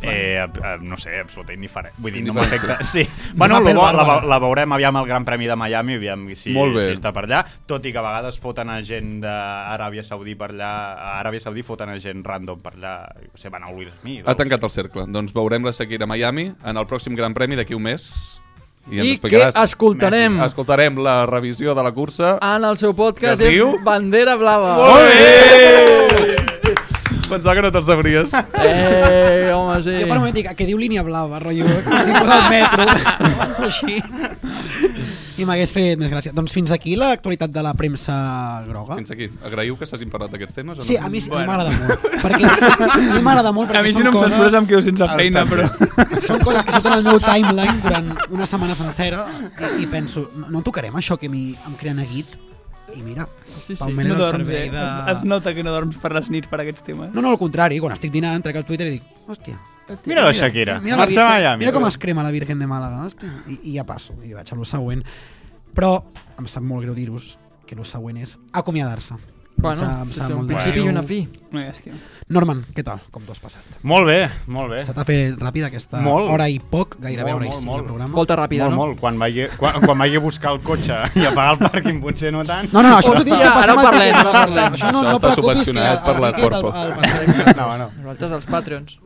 Speaker 3: Eh, ab- ab- no sé, absoluta indiferent. Vull dir, no
Speaker 8: Indiferència.
Speaker 3: m'afecta. Sí.
Speaker 8: Anem
Speaker 3: Bueno,
Speaker 8: a
Speaker 3: lo
Speaker 8: pel
Speaker 3: bo, la,
Speaker 8: Bàrbara.
Speaker 3: la veurem aviam al Gran Premi de Miami, aviam si,
Speaker 8: Molt bé.
Speaker 3: si està per allà, tot i que a vegades foten a gent d'Aràbia Saudí per allà, a Aràbia Saudí foten a gent random per allà, jo sé, van a Will Smith.
Speaker 8: Ha tancat el cercle. Doncs veurem la Shakira a Miami en el pròxim Gran Premi d'aquí un mes.
Speaker 2: I
Speaker 8: ens
Speaker 2: que
Speaker 8: explicaràs-
Speaker 2: escoltarem.
Speaker 8: Messi. Ah, Escoltarem la revisió de la cursa.
Speaker 2: En el seu
Speaker 8: Que
Speaker 2: podcast
Speaker 8: es diu?
Speaker 2: és Bandera Blava.
Speaker 8: Molt bé! Pensava que no te'l sabries.
Speaker 2: Eh, home, sí.
Speaker 1: Jo per un moment dic, "Ah, que diu línia blava, rotllo, com si fos el metro. Així. I m'hagués fet més gràcia. Doncs fins aquí l'actualitat de la premsa groga.
Speaker 8: Fins aquí. Agraïu que s'hagin parlat d'aquests temes? O no?
Speaker 1: Ah. Sí, a mi sí, a mi m'agrada molt. Perquè sí, a mi m'agrada molt
Speaker 9: A
Speaker 1: perquè
Speaker 9: mi si
Speaker 1: són
Speaker 9: no em
Speaker 1: coses- eh?
Speaker 9: censures em quedo sense feina, però...
Speaker 1: Són coses que surten al meu timeline durant una setmana sencera i, i penso, no, no tocarem això que a mi em crea neguit? I mira,
Speaker 9: Sí, sí,
Speaker 1: Pau Mena
Speaker 9: no
Speaker 1: al
Speaker 9: dorms, eh?
Speaker 1: servei de-
Speaker 9: Es, es, nota que no dorms per les nits per aquests temes.
Speaker 1: No, no, al contrari, quan estic dinant, trec el Twitter i dic, hòstia...
Speaker 9: Mira la Shakira.
Speaker 1: la
Speaker 9: Marxa
Speaker 1: Virgen-
Speaker 9: a Miami.
Speaker 1: mira com es crema la Virgen de Màlaga, hòstia. I, i ja passo, i vaig a lo següent. Però em sap molt greu dir-vos que lo següent és acomiadar-se. Em
Speaker 2: Bueno,
Speaker 1: sap- em sap
Speaker 2: és un
Speaker 1: molt
Speaker 2: principi
Speaker 1: greu.
Speaker 2: i una fi.
Speaker 9: No, llàstima.
Speaker 1: Norman, què tal? Com t'ho has passat?
Speaker 3: Molt bé, molt bé.
Speaker 1: Se t'ha fet ràpida aquesta
Speaker 3: Molt.
Speaker 1: hora i poc, gairebé
Speaker 3: Molt,
Speaker 1: hora i
Speaker 3: molt,
Speaker 1: cinc
Speaker 3: molt.
Speaker 1: de programa.
Speaker 3: molt, Molt, quan vagi, quan, quan vagi a buscar el cotxe i a pagar el pàrquing, potser no tant.
Speaker 1: No, no, no, això t'ho dius que passa amb el temps, no parlem. Això no- Això no està preocupis que subvencionat el- el per la tiquet, el- Corpo. el passarem.
Speaker 3: No, no.
Speaker 2: Nosaltres, els Patreons.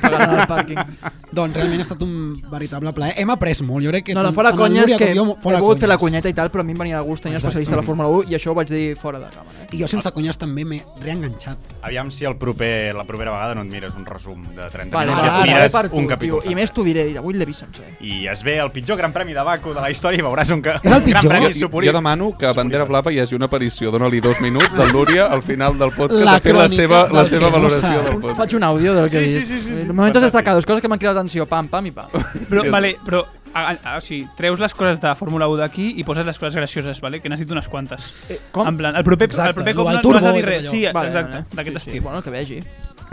Speaker 2: Pagaran el pàrquing.
Speaker 1: Doncs realment ha estat un veritable plaer. Hem après molt. Jo crec que
Speaker 2: No, la
Speaker 1: tant-
Speaker 2: fora
Speaker 1: tant el
Speaker 2: conya és
Speaker 1: Núria
Speaker 2: que
Speaker 1: com
Speaker 2: he
Speaker 1: jo,
Speaker 2: pogut
Speaker 1: fora
Speaker 2: fer la
Speaker 1: conyes.
Speaker 2: conyeta i tal, però a mi em venia de gust tenir especialista de la Fórmula 1 i això ho vaig dir fora de càmera. eh.
Speaker 1: I jo sense conyes també m'he reenganxat.
Speaker 3: Aviam si el proper, la propera vegada no et mires un resum de 30
Speaker 2: Vale,
Speaker 3: minuts i
Speaker 2: vale,
Speaker 3: et
Speaker 2: vale
Speaker 3: mires
Speaker 2: per tu,
Speaker 3: un
Speaker 2: tio.
Speaker 3: capítol.
Speaker 2: I més t'ho diré, avui l'he vist sencer.
Speaker 3: I es ve el pitjor gran premi de Baco de la història i veuràs un, ca...
Speaker 8: És el
Speaker 3: un gran premi
Speaker 8: Jo,
Speaker 3: superior.
Speaker 8: jo demano que a Bandera Blava hi hagi una aparició, dona-li dos minuts del Lúria al final del podcast
Speaker 2: La
Speaker 8: a fer la
Speaker 2: crònica
Speaker 8: seva, la
Speaker 2: del
Speaker 8: seva
Speaker 2: que
Speaker 8: valoració
Speaker 2: no
Speaker 8: del
Speaker 2: sap.
Speaker 8: podcast.
Speaker 2: Faig un àudio del que he dit. Momentos destacados, coses que m'han cridat atenció, pam, pam i pam.
Speaker 9: Però, vale, però a, a, o sigui, treus les coses de Fórmula 1 d'aquí i poses les coses gracioses, vale? que n'has dit unes quantes. Eh,
Speaker 2: com?
Speaker 9: En plan, el proper,
Speaker 1: Exacte,
Speaker 9: el proper
Speaker 1: lo
Speaker 9: cop no,
Speaker 1: del
Speaker 9: no has
Speaker 1: turbo
Speaker 9: de
Speaker 1: i
Speaker 9: dir
Speaker 1: tot
Speaker 9: res.
Speaker 1: allò.
Speaker 9: Sí,
Speaker 1: Vale,
Speaker 9: vale, exacte,
Speaker 1: vale.
Speaker 9: d'aquest
Speaker 1: Sí, sí.
Speaker 9: estil.
Speaker 2: Bueno, que vegi.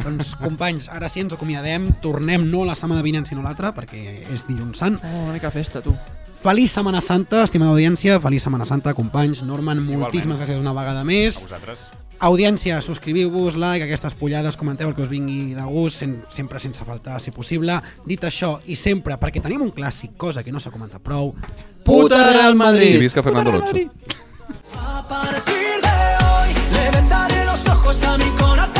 Speaker 1: Doncs, companys, ara sí ens acomiadem. Tornem no la setmana vinent, sinó l'altra, perquè és dilluns sant.
Speaker 2: Oh, una mica festa, tu.
Speaker 1: Feliç Setmana Santa, estimada audiència. Feliç Setmana Santa, companys. Norman, moltíssimes gràcies una vegada més.
Speaker 3: A vosaltres.
Speaker 1: Audiència, subscriviu-vos, like, aquestes pollades, comenteu el que us vingui de gust, sen sempre sense faltar, si possible. Dit això, i sempre, perquè tenim un clàssic, cosa que no s'ha comentat prou, Puta Real
Speaker 8: I
Speaker 1: Madrid!
Speaker 8: visca Fernando Alonso.
Speaker 14: Le vendaré los ojos a mi corazón.